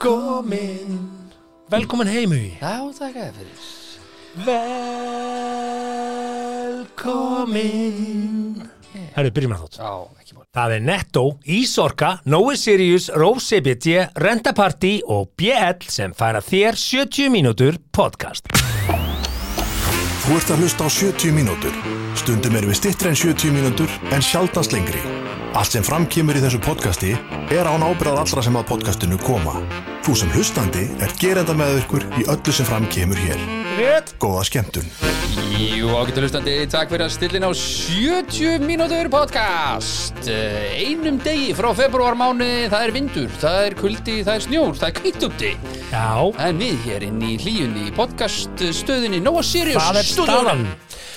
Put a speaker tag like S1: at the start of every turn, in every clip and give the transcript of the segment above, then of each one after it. S1: velkomin Velkomin heimu
S2: Já, takk að fyrir
S1: Velkomin Herru, byrjum að þátt
S2: Já, ekki mál
S1: Það er Netto, Ísorka, Nói Sirius, Róse BT, Rentaparty og BL sem færa þér 70 mínútur podcast.
S3: Þú ert að hlusta á 70 mínútur. Stundum erum við stittri en 70 mínútur en sjaldast lengri. Allt sem framkemur í þessu podcasti er án ábyrðað allra sem að podcastinu koma. Þú sem hlustandi er gerenda með ykkur í öllu sem framkemur hér.
S1: Rétt.
S3: Góða skemmtun.
S2: Jú, ágættu hlustandi, takk fyrir að stillin á 70 mínútur podcast Eh, Einum degi frá februarmáni, það er vindur, það er kuldi, það er snjór, það er kvítúti
S1: Já,
S2: En við hér inn í hlíjunni í podcast stöðinni Nóa Sirius
S1: það er
S2: stúdíóinu.
S1: staðan.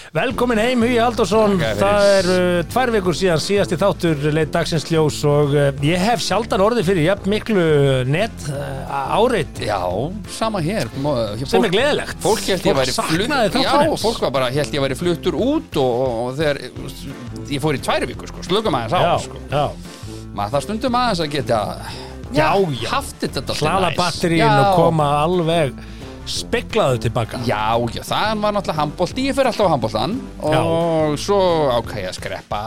S1: Velkomin heim, Hugi Aldarsson.
S2: Takk fyrir.
S1: Það er uh, tvær vikur síðan síðasti þáttur leitt dagsins ljós og uh, ég hef sjaldan orðið fyrir jafn miklu net uh, áreiti
S2: Já, sama hér Mó- hér
S1: sem
S2: fólk-
S1: er gleðilegt.
S2: Fólk held ég væri
S1: saknaði
S2: Já,
S1: þáttarins.
S2: fólk var bara, held ég væri fluttur út og, og, og þegar ég fór í tværi vikur, sko, slökum aðeins á, sko
S1: Já, já.
S2: maður þarf stundum aðeins að geta
S1: Já, já.
S2: haft þetta dálítið
S1: Hlaða
S2: næs.
S1: batterín
S2: Já.
S1: og koma alveg speklaðu tilbaka.
S2: já, já, það var náttúrulega handbólti ég fyrir alltaf á handbóltan og svo ákæði ég að skreppa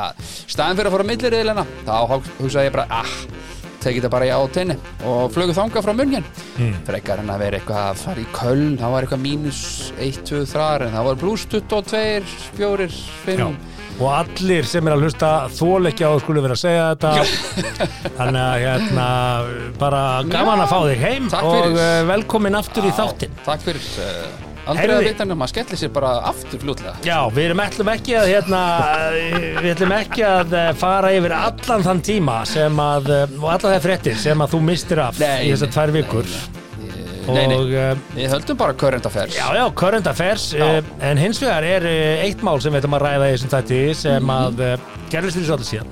S2: staðin fyrir að fara á millirriðlina þá hug- hugsaði ég bara, ah, tekið þetta bara í átinni og flögu þanga frá munjan
S1: Hmm.
S2: frekar en að vera eitthvað að fara í köln það var eitthvað mínus 1, 2, 3 en það var pluss 22, 4, 5
S1: Já. Og allir sem er að hlusta þól ekki á að skulu vera að segja þetta Þannig að hérna bara gaman að fá þig heim
S2: Takk
S1: og
S2: fyrir.
S1: eh, velkomin aftur í þáttinn
S2: takk fyrir uh, aldrei
S1: Heyrðu.
S2: að vita nema að skelli sér bara aftur fljótlega
S1: Já, við erum ætlum ekki að hérna, eh, við ætlum ekki að eh, fara yfir allan þann tíma sem að, eh, og allar það fréttir sem að þú mistir af
S2: Nei,
S1: í þessar
S2: nei,
S1: tvær
S2: nei,
S1: vikur
S2: nei, nei.
S1: og eh,
S2: Við höldum bara current affairs
S1: Já, já, current affairs, já. en hins vegar er eh, eitt mál sem við ætlum að ræða í þessum þætti
S2: Mhm.
S1: sem að eh, gerðist fyrir svolítið síðan.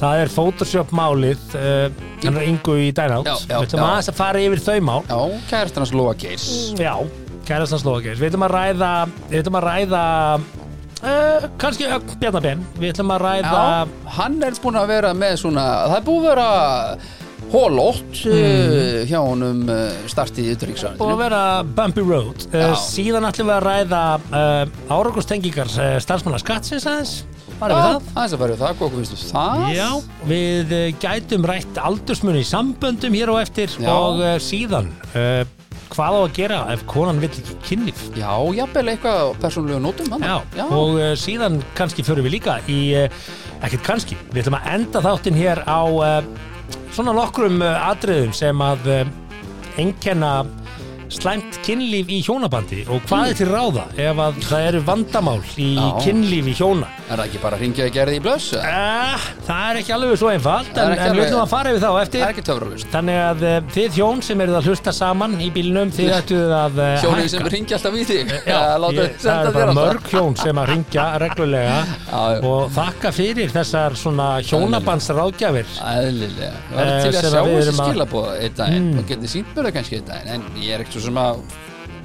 S1: Það er Photoshop málið, eh, hann er yngu í Dynout,
S2: Já, já,
S1: við ætlum
S2: já.
S1: aðeins að fara yfir þau mál.
S2: Já, kærastan hans Lóa Geirs
S1: Já, kærast hans lókis, við ætlum að ræða, við ætlum að ræða, uh, kannski uh, Bjarnar Ben, við ætlum að ræða,
S2: Já, hann er búin að vera með svona Það er búið að vera hólótt mm. hjá honum eh, startið
S1: og
S2: í
S1: að
S2: ytterriksræðinu
S1: vera Bumpy Road. Uh,
S2: Já.
S1: síðan ætlum við að ræða uh, árauglustengingar uh, starfsmanna skattsins aðeins, bara við það.
S2: Aðeins að verður það, hvað okkur finnst þú það?
S1: Já, við eh, gætum rætt aldursmunni í samböndum hér á eftir
S2: Já.
S1: og uh, síðan uh, hvað á að gera ef konan vill ekki kynlíf
S2: Já, jafnvel eitthvað á persónulegu nótum hann
S1: Já,
S2: já.
S1: og uh, síðan kannski förum við líka í, uh, ekkert kannski, við ætlum að enda þáttinn hér á uh, svona nokkrum uh, atriðum sem að uh, einkenna slæmt kynlíf í hjónabandi og hvað er til ráða ef að það eru vandamál í
S2: Já.
S1: kynlífi hjóna
S2: Er það ekki bara að ringja að gerði í blöss? eða?
S1: Eh, Það er ekki alveg svo einfalt
S2: Það er
S1: en,
S2: ekki
S1: en við
S2: alveg-
S1: ætlum að fara yfir þá eftir
S2: Það er ekki töfralust
S1: Þannig að eh, þið hjón sem eruð að hlusta saman í bílnum, þið ættuð að eh,
S2: Hjónin sem
S1: hækka.
S2: ringja alltaf í þig
S1: Já,
S2: Eða láta
S1: ég,
S2: þig
S1: það
S2: senda
S1: er
S2: þér
S1: bara
S2: alltaf.
S1: mörg hjón sem að ringja reglulega
S2: Já, já.
S1: og þakka fyrir þessar svona hjónabandsráðgjafir
S2: Æðlilega, ég var
S1: Eh,
S2: til að
S1: sem
S2: sjá
S1: að við
S2: þessi
S1: erum að- Hmm.
S2: skilabóð einn daginn og getið sínt mér það kannski einn daginn en ég er ekkert svo sem að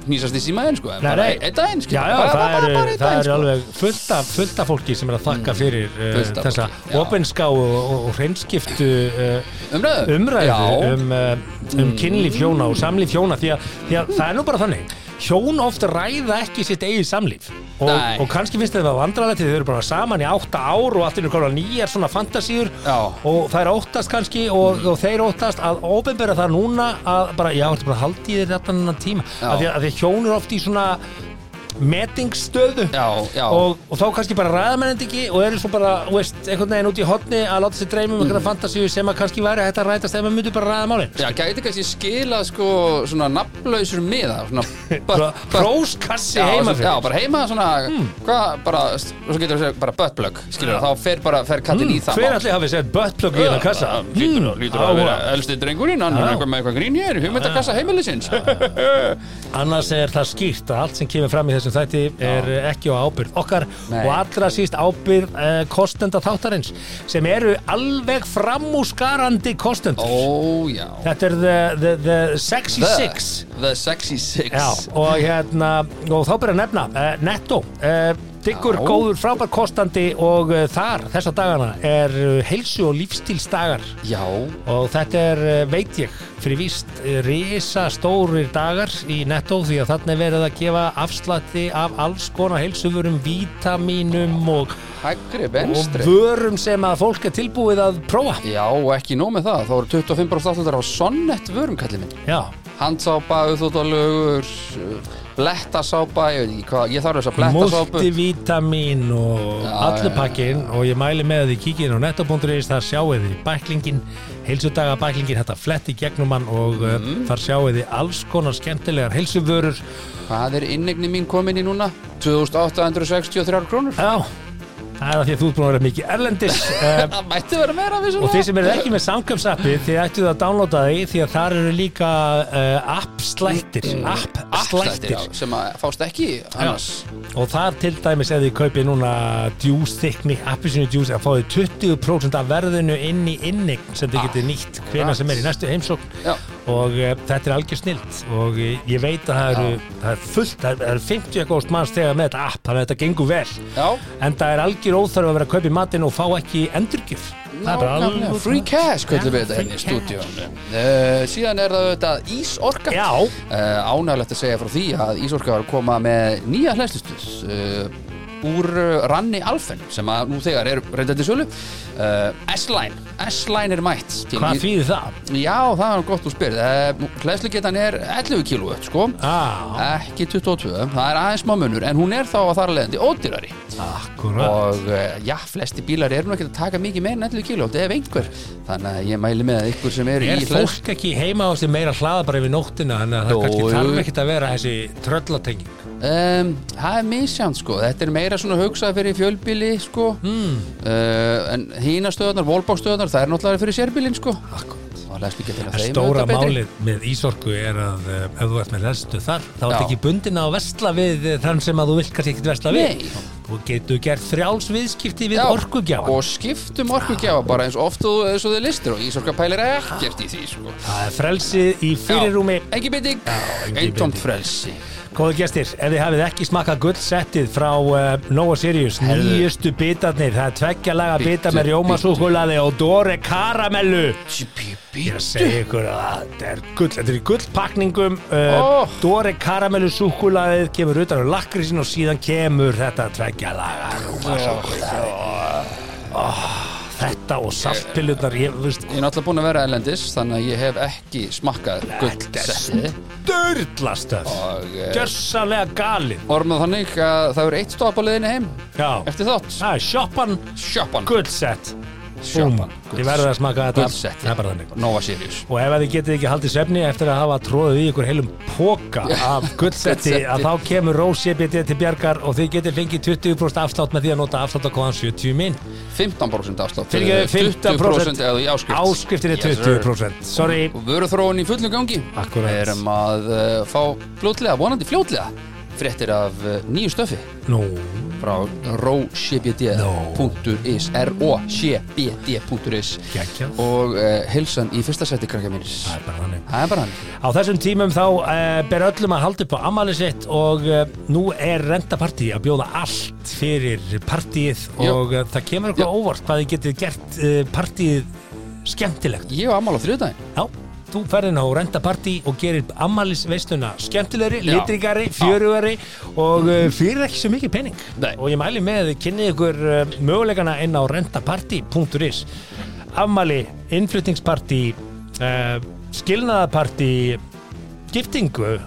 S2: nýsast í símaðinn sko, en
S1: Nei,
S2: bara
S1: nei.
S2: einn daginn
S1: Já,
S2: skilur,
S1: já,
S2: bara,
S1: það
S2: bara, bara, bara
S1: eru
S2: einn
S1: það
S2: daginn
S1: eru
S2: sko. Mm.
S1: alveg fullta, fullta fólki sem er að þakka fyrir uh,
S2: Fullt af
S1: þessa
S2: fólki, já.
S1: opinskáu og, og hreinskiptu uh,
S2: umræðu,
S1: umræðu
S2: já, Mm.
S1: um, uh, um kynlíf hjóna og samlíf hjóna því að, því að það er nú bara þannig hjón ofta ræða ekki sitt eigið samlíf og,
S2: Nei.
S1: og kannski finnst þeim það vandrarlega til þau eru bara saman í átta ár og allt er komna nýjar svona fantasíur
S2: Já. Mm.
S1: og það er óttast kannski og, og þeir óttast að ofinbera það núna að bara, já, þetta bara haldið þér þetta annan tíma
S2: Já.
S1: af því að, að því að hjón eru ofta í svona metingsstöðu
S2: já, já,
S1: og, og þá kannski bara ræða menn þetta ekki og eru svo bara, þú veist, einhvern veginn út í hotni að láta sér dreyma um
S2: Mm.
S1: einhverja fantasíu sem að kannski væri hægt að rætast ef maður myndi bara ræða málin
S2: já, gæti kannski skila sko svona nafnlausur miða svona,
S1: Bara
S2: butt- butt-
S1: Hróskassi heima
S2: já,
S1: fyrir Hmm.
S2: bara heima svona hvað, bara, og svo getur við segja bara buttplug skilur, þá fer bara, fer kallin í það
S1: Hver
S2: mál.
S1: allir hafið sett buttplug í það kassa?
S2: Það Lítur,
S1: Hmm,
S2: lítur að vera
S1: áhugavert.
S2: elsti drengurinn, hann er
S1: Já.
S2: eitthvað með eitthvað grín hér, hugmyndakassa heimilisins.
S1: Annars er það skýrt að allt sem kemur fram í þessum þætti er eh, ekki á ábyrð okkar
S2: Nei.
S1: og allra síst ábyrð uh, kostenda þáttarins sem eru alveg framúskarandi kostendur.
S2: Ó, já.
S1: Þetta er the, the, the sexy six.
S2: The Sexy Six.
S1: Já, og hérna, og þá byrja að nefna uh, Netto, uh, diggur
S2: Já.
S1: góður frábær kostandi og uh, þar eh, þessa dagana er uh, heilsu og lífstílsdagar
S2: Já,
S1: og þetta er, uh, veit ég fyrir víst risa stórir dagar í nettó því að þarna er verið að gefa afslatti af alls konar heilsufurum, vítamínum og,
S2: Hægri,
S1: og
S2: venstri
S1: vörum sem að fólk er tilbúið að prófa.
S2: Já, og ekki nóg með það, þá eru 25% afslutar á Sonnet vörum, kallið minn
S1: Já,
S2: Handsápa, auðvitaðlugur, blettasápa, ég veit ekki hvað, ég þarf þess að blettasápu
S1: multivitamín og
S2: Já,
S1: allur
S2: já, já.
S1: pakkin og ég mæli með að þið kíkið inn á nettó.is, þar sjáið þið bæklingin, heilsudaga bæklingin, þetta fletti gegnum hann og
S2: Mhm.
S1: mm. þar sjáið þið alls konar skemmtilegar heilsuvörur.
S2: Hvað er innegni mín komin í núna? 2863 krónur
S1: Já, það er að því að þú ert búin að vera mikið erlendis. eh,
S2: Það mætti vera meira við
S1: Og þeir sem eru ekki með samkjömsappi þið ættu það að downloada því því að þar eru líka uh, app-slættir
S2: Mm. Afslættir,
S1: app-slættir
S2: já, sem að fást ekki annars
S1: og þar til dæmis ef þið kaupið núna juice þykni, appisinu juice að fáið 20% af verðinu inn í innign sem þið getið nýtt hvena
S2: Akkurat.
S1: sem er í næstu heimsókn
S2: Ah. Já.
S1: og uh, þetta er algjör snilt og uh, ég veit að það eru, það er fullt, það eru 50 góðst manns þegar með þetta app þannig að þetta gengur vel
S2: Já,
S1: en það er algjör óþarf að vera að kaupa í matinn og fá ekki endurgjöf Það er
S2: nákvæmlega.
S1: alveg-
S2: Free cash, kvöldu við
S1: Já,
S2: þetta hérna í
S1: free cash.
S2: stúdíónu uh, Síðan er það auðvitað Ísorka
S1: Já,
S2: uh, ánægulegt að segja frá því að Ísorka var að koma með nýja hlæstustus uh, úr uh, ranni Alfen sem að nú þegar er reyndandi sölu uh, S-Line, S-Line er mætt til
S1: hvað
S2: í-
S1: þýðir það?
S2: Já, það er gott þú spyrð uh, hlæslugetan er 11 kW sko
S1: Ah,
S2: ekki 22, það er aðeins smá munur en hún er þá að þar að leiðandi ódýrari
S1: akkurat
S2: og uh, já, flesti bílar eru nú ekki að taka mikið meir en 11 kg ef einhver, þannig að ég mæli með að ykkur sem eru
S1: Er
S2: í hlæðs-
S1: fólk ekki heima á sig meira hlaða bara yfir nóttina þannig að
S2: Jú,
S1: það kannski
S2: jú.
S1: þarf ekkert að vera þessi tröllatenging
S2: um, það er misjant sko, þetta er meira svona hugsað fyrir fjölbíli sko mm. uh, en hínastöðunar, volbókstöðunar það er náttúrulega fyrir sérbílin sko og hlæslu getur að
S1: En
S2: þeim
S1: stóra
S2: auðvitað betri.
S1: málið með Ísorku er að eh, ef þú ert með lestu þar þá ert
S2: Já.
S1: ekki bundin á að vesla við eh, þann sem að þú vilt kannski ekkert vesla við
S2: Nei.
S1: Þú getur gert þrjáls viðskipti við
S2: Já,
S1: orkugjáðan
S2: og skiptum orkugjáfa bara eins oft og eins og þið listir og Ísorka pælir ekkert í því sko
S1: Það er frelsið í fyrirrúmi
S2: Já, Engi bytting,
S1: engin
S2: eintómt
S1: binding.
S2: frelsi
S1: Góðu gestir, ef þið hafið ekki smakkað gullsettið frá uh, Nova Sirius,
S2: Herðu.
S1: nýjustu bitarnir, það er tveggja laga
S2: Bíddu,
S1: bita með rjómasúkulaði og Dore karamellu. Ég er að segja ykkur að þetta er gull, þetta er í gullpakningum, uh,
S2: Ó.
S1: Dore karamellu súkulaðið kemur utan á lakrísin og síðan kemur þetta tveggja laga rjómasúkulaði. Oh, þetta og saltpillunar, ég veist,
S2: Ég er náttúrulega búin að vera ælendis þannig að ég hef ekki smakkað
S1: þetta er
S2: gullsettið
S1: störðlastöð,
S2: og eh,
S1: gjörsanlega galið.
S2: orðum það þannig að það verður eitt stopp á leiðinni heim
S1: Já,
S2: eftir þátt
S1: það er shoppan.
S2: Shoppan
S1: Gullsett Búm,
S2: Shoppan
S1: þið verður að smaka þetta
S2: Gullsett,
S1: Það er bara þannig
S2: Nova Sirius
S1: Og ef að þið getið ekki haldið svefni eftir að hafa tróðið í ykkur heilum póka af gullsetti
S2: Gullsetti.
S1: að þá kemur Rósébiti til bjargar og þið getið fengið 20% afslátt með því að nota afsláttakóðan 70 minn
S2: 15% afslátt
S1: Fyrirgefðu, 15%
S2: eða í áskrift
S1: Áskriftin er
S2: Yes, sir.
S1: 20% Sorry
S2: Og vöru þróun í fullum gangi
S1: Akkurat.
S2: Við erum að uh, fá fljótlega, vonandi fljótlega fréttir af uh, nýju stöfi
S1: Nú
S2: frá rocbd.is rocbd.is
S1: Geggjað.
S2: og uh, hilsan í fyrsta seti krakka mínir
S1: Það er bara þannig
S2: Það er bara hann
S1: Á þessum tímum þá uh, ber öllum að halda upp á ammali sitt og uh, nú er rendapartí að bjóða allt fyrir partíið
S2: Jú.
S1: og uh, það kemur
S2: Jú.
S1: eitthvað óvart hvað þið getið gert uh, partíið skemmtilegt.
S2: Ég var ammál á þriðdæðin
S1: Já, þú ferðin á rendapartí og gerir ammalisveisluna skemmtilegri,
S2: Já.
S1: litrigari, fjörugari og uh, fyrir ekki svo mikið pening.
S2: Nei.
S1: Og ég mæli með að þið kynnið ykkur uh, möguleikana inn á rendapartí.is Ammali, innflutningspartí, uh, skilnaðapartí, giftingu,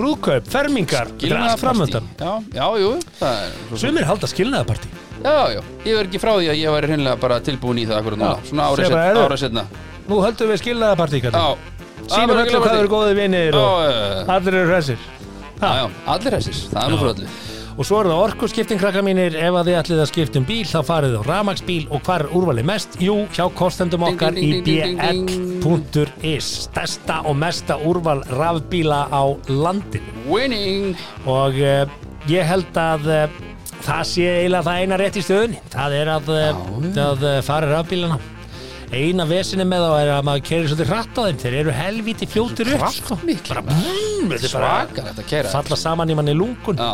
S1: brúðkaup, fermingar, þetta er allt framöndan.
S2: Já, já, jú það er, svo sem-
S1: Sumir halda skilnaðapartí.
S2: Já, já, ég verð ekki frá því að ég væri hreinlega bara tilbúin í það akkur núna
S1: Já,
S2: Svona ára
S1: segja bara,
S2: setna,
S1: heyrðu.
S2: ára setna
S1: Nú höldum við skilnaðapartí,
S2: Já,
S1: kallar.
S2: Ah,
S1: Sýnum
S2: bara
S1: öllu hvað
S2: skilnaðarpartí.
S1: eru góðið vinir og
S2: Já, já, já.
S1: allir eru hressir.
S2: Já, já, allir hessir, það er nú
S1: Já.
S2: frá öllu
S1: Og svo er það orkuskiptin krakka mínir, ef að þið ætlið að skipta um bíl þá farið á ramagsbíl og hvar er úrvalið mest? Jú, hjá kostendum okkar
S2: Ding,
S1: í
S2: ding, ding, ding, ding,
S1: bl.is Stærsta og mesta úrval rafbíla á landinu
S2: Winning
S1: og uh, ég held að uh, það sé eiginlega það eina rétt í stöðunni það er að, uh, að uh, fara rafbílana eina vesinni með þá er að maður kerir svolítið hratt á þeim þeir eru helvíti fljótir upp sko.
S2: Kraftmiklir,
S1: bara,
S2: maður.
S1: mm, þetta er bara
S2: Svakar þetta að kæra
S1: falla saman í manni lungun
S2: Já,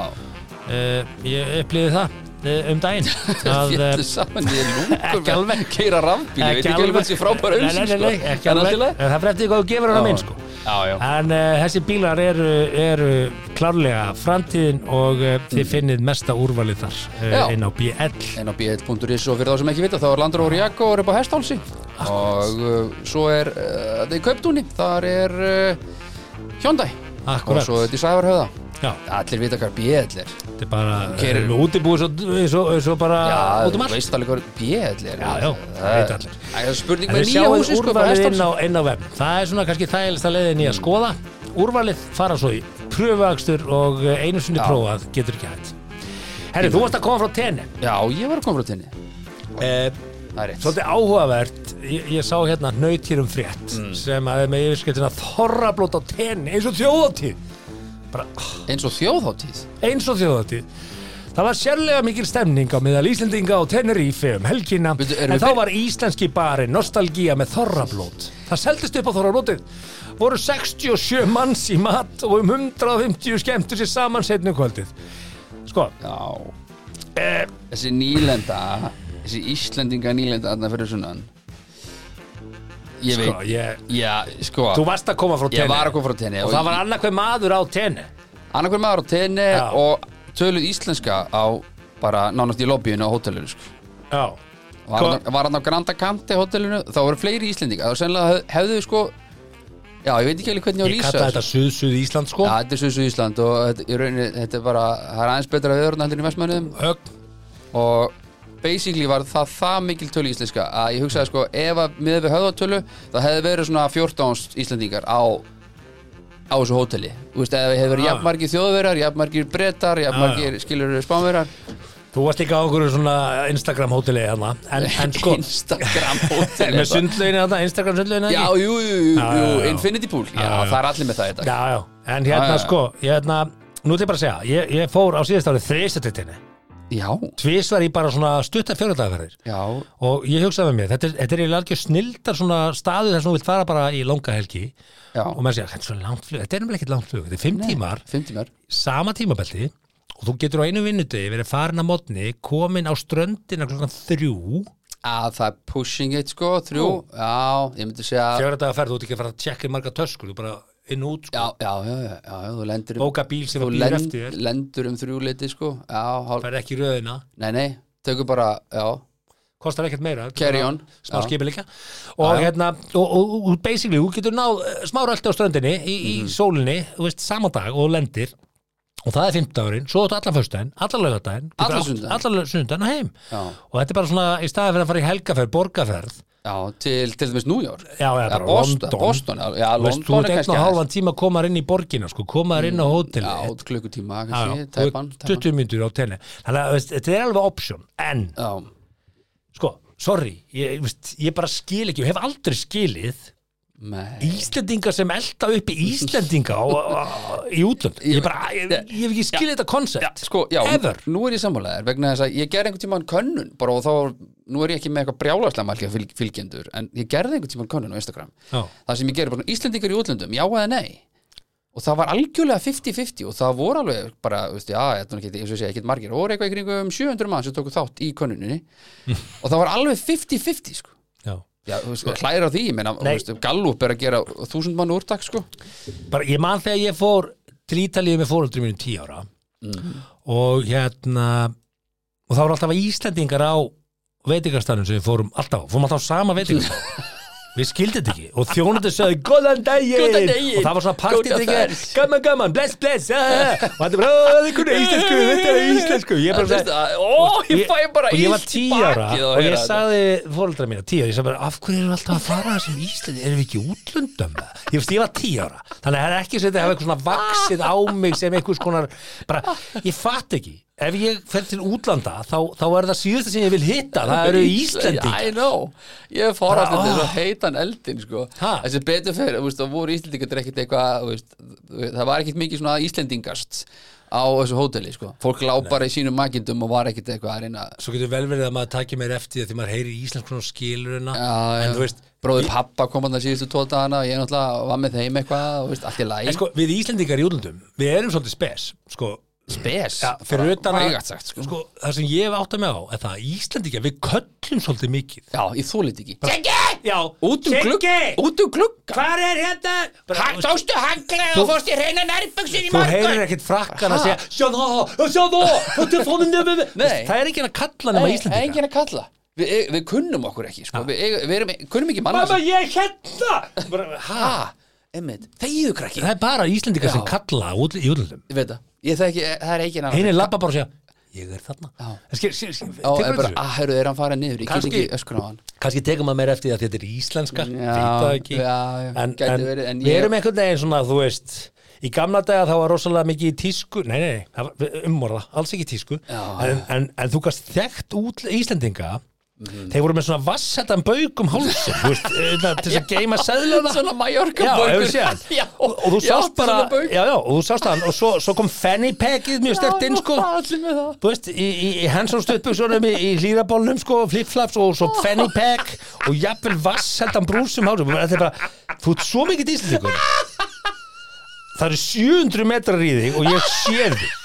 S1: Uh, Eh, ég upplýði það eh, um daginn að, eh,
S2: Fjallu saman, ég er lúkur
S1: Ekki alveg.
S2: Keira rafbíl, ég sko. veit ekki alveg þessi frábæra
S1: Nei, nei,
S2: auðsins
S1: nei, nei, ekki alveg En Það fyrir eftir hvað þú gefur hann
S2: Já.
S1: að minn sko
S2: Já, já,
S1: En uh, þessi bílar eru, eru klárlega framtíðin og uh, þið finnið mesta úrvalið þar
S2: Mm. Já.
S1: uh, inn á BL
S2: en á bl.is og fyrir þá sem ekki vita þá er Landra og Ríakko og er upp á hestálsi og uh, svo er uh, það er í Kauptúni, þar er uh, Hyundai
S1: Akkurat.
S2: og svo er þetta í Sævarhöða
S1: Já,
S2: Allir vita hvað BL er
S1: þetta er bara
S2: Keyrir-
S1: uh, útibúið svo, svo, svo bara
S2: Já,
S1: út um allt
S2: veist alveg hvað BL er
S1: Já, já,
S2: það
S1: veit allir.
S2: Það er spurning
S1: En
S2: með
S1: þið
S2: nýja
S1: sjáuð
S2: húsi sko, bara
S1: úrvalið inn
S2: hestálsi
S1: á, inn á vefn Það er svona kannski þægilegsta leiðin í að skoða Úrvalið fara svo í pröfuakstur og uh, einu sinni
S2: Já.
S1: prófað getur ekki hægt Herri, þú varst að koma frá tenni
S2: Já, ég var að koma frá tenni
S1: uh,
S2: Það er rétt
S1: Svolítið áhugavert, ég, ég sá hérna nautírum frétt sem að er með yfirskriftina þorrablót á tenni eins og þjóðatíð bara ah,
S2: Eins og þjóðháttíð
S1: eins og þjóðatíð Það var sérlega mikil stemning á meðal Íslendinga á Tenerife um helgina
S2: Veitu, erum
S1: en
S2: við
S1: þá
S2: byrj-
S1: var íslenski bari nostalgía með þorrablót Það seldist upp á þorrablótið voru 67 manns í mat og um 150 skemmtu sér saman setnu kvöldið Sko,
S2: Já
S1: Eh.
S2: Þessi nýlenda Þessi Íslendinga nýlenda Þarna fyrir sunnan Ég veit
S1: sko ég,
S2: Já, sko
S1: þú varst að koma frá tenni
S2: Ég var að koma frá tenni
S1: og það var annarkveð maður á tenni
S2: annarkvæm maður á tenni
S1: Já.
S2: Og töluð íslenska á Bara nánast í lobbyinu á hótelinu sko.
S1: Já
S2: Var
S1: Hva-
S2: hann á- var hann á Granda Kanti hótelinu Þá voru fleiri Íslendinga Það var sennilega hef- hefðu sko Já, ég veit ekki alveg hvernig ég á að
S1: Ég
S2: lýsa
S1: kalla
S2: þessu.
S1: þetta Suð-Suð Ísland sko
S2: Já, þetta er Suðsú Ísland og þetta, í rauninni, þetta er bara, það er aðeins betra við öðrun heldur en í vestmönnum
S1: Högg
S2: og basically var það það mikil tölu íslenska að ég hugsaði sko ef að miða við höfðatölu það hefði verið svona 14 íslendingar á á þessu hóteli þú veist, ef hefur verið
S1: Ah.
S2: jafnmargir þjóðverjar jafnmargir brettar, jafnmargir skilur spánverjar
S1: Þú varst líka á okkur svona Instagram hóteli hérna En, en sko
S2: Instagram
S1: Með
S2: hóteli
S1: sundlauginu hérna, Instagram sundlauginu
S2: Já,
S1: hérna
S2: jú, jú, jú,
S1: Já, já, já.
S2: Infinity Pool Já,
S1: Já, já.
S2: það er allir með það í dag
S1: Já, já En hérna
S2: Já, já.
S1: sko Hérna Nú ætlum ég bara að segja Ég, ég fór á síðast árið þriðstættinni
S2: Já,
S1: Tvísvar í bara svona stutta fjóradagaferðir
S2: já,
S1: Og ég hugsaði með mér Þetta er, þetta er eiginlega algjör snildar svona staðu þar sem þú vilt fara bara í longa helgi
S2: já
S1: Og maður segja Þetta er svo langt flug Þetta er nefnilega ekkert langt flug Þetta er fimm tímar
S2: Fimm tímar
S1: sama tímabelti og þú getur á einu vinnutegi verið farin að mótni komin á ströndina klokkan þrjú
S2: að það er pushing it sko, þrjú já, ég myndi segja já,
S1: fjögur dagar ferð, þú ert ekki að fara að tjekka í marga töskur þú bara inn og út, sko,
S2: já, já, já, já, þú lendur um,
S1: bóka bíl sem
S2: þú
S1: að býr
S2: lend,
S1: eftir þér,
S2: lendur um þrjú liti sko, já, hál,
S1: ferð ekki í röðina
S2: nei, nei tökum bara, já,
S1: kostar ekkert meira þetta er
S2: Carry
S1: bara
S2: on.
S1: smá
S2: Já.
S1: skipi líka og
S2: Já, já.
S1: hérna, og, og, og basically, þú getur náð eh, smá röldi á ströndinni í,
S2: Mhm.
S1: í sólinni, þú veist, saman dag og lendir og það er fimmtudagurinn, svo áttu allan föstudaginn, allan laugardaginn
S2: Allan
S1: getur átt-
S2: sunnudaginn.
S1: allan sunnudaginn og heim
S2: já,
S1: og þetta er bara svona, í staði fyrir að fara í helgaferð borgarferð,
S2: já til, til dæmis New York
S1: já, já,
S2: já,
S1: bara
S2: Boston,
S1: London
S2: Boston, já, já,
S1: Þú veist, þú ert
S2: London
S1: einn
S2: er kannski
S1: og
S2: aðeins. Mm.
S1: halvan tíma að koma þér inn í borgina sko, koma þér inn á hóteli
S2: já,
S1: Já,
S2: út klukkutíma,
S1: já,
S2: kannski,
S1: þú
S2: tæpan,
S1: ert
S2: tæpan
S1: 20 mínútur á tenni þannig að veist, þetta er alveg option en,
S2: já,
S1: sko, sorry ég, veist, ég bara skil ekki, ég hef aldrei skilið
S2: nei
S1: Íslendinga sem elda upp í Íslendinga á, á, á, í útlönd ég, bara, ég, ég hef ekki skilið þetta koncept
S2: sko, já,
S1: Ever.
S2: nú er ég sammálaðir vegna þess að ég gerði einhvern tímann könnun bara og þá, nú er ég ekki með eitthvað brjálagslega margja fylg, fylgjendur, en ég gerði einhvern tímann könnun á Instagram,
S1: Já.
S2: það sem ég gerði bara svona, Íslendingar í útlöndum, já eða nei og það var algjörlega 50-50 og það voru alveg bara, veist, já, þetta er ekki, eins og ég segi, ekkert margir, það voru eitthvað í kringum 700 mann sem tóku þátt í könnuninni og það var alveg 50-50 sko.
S1: Já.
S2: já, þú veist, hlæra því, ég meina,
S1: Sko, Nei.
S2: þú veist, Gallup er að gera 1000 mann úrtak, sko
S1: bara, ég man þegar ég fór til Ítalíu með fóröldrum mínum 10 ára og hérna og það voru alltaf Íslendingar á veitingarstannum sem við fórum alltaf á, fórum alltaf á sama veitingarstannum við skildið þetta ekki og þjónandi sögðu góðan daginn
S2: Góðan daginn.
S1: og það var svona
S2: Góða
S1: partydrykki
S2: ferð.
S1: gaman gaman, bless bless ah, ah. og þetta er bara, það er íslensku, þetta er íslensku ég bara
S2: Þú veist,
S1: sagði-
S2: að- ó, ég fæ bara
S1: og ég var
S2: illt í
S1: 10 ára
S2: bakið hérna. að
S1: og ég
S2: heyra þetta.
S1: sagði fóröldra mína 10 ára, ég sagði bara af hverju erum við alltaf að fara þessum Íslandi, erum við ekki í útlöndum eða? ég veist, ég var 10 ára, þannig að það er ekki sem þetta hefur eitthvað svona vaksið á mig sem einhvers konar, bara, ég fatt ekki ef ég fer til útlanda þá, þá er það síðasta sem ég vil hitta það eru Íslendingar
S2: I know, ég fór alltaf
S1: Bara,
S2: þess
S1: ah.
S2: að heitan eldin sko.
S1: Ha?
S2: þessi betur fyrir, þú veist, það voru Íslendingar ekkert eitthvað, þú veist, það var ekkert mikið svona Íslendingast á þessu hóteli sko. fólk lá bara í sínum makindum og var ekkert eitthvað að reyna
S1: svo getur vel verið að maður takja mér eftir því að því maður heyri íslensk svona skilurina
S2: Já,
S1: en
S2: já.
S1: þú veist,
S2: bróði pappa kom hann að síðustu tvo dagana og ég náttúrulega var með þeim eitthvað og veist, allt í læg
S1: En sko, við Íslendingar í útlöndum, við erum svolítið spes, sko,
S2: spes
S1: Já, fyrir utan að
S2: vægast sagt, sko.
S1: sko, það sem ég hef átt að með á er það að Íslandingja, við köllum svolítið mikið
S2: já, ég þúlit ekki
S1: Já,
S2: út um glugga út um glugga
S1: Hvað er hérna? Bara,
S2: Hann tóstu hanglega
S1: Þú-
S2: og fórst í reyna nærböksin í
S1: Þú
S2: morgun
S1: heyrir ekkert frakkan að
S2: Ha?
S1: segja Sjá það, sjá það, þetta er fóninni
S2: Nei.
S1: Það er ekki að kalla nema
S2: Nei,
S1: Íslandinga
S2: enginn að kalla Vi, við kunnum okkur ekki sko. við, eigum- við erum, kunnum ekki manna
S1: Mamma, ég er hérna Bara, ha?
S2: ah, einmitt, þegiðu krakki
S1: Það er bara Íslandinga sem
S2: Já.
S1: kalla út, í útlöndum
S2: ég veit það, ég þekki, það er ekki
S1: Hinn er labba bara og segja Ég er þarna
S2: Já.
S1: Það Sker, sker, sker,
S2: Ó, er
S1: tekur
S2: bara,
S1: þessu?
S2: að, herru, er hann farið niður, ég get
S1: Kannski-
S2: ekki öskun á hann
S1: Kannski tekum maður meira eftir því að þetta er íslenska
S2: Já,
S1: veit það ekki.
S2: já, já,
S1: En,
S2: gæti
S1: en,
S2: verið, en
S1: við
S2: ég-
S1: erum einhvern veginn svona, þú veist Í gamla daga þá var rosalega mikið í tísku Nei, nei, nei, það var- umorða, alls ekki í tísku
S2: Já. Mhm.
S1: en, en, en þú gast þekkt út Íslendinga Þeir voru með svona vassetan bauk um hálsum Þú veist, na, til þess að geima seðlana
S2: svona Mallorca
S1: Já,
S2: baukur.
S1: hefur séð hann
S2: Já,
S1: og, og þú
S2: já,
S1: sást bara
S2: svona bauk.
S1: já, já, og þú sást hann og svo, svo kom fanny packið mjög stert inn sko
S2: allir með það
S1: Þú veist, í, í, í Hansson stöðbuksunum, í, í hlýrabólnum, sko, flipflaps og svo penny pack og jafnvel vasseldan brúsum hálsum. um Þetta er bara, þú ert svo mikið íslendingur. Það eru 700 metrar í þig og ég sé þig.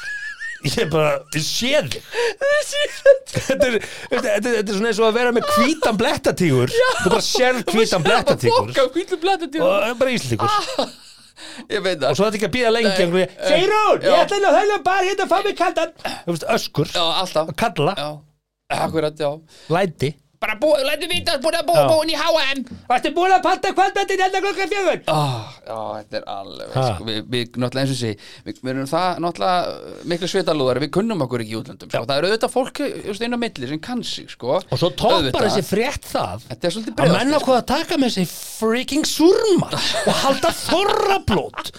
S1: Ég er bara, ég sé þig. Þetta er, þetta, þetta, þetta er svona eins og að vera með hvítan blettatígur. Þú bara sér hvítan blettatígur.
S2: Fokka, hvílu
S1: Og
S2: blettatígur
S1: það er bara íslendingur.
S2: Ég veit það
S1: Og svo þetta ekki að býða lengi. einhvern veginn, Sigrún, ég
S2: Já.
S1: ætla henni að höllum bara hérna að fá mig kaldan. Þú veist, öskur,
S2: Já, alltaf
S1: kalla,
S2: Já, akkurat, já
S1: læti.
S2: Bara bú, lætum við það búin að búa
S1: Já.
S2: búin í HM
S1: Varstu búin að panta kvöldmættin hérna klokka fjögur?
S2: Ah, já, þetta er alveg
S1: Ha.
S2: sko, við, við náttúrulega eins og sé við, við erum það náttúrulega uh, miklu svitalúðar við kunnum okkur ekki í útlöndum sko. það eru auðvitað fólk you know, inn á milli sem kann sig sko.
S1: Og svo toppar
S2: Auðvitað.
S1: þessi frétt það
S2: Þetta er svolítið
S1: að
S2: bregðast,
S1: menn
S2: sko.
S1: ákvað að taka með þessi freaking surmar og halda þorrablót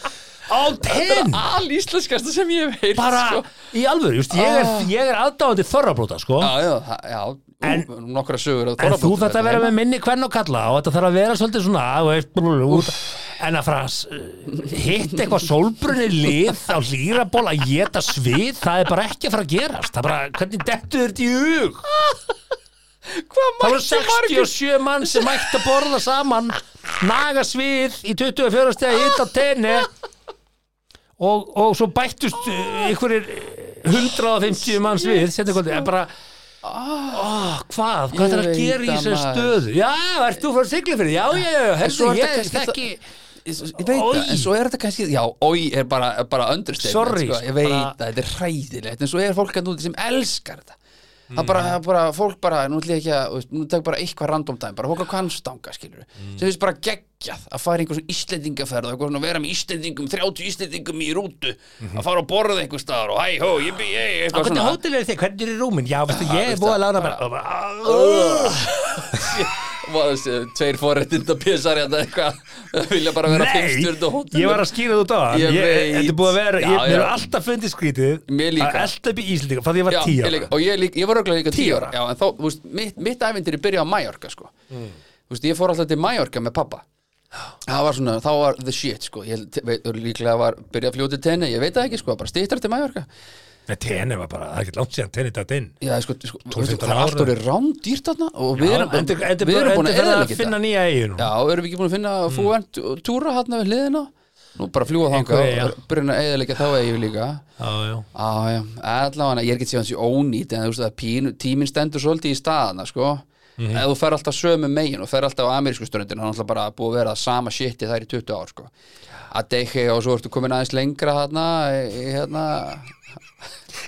S1: á tenn
S2: Al íslenskasta sem ég hef heyrt
S1: bara
S2: sko. Ah.
S1: í alvöru, just, ég er, ég er aðdáðandi þorrablóta sko
S2: Já, já, það- já
S1: En-
S2: ú, Nokkra sögur
S1: En þú þarft að vera með minni hvern og kalla og þetta þarf að vera svolítið svona þú veist, brr, út, en að fara að s- hitta eitthvað sólbrunni lið á hlýraból að geta svið það er bara ekki að fara að gerast Það er bara, hvernig dettu þér þetta í hug
S2: Hvað
S1: Það voru
S2: mættu margir
S1: 67 mann sem mætti að borða saman naga svið í 24 stegi hitt á tenni og, og svo bættust eh, einhverjir eh, 150 manns við setja kvöldi, en bara Oh, hvað, hvað
S2: Ah. Ég
S1: er að
S2: veit
S1: gera í
S2: það,
S1: þessari
S2: maður.
S1: stöðu? Já, ert þú frá Siglifyrði? Já, já, já,
S2: svo
S1: herrðu, ég
S2: er þetta kannski
S1: þekki
S2: Ég ég veit
S1: Oj.
S2: það, en svo er þetta kannski Já, oi er bara, bara understatement
S1: Sorry,
S2: sko. Ég veit
S1: bara-
S2: það, þetta er hræðilegt En svo er fólk að núti sem elskar þetta Það bara, það bara, fólk bara, nú ætlum ég ekki að þú veist, Nú tek bara eitthvað random dæmi, bara fólk á kannstanga skilur Sem finnst bara geggjað Að fara í einhver svona Íslendingaferð og eitthvað svona vera með Íslendingum, 30 Íslendingum í rútu Að fara og borða einhver staðar og hæ, hó, ég bý, ég,
S1: Á
S2: eitthvað
S1: hvernig
S2: svona Ah,
S1: hótel er þið? Hvernig er í rúmin? Já, veistu, ég er
S2: veistu,
S1: búið að lána bara Ah,
S2: Var þessi, tveir forréttinda pésar hérna eitthvað, vilja bara vera
S1: Nei,
S2: fimmstjörn og hóttum
S1: ég var að skýra þú út á hann
S2: Ég
S1: Ég-
S2: veit.
S1: Þetta er búið að vera,
S2: Já,
S1: ég mér
S2: já.
S1: er alltaf fundið skrítið
S2: Mér líka.
S1: Að elda upp í Íslendinga, það ég var
S2: Já,
S1: tíu
S2: ég
S1: ára.
S2: líka, og ég, líka, ég var auðvitað líka tíu
S1: Tíu
S2: ára
S1: ára.
S2: já, en þá, þú veist, mitt, mitt æfindir er byrjað á Mallorca sko. þú veist, ég fór alltaf til Mallorca með pappa það var svona, þá var the shit sko. ég held- veit, líklega var byrjað að fljóta tenni ég veit það ekki, sko, bara stýttar til Mallorca
S1: Nei, tenni var bara, það er ekkert langt síðan tenni dætt inn
S2: já, sko, sko, þú
S1: 12-15
S2: veist, það er allt
S1: ára.
S2: orðið rándýrt þarna og við
S1: Já,
S2: erum,
S1: endur- endur-
S2: við erum búin
S1: endur
S2: að
S1: fyrir
S2: eða
S1: að finna nýja eigin
S2: já, erum við ekki búin að finna mm. fúent túra hérna við hliðina nú bara fljúa þangað
S1: Einhverju, já.
S2: og byrjum að eða þá eigin líka
S1: Já, já
S2: Já, já, allavega, ég er ekki séð hans í ónýtt en þú veist að pínu, tíminn stendur svolítið í staðana, sko ef þú fer alltaf sömu megin og fer alltaf á amerísku ströndin hann er alltaf bara búið að vera það sama shit í þær í 20 ár, sko að deyki og svo ertu komin aðeins lengra þarna í- í- hérna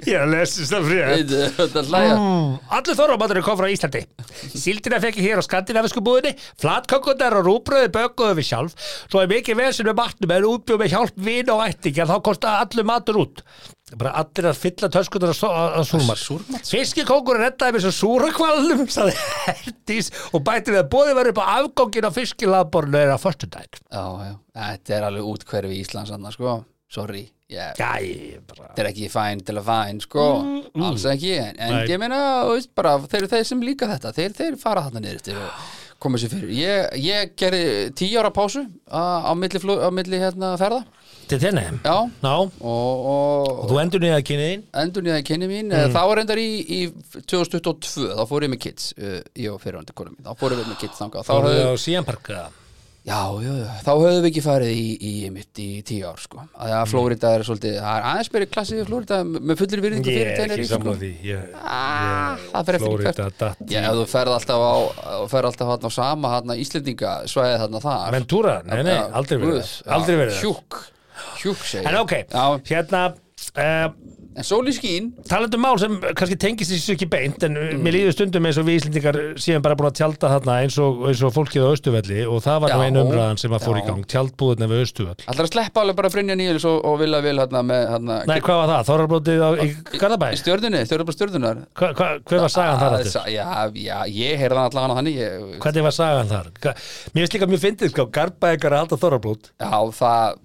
S1: Ég lesist það frétt
S2: við- þetta hlæja
S1: Allir þorrabaturinn kom frá Íslandi Síldina fekk ég hér á skandinavisku búðinni Flatkökkunar og rúbröði bökuðu við sjálf Svo er mikið vesinn með matnum En útbjó með hjálp vin og ætting En þá kosta allur matur út Bara allir að fylla töskunar að súrmat
S2: súrmat?
S1: Fiskikókur reddaði með svo súrakvalnum Saði Herdís Og bætti við að bóði var upp á afgóngin á fiskilaborinu Er að föstudæk
S2: Já, já, þetta er alveg út hverfi Íslands þarna, sko, sorry ég,
S1: Jæ, bara
S2: þetta er ekki fæn til að fæn, sko alls ekki, en, en
S1: Mm-hmm. Nei.
S2: ég meina þú veist, bara, þeir eru þeir sem líka þetta þeir, þeir fara þarna niður eftir og koma sér fyrir ég, ég gerði tíu ára pásu á, á milli, flug, á milli hérna, ferða
S1: Til þenni
S2: já, og,
S1: Ná,
S2: og,
S1: og þú endur niður að kynniðin
S2: endur nýjaði kynni mín mm. þá var endar í, í 2022 þá fór ég með kids, uh, ég og fyrirvandi konu mín þá fórum við með kids þangað þá
S1: Þú
S2: höfðu
S1: á síðanparka
S2: Já, já, já, þá höfðum við ekki farið í, í mitt í tíu ár sko að það
S1: Mm.
S2: að Flórida er svolítið, það er aðeins byrja klassið í Flórida með fullir virðingu
S1: Ég
S2: fyrir
S1: er ekki
S2: Tenerife, sko.
S1: sammála því ég,
S2: Ah, það fer eftir
S1: Flórida
S2: hvert.
S1: datt
S2: Já, ef þú ferð alltaf á, þú ferð alltaf hann á sama hann að Íslendinga svæðið hann að þar
S1: Ventura, nei nei,
S2: Já,
S1: aldrei verið
S2: guð,
S1: það Aldrei
S2: já,
S1: verið það
S2: Hjúk, hjúk segir
S1: En ok,
S2: Já,
S1: hérna uh,
S2: en sól í skín
S1: talandi um mál sem kannski tengist þessu ekki beint en mm. mér líður stundum eins og við Íslendingar séum bara búin að tjálta þarna eins og, eins og fólkið á Östuvelli og það var nú
S2: Já,
S1: einu umræðan sem að fór í
S2: já.
S1: gang tjaldbúðurna við Östuvell
S2: Alltaf að sleppa alveg bara Brynja Níels og, og Villa Vil hann með hann
S1: Nei, hvað var það? Þorrabrótið á, í Garðabæ?
S2: stjörnunni, stjörnum bara stjörnunar
S1: Hva, hva, hver var sagan þar
S2: Að-
S1: aftur?
S2: sa- Já, já, ég heyrði hann allavega hann þannig ég,
S1: Hvernig var sagan þar? Hva- Mér finnst líka mjög fyndið, sko, Garðbækar að halda þorrablót.
S2: Já, það,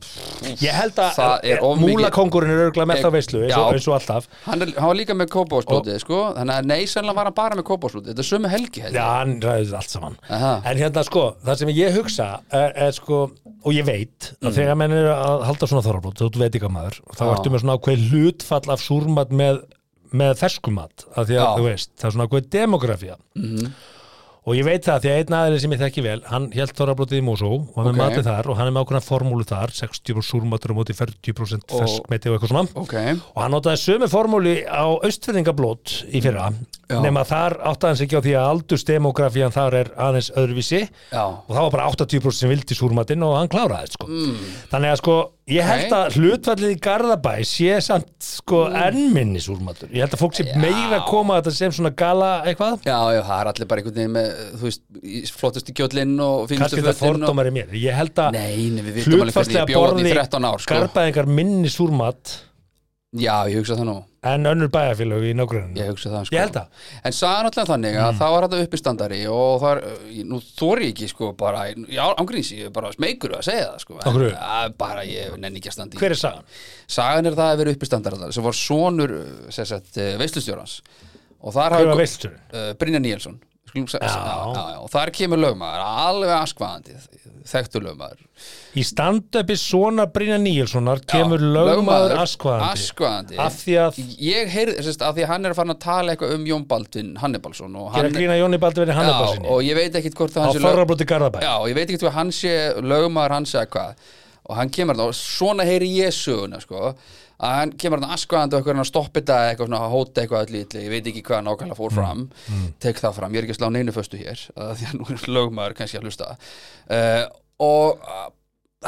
S1: Ég held
S2: Það
S1: að
S2: er of mikið-
S1: múlakongurinn er örgulega með
S2: Ég-
S1: þá veislu, eins og,
S2: Já.
S1: eins og alltaf.
S2: hann, er, hann var líka með kópásblótið, sko Þannig að nei, sennilega var hann bara með kópásblótið Þetta er sömu helgi, held
S1: Já,
S2: ég
S1: hann ræði þetta allt saman.
S2: Aha.
S1: En hérna, sko, það sem ég hugsa er, er sko, og ég veit að þegar menn er að halda svona þorrablót, þú veit ekki að maður, þá
S2: Mm. Já.
S1: ertu með svona ákveð hlutfall af súrmat með, með ferskumat, að því að
S2: Já. Mhm.
S1: þú veist, það er svona ákveð demografía. Og ég veit það því að einn aðeins sem ég þekki vel, hann held þorrablótið í Mosó og hann er
S2: Ok.
S1: matið þar og hann er með ákveðna formúlu þar, 60% súrmatur á móti 40%
S2: Og-
S1: ferskmeti og eitthvað svona.
S2: Ok,
S1: Og hann notaði sömu formúli á austfyrningablót í fyrra,
S2: Já.
S1: nema þar átti hann sig ekki á því að aldursdemografían þar er aðeins öðruvísi
S2: já
S1: og það var bara 80% sem vildi súrmatinn og hann kláraði sko. Þannig að sko, ég held
S2: Mm. Nei. Mm.
S1: að hlutfallið í Garðabæ sé samt sko enn minni súrmatur. Ég held að fólk sé
S2: Já.
S1: meira að koma að þetta sem svona gala eitthvað.
S2: Já, já, það er allir bara einhvern veginn með, eh, þú veist, í flottustu kjóllinn og
S1: Kannski
S2: fínustu
S1: þetta
S2: fötin og...
S1: fordómar í mér. Ég held að
S2: Nei, nei, við vitum alveg hvernig
S1: hlutfallega
S2: ég bjóð í
S1: borði
S2: 13 ár, sko.
S1: Garðbæðingar minni súrmat
S2: Já, ég hugsa það nú,
S1: en önnur bæjarfélög í nágruninu.
S2: ég hugsa það, sko.
S1: Ég held Mm. að.
S2: En sagði náttúrulega þannig að það var þetta uppistandari og það er, eh, nú þóri ég ekki, sko, bara, já, ángríns, ég er bara smeykur að segja það, sko.
S1: Af hverju?
S2: Að, bara, ég nenni ekki að standa í.
S1: Hver er sagan?
S2: Sagan er það að vera uppistandari sem var sonur, eh, sem sagt, veistlustjórans. Og þar
S1: Hver
S2: hafi...
S1: var veistlustjórinn?
S2: uh, Brynja Níelsson Skulum sa-
S1: Já.
S2: já, já, já, og þar kemur lögmaður alveg askvaðandi, þekktur lögmaður
S1: Í stand-upi svona Brynja Níelssonar kemur
S2: Já,
S1: lögmaður askvaðandi
S2: askvaðandi.
S1: af því að
S2: ég heyrði, sérst, að því að hann er að fara að tala eitthvað um Jón Baldvin Hannibalsson og
S1: gera
S2: hann,
S1: grína Jóni Baldveri
S2: já,
S1: Hannabalsinni
S2: og ég veit ekkit hvort
S1: á
S2: að hann sé lög,
S1: Þorrablóti Garðabæ
S2: já, og ég veit ekkit hvað hann sé lögmaður hans eða hvað og hann kemur þarna og svona heyri ég söguna sko, að hann kemur þarna askvaðandi og eitthvað er að stoppa þetta eitthvað svona, hóta eitthvað öll ítli, ég veit ekki hvað nákvæmlega fór fram tek það fram, ég er ekki að slá neinu föstu hér uh, því að nú er lögmaður kannski að hlusta uh, og uh,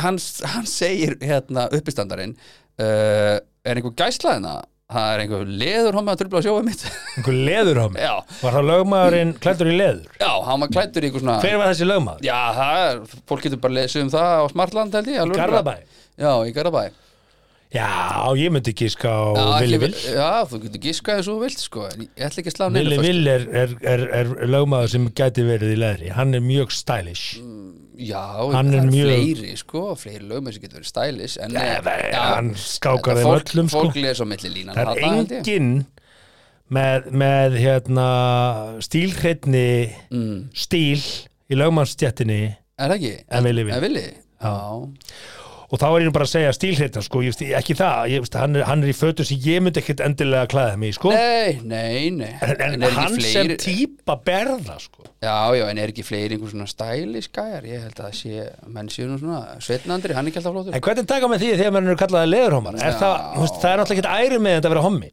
S2: hann, hann segir hérna uppistandarinn uh, er einhver gæslaðina það er einhver leður homma að trubla á sjófið mitt
S1: einhver leður á mig
S2: já,
S1: var það lögmaðurinn klættur í leður
S2: já, hann var klættur í einhver svona
S1: hver var þessi lögmaður?
S2: Já, það er, fólk getur bara lesið um það á Smartland held ég alveg.
S1: Garðabæ?
S2: Já, í Garðabæ
S1: Já, ég myndi gíska
S2: Já,
S1: á Vili
S2: ekki-
S1: Vill
S2: Já, þú getur giskað þessu þú vilt sko en Ég ætla ekki að slá neinu
S1: Vili
S2: föstu.
S1: Vill er, er, er, er lögmaður sem gæti verið í leðri hann er mjög stylish
S2: Mm. Já,
S1: Hann
S2: það
S1: er
S2: er
S1: mjög-
S2: fleiri sko Fleiri lögum sem getur verið stælis en,
S1: Já, það-
S2: já,
S1: hann skákar
S2: þetta
S1: þeim
S2: fólk-
S1: öllum, sko.
S2: Fólk les á milli línan
S1: það er engin með, með hérna stílhreitni
S2: Mm.
S1: stíl í lögmannsstjættinni
S2: Er það ekki?
S1: En Willi Will.
S2: En villi Já,
S1: og þá er ég nú bara að segja stílhreitna sko, ég, veist, ekki það, ég, veist, hann, er, hann er í fötum sem ég myndi ekkit endilega að klæða mig í, sko.
S2: Nei, nei, nei
S1: en, en,
S2: er ekki
S1: hann sem
S2: fleiri-
S1: típa berða sko.
S2: Já, já, en er ekki fleiri einhver svona stælis gæjar Ég held að það sé, menn séu nú svona Sveinn Andri, hann er ekki alltaf flótur
S1: en hvernig taka með því þegar mann eru kallaði leðurhómar er
S2: Já.
S1: það, þú veist, það er náttúrulega ekkit æri með þetta að vera hommi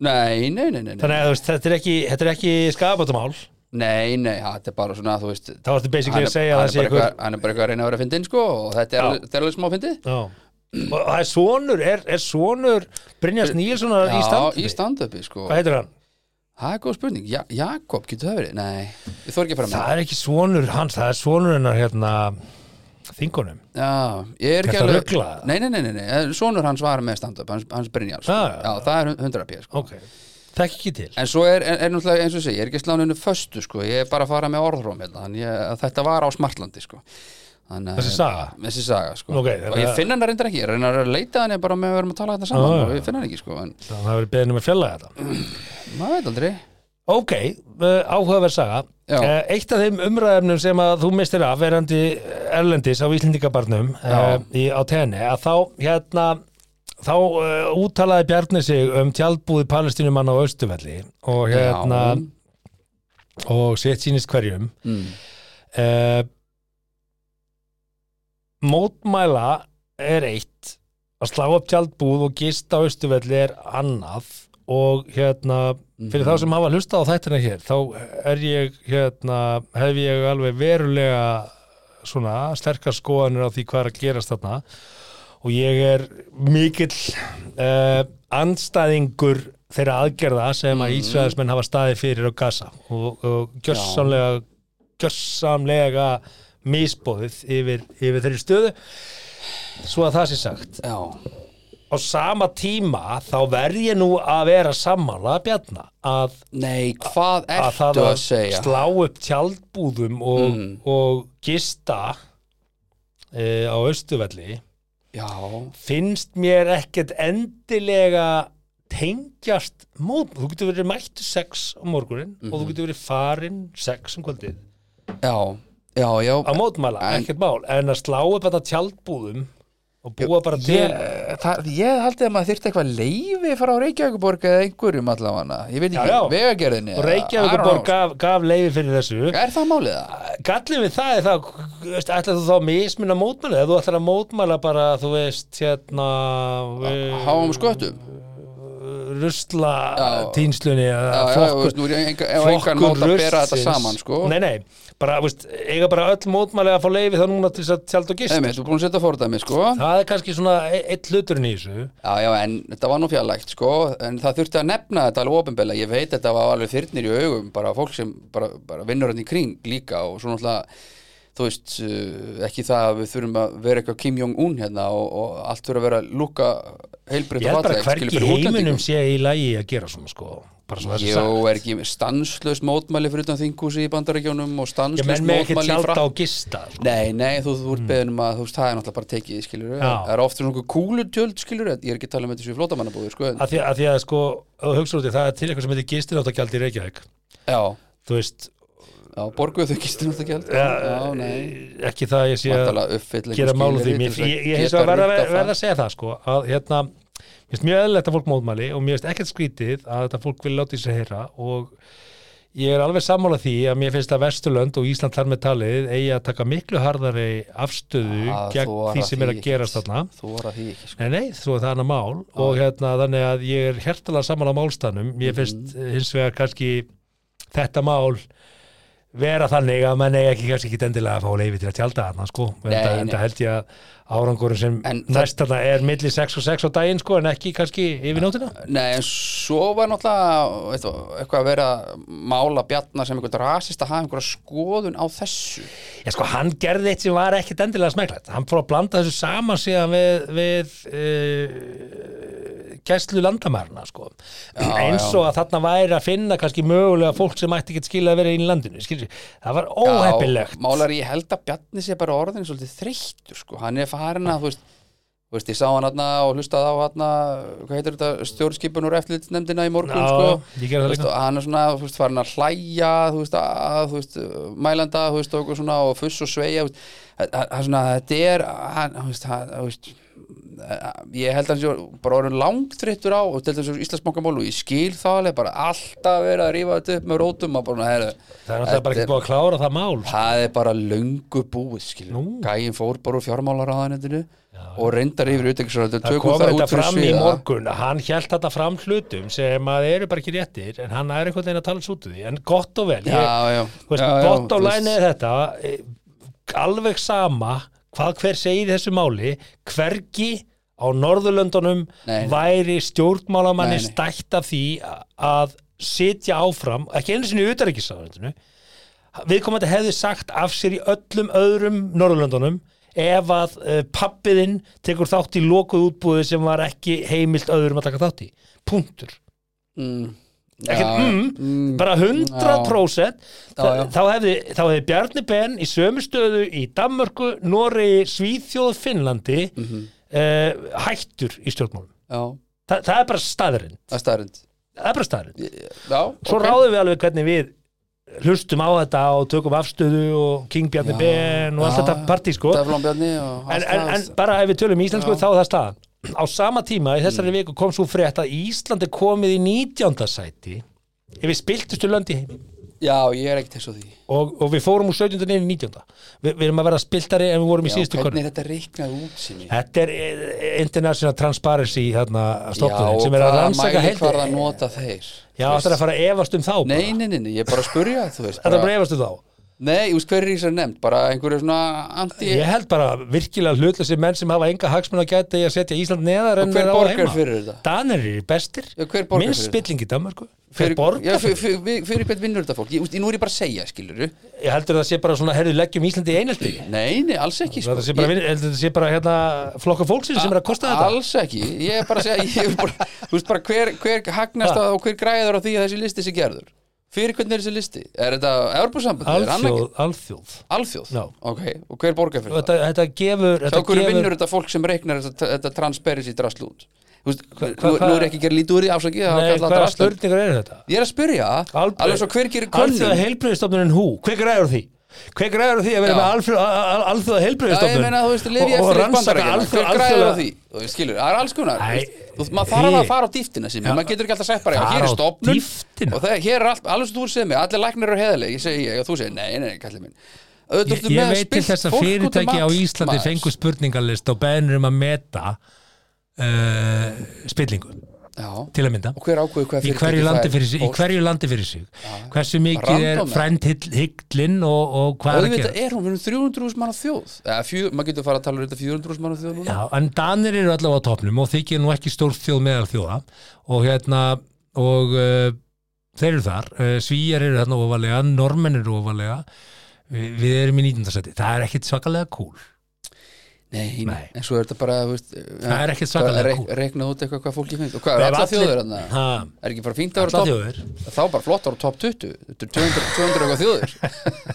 S2: Nei, nei, nei, nei, nei.
S1: þannig að þú veist, þetta er ekki, þetta er ekki skabátumál þá
S2: Nei, nei, þetta er bara svona, þú veist
S1: ertu basically
S2: hann
S1: að segja að
S2: hann
S1: það sé
S2: bara
S1: eitthvað
S2: eitthvað- hann er bara eitthvað að reyna að vera að fyndin sko og þetta er,
S1: Já.
S2: alveg, þetta er alveg smá fyndið
S1: Já. og það er svonur er, er svonur Brynjars Níelssonar í
S2: í
S1: stand
S2: standupi sko
S1: hvað heitir hann?
S2: Það er góð spurning, ja, Jakob, getur það verið? Nei, ég þor ekki að fara með
S1: það er ekki svonur hans, það er svonur hennar hérna þingunum
S2: Já, ég er ekki
S1: Ertu að
S2: alveg-
S1: rugla það?
S2: Nei, nei, nei, nei, nei, sonur hans var með standup, hans, hans Brynjar sko.
S1: Já, já,
S2: Já, það er 100 pjö sko
S1: Ah. ok, það er ekki til
S2: En svo er, er, er náttúrulega eins og sé, ég er ekki sláninu föstu sko, ég er bara að fara með orðróm hérna, þannig að þetta var á Smartlandi sko Þannig, að-
S1: Þessi saga?
S2: Þessi saga sko
S1: Ok,
S2: Og
S1: þannig
S2: ég
S1: að- Ah.
S2: finn hann reyndar ekki, ég reyna að leita hann bara með að vera að tala þetta saman
S1: Já, já,
S2: og
S1: já.
S2: ég finn hann ekki sko en
S1: það hefur verið beðinu með fjallaði þetta
S2: maður veit aldrei
S1: Ok, uh, áhugaverð saga
S2: Já.
S1: uh, Eitt af þeim umræðumnum sem að þú mistir af verandi erlendis á Íslendingabarnum uh,
S2: Já.
S1: í, á tenni að þá hérna þá uh, úttalaði Bjarni sig um tjaldbúði palestinumann á Östuvelli og hérna og sitt sínist hverjum
S2: mm.
S1: uh, mótmæla er eitt að slá upp tjaldbúð og gista á austuvelli er annað og hérna, fyrir þá sem hafa hlustað á þættina hér, þá er ég hérna, hef ég alveg verulega svona sterkar skoðanir á því hvað er að gerast þarna og ég er mikill uh, andstæðingur þeirra aðgerða sem að Ísraelsmenn hafa staðið fyrir á Gaza og, og gjörsamlega gjörsamlega misbóðið yfir, yfir þeirri stöðu svo að það sé sagt
S2: Já,
S1: á sama tíma þá verð ég nú að vera sammála að bjarna að,
S2: nei, hvað
S1: að
S2: ertu
S1: Ah, það
S2: að,
S1: að
S2: segja? Mm.
S1: slá upp tjaldbúðum og, og gista e, á austuvelli
S2: Já,
S1: finnst mér ekkert endilega tengjast mót, þú getur verið mættu sex á morgunin og
S2: Mhm.
S1: þú getur verið farin sex um kvöldið
S2: já, já, já
S1: að mótmæla,
S2: En-
S1: ekkert mál en að slá upp þetta tjaldbúðum og búa bara til
S2: Ég, það, ég haldi að maður þyrfti eitthvað leifi frá Reykjavíkuborg eða einhverjum allavega ég veit
S1: Já,
S2: ekki,
S1: já.
S2: vegagerðinni
S1: og
S2: eða-
S1: Reykjavíkuborg
S2: I don't
S1: gaf, gaf leiði fyrir þessu
S2: know. Er það málið það?
S1: gallin við það er það veist, ætlar þú þá að mismunna mótmæla eða þú ætlar að mótmæla bara þú veist hérna Eh,
S2: Háum sköttum?
S1: rusla týnslunni
S2: Já, já, þú veist, nú er ég enga- ef engan mátt að bera þetta
S1: rusls.
S2: saman sko.
S1: nei, nei, bara, veist, eiga bara öll mótmæli að fá leiði þá núna til þess að tjald og gist
S2: Emi, þú er búin að setja fordæmi sko.
S1: það er kannski svona e- einn hluturinn í þessu
S2: Já, já, en þetta var nú fjarlægt sko. en það þurfti að nefna þetta alveg ofinbella ég veit þetta var alveg þyrnir í augum bara fólk sem bara, bara vinnur hann í kring líka og svona alltaf þú veist, uh, ekki það að við þurfum að vera eitthvað Kim Jong-un hérna og, og allt þurfa að vera lúka heilbreytt
S1: ég
S2: og
S1: held bara
S2: falleg
S1: að hvergi í heiminum sé í lagi að gera svona sko bara svo þessi
S2: Jó, er ekki stanslöst mótmæli fyrir utan þinghúsi í bandarækjónum og
S1: ég
S2: stanslöst
S1: menn með ekki
S2: mótmæli í
S1: tjald
S2: frakka
S1: á gista sko.
S2: Nei, nei, þú, þú ert beðin um að þú veist, það er náttúrulega bara tekið, skilur
S1: Já.
S2: Það er ofta svona einhver kúlutjöld, skilur Ég er ekki að tala um þetta sér flótamannabúður, sko en,
S1: að því að, því að sko, að hugsa út í það er til eitthvað sem heitir gistináttagjald í Reykjavík
S2: Já,
S1: þú veist,
S2: já, borguðu þau gistin út að gjald
S1: Já,
S2: já, nei
S1: ekki það að ég sé að
S2: Vantalega uppfyll
S1: gera mál úr því Mér- ég, ég hef að verða verð að segja það sko, að hérna, mér finnst mjög eðlilegt að fólk mótmæli og mér finnst ekkert skrítið að þetta fólk vil láta í sig heyra og ég er alveg sammála því að mér finnst að Vesturlönd og Ísland þar með talið eigi að taka miklu harðari afstöðu gegn Ah, því sem er að gerast þarna
S2: Þú var að því sko. ekki,
S1: Nei, nei, þú er það annað mál og hérna þannig að ég er hjertalega saman á málstanum
S2: Mhm.
S1: ég finnst hins vegar kannski þetta mál vera þannig að mann eigi ekki kannski ekki endilega að fá leifi til að tjálta þarna sko en
S2: Nei,
S1: það,
S2: nei.
S1: held ég að árangurinn sem
S2: En það-
S1: næst þarna er milli 6 og 6 á daginn sko en ekki kannski yfir nótina
S2: sko Nei, en svo var náttúrulega veit, þú, eitthvað að vera að mála bjarna sem einhvern rasist að hafa einhverja skoðun á þessu
S1: Já sko, hann gerði eitt sem var ekkit endilega smeklætt hann fór að blanda þessu saman síðan við, við uh, gæslu landamærna sko. eins og að þarna væri að finna kannski mögulega fólk sem ætti ekki skilja að vera inn í landinu skilji. það var óheppilegt
S2: Já, Málar ég held að Bjarni sé bara orðin svolítið þreyttur sko, hann er farin að þú veist, þú veist, ég sá hann aðna og hlustað á aðna, hvað heitir þetta stjórnskipun og eftirlitsnefndina í morgun
S1: Já,
S2: sko
S1: ég gerði
S2: Þú
S1: það
S2: Veist,
S1: líka
S2: og hann er svona, þú veist, farin að hlæja þú veist, að, þú veist, mælanda þú veist, og eitthvað svona, og fuss og sveia þú veist, hann- hann svona, þetta er hann, þú veist, hann, þú veist eh, ég held að hann sé bara orðin langþreyttur á og til þessu Íslandsbankamál og ég skil það alveg bara alltaf verið að rífa þetta upp með rótum að bara, heru,
S1: það er náttúrulega bara ekki búið að klára það mál sko.
S2: það er bara löngu búið skilur,
S1: Nú.
S2: gæin fór bara úr fjármálaráðanendinu og reyndar yfir utenriksráðanendinu,
S1: það
S2: tökum
S1: kom
S2: það
S1: þetta
S2: út fyrir
S1: fram í
S2: sviða
S1: morgun að hann hjælt þetta fram hlutum sem að eru bara ekki réttir en hann er einhvern veginn að tala svo út úr því en gott og vel, ég,
S2: já, já,
S1: Þú veist,
S2: já, já,
S1: bótt á
S2: þú veist,
S1: læni er þetta e, alveg sama hvað hver segir í þessu máli hvergi á Norðurlöndunum
S2: Nei, nei.
S1: væri stjórnmálamanni
S2: Nei, nei.
S1: stætt af því a- að sitja áfram, ekki einu sinni utaríkisáðundinu viðkomandi hefði sagt af sér í öllum öðrum Norðurlöndunum ef að uh, pappiðinn tekur þátt í lokuð útbúði sem var ekki heimilt öðrum að taka þátt í punktur
S2: mm,
S1: ekkert
S2: já,
S1: mm,
S2: mm,
S1: bara 100%
S2: Já,
S1: þa-
S2: já.
S1: þá hefði, þá hefði Bjarni Ben í sömu stöðu í Danmörku, Noregi, Svíþjóð, Finnlandi mm hættur í stjórnmálum
S2: Mm-hmm. já,
S1: Þa, það er bara staðrind
S2: það er staðrind
S1: það er bara staðrind,
S2: já,
S1: svo
S2: ok.
S1: ráðum við alveg hvernig við hlustum á þetta og tökum afstöðu og King Bjarni
S2: Já.
S1: Ben og allt
S2: Já,
S1: þetta partí sko
S2: Teflon Bjarni og
S1: en,
S2: allt
S1: en,
S2: það,
S1: en
S2: veist.
S1: bara ef við tölum í íslensku
S2: Já. Mm.
S1: þá er það staðan á sama tíma í þessari viku kom svo frétt að Ísland er komið í 19. sæti yfir spiltustu lönd í heim
S2: Já, ég er ekkert eins og því
S1: og, og við fórum úr 17. niður í 19. Vi, við erum að vera spiltari en við vorum í
S2: Já,
S1: síðustu
S2: hvernig
S1: konum
S2: er þetta reiknað út sinni?
S1: Þetta er eh, International Transparency þarna, stofnunin sem er að
S2: hvaða
S1: rannsaka heilt
S2: mælikvarða nota þeir
S1: Já, þetta er að fara að efast um þá bara.
S2: Nei, nei, nei, nei, ég er bara að spurja þú veist,
S1: Þetta er
S2: bara,
S1: bara að efast um þá
S2: Nei, þú veist hver er í þessari nefnd bara einhverju svona anti
S1: Ég held bara virkilega hlutlösi menn sem hafa enga hagsmun að gæta í að setja Ísland neðar en
S2: Og hver
S1: þeir á
S2: borgar
S1: heima.
S2: fyrir þetta?
S1: Danir eru bestir,
S2: Já, hver borgar
S1: minnst
S2: fyrir þetta?
S1: spilling í Danmarku Hver borgar
S2: já,
S1: fyrir
S2: fyrir, fyrir, fyrir, fyrir hvern vinnur þetta fólk ég, úst, Nú er ég bara að segja, skilur
S1: Ég heldur það sé bara svona, herðu, leggjum Íslandi í einhelti
S2: Nei, nei, alls ekki sko.
S1: Það sé bara,
S2: Ég-
S1: ég... heldur það sé bara hérna, flokka fólksins sem er að kosta þetta
S2: Alls ekki, ég er bara að segja ég er bara, Þú veist bara hver, hver hagnast á, og hver græður á því að þessi listi sé gerður Fyrir hvern er þessi listi? Er þetta Evropasambandi? Er hann
S1: Alþjóð,
S2: ekki-
S1: alþjóð
S2: Alþjóð?
S1: Já.
S2: Ok, og hver borgar fyrir
S1: Þetta, þetta gefur,
S2: Hjá
S1: þetta
S2: hverju vinnur
S1: gefur
S2: þetta fólk sem reiknar þetta, þetta transparency drasl út? Þú veist,
S1: Hva- hva-
S2: nú, nú er
S1: hva-
S2: ekki gerð lítið úr því afsakið það var
S1: Nei,
S2: kallað
S1: hvaða
S2: drasl.
S1: störningar eru þetta?
S2: Ég er að spyrja, alveg svo hver gerir
S1: Alþjóða
S2: könnun?
S1: heilbreyðistofnunin hú, hver græður því? Hver græður því að vera
S2: Já.
S1: með alfrö- al- al- alþjóða
S2: Já, ég
S1: heilbreyðistofnun
S2: meina, þú veist, lifi
S1: og
S2: eftir í
S1: rannsaka
S2: bandarækjana, hver
S1: alþjóða-
S2: græður á
S1: alþjóða-
S2: því? Þú veist, Skilur, það er alls
S1: Nei,
S2: konar, þú veist, þú veist, maður þarf
S1: þið-
S2: að fara á dýftina sem, maður getur ekki alltaf sagt bara, já,
S1: Fara
S2: hér er
S1: á
S2: stopnun
S1: dýptina?
S2: og það, hér er allt, alveg sem þú segir mig, allir læknir eru heðalegi, segi ég, og þú segir, nei, nei, kallið minn. Auðvitað
S1: Ég,
S2: ertu með
S1: ég
S2: að
S1: veit til
S2: spilla
S1: þess að
S2: fólk út um
S1: fyrirtæki á
S2: allt,
S1: Íslandi
S2: maður.
S1: fengu spurningarlist og beðnir um að meta uh, spillingu
S2: Já,
S1: til að mynda
S2: og hver ákveður hvað
S1: í
S2: fyrirtæki
S1: hverju, landi fyrir sig, í
S2: Og-
S1: hverju landi fyrir sig hversu mikið er
S2: Random, eða?
S1: frændhygglinn og, og hvað er að
S2: auðvitað
S1: gera
S2: er hún, við erum 300.000 manna þjóð eða fjö, maður getur fara að tala um þetta 400.000 manna þjóð núna
S1: Já, en Danir eru allavega á topnum og þykir nú ekki stór þjóð meðal þjóða og hérna og uh, þeir eru þar, uh, svíjar eru hérna ofalega, normenn eru ofalega Vi, við erum í 19. seti það er ekkit svakalega cool
S2: nei,
S1: Nei.
S2: nei, en svo er þetta bara þú veist,
S1: Það er ekkert svakalega kúl.
S2: reikna út eitthvað hvað fólki finnst og hvað
S1: Ef
S2: er alla
S1: allir-
S2: þjóðir hann
S1: ha,
S2: er ekki bara fínt að
S1: alla
S2: vera topp
S1: þjóður
S2: þá bara flott að vera topp 20 þetta er 200, 200 eitthvað þjóðir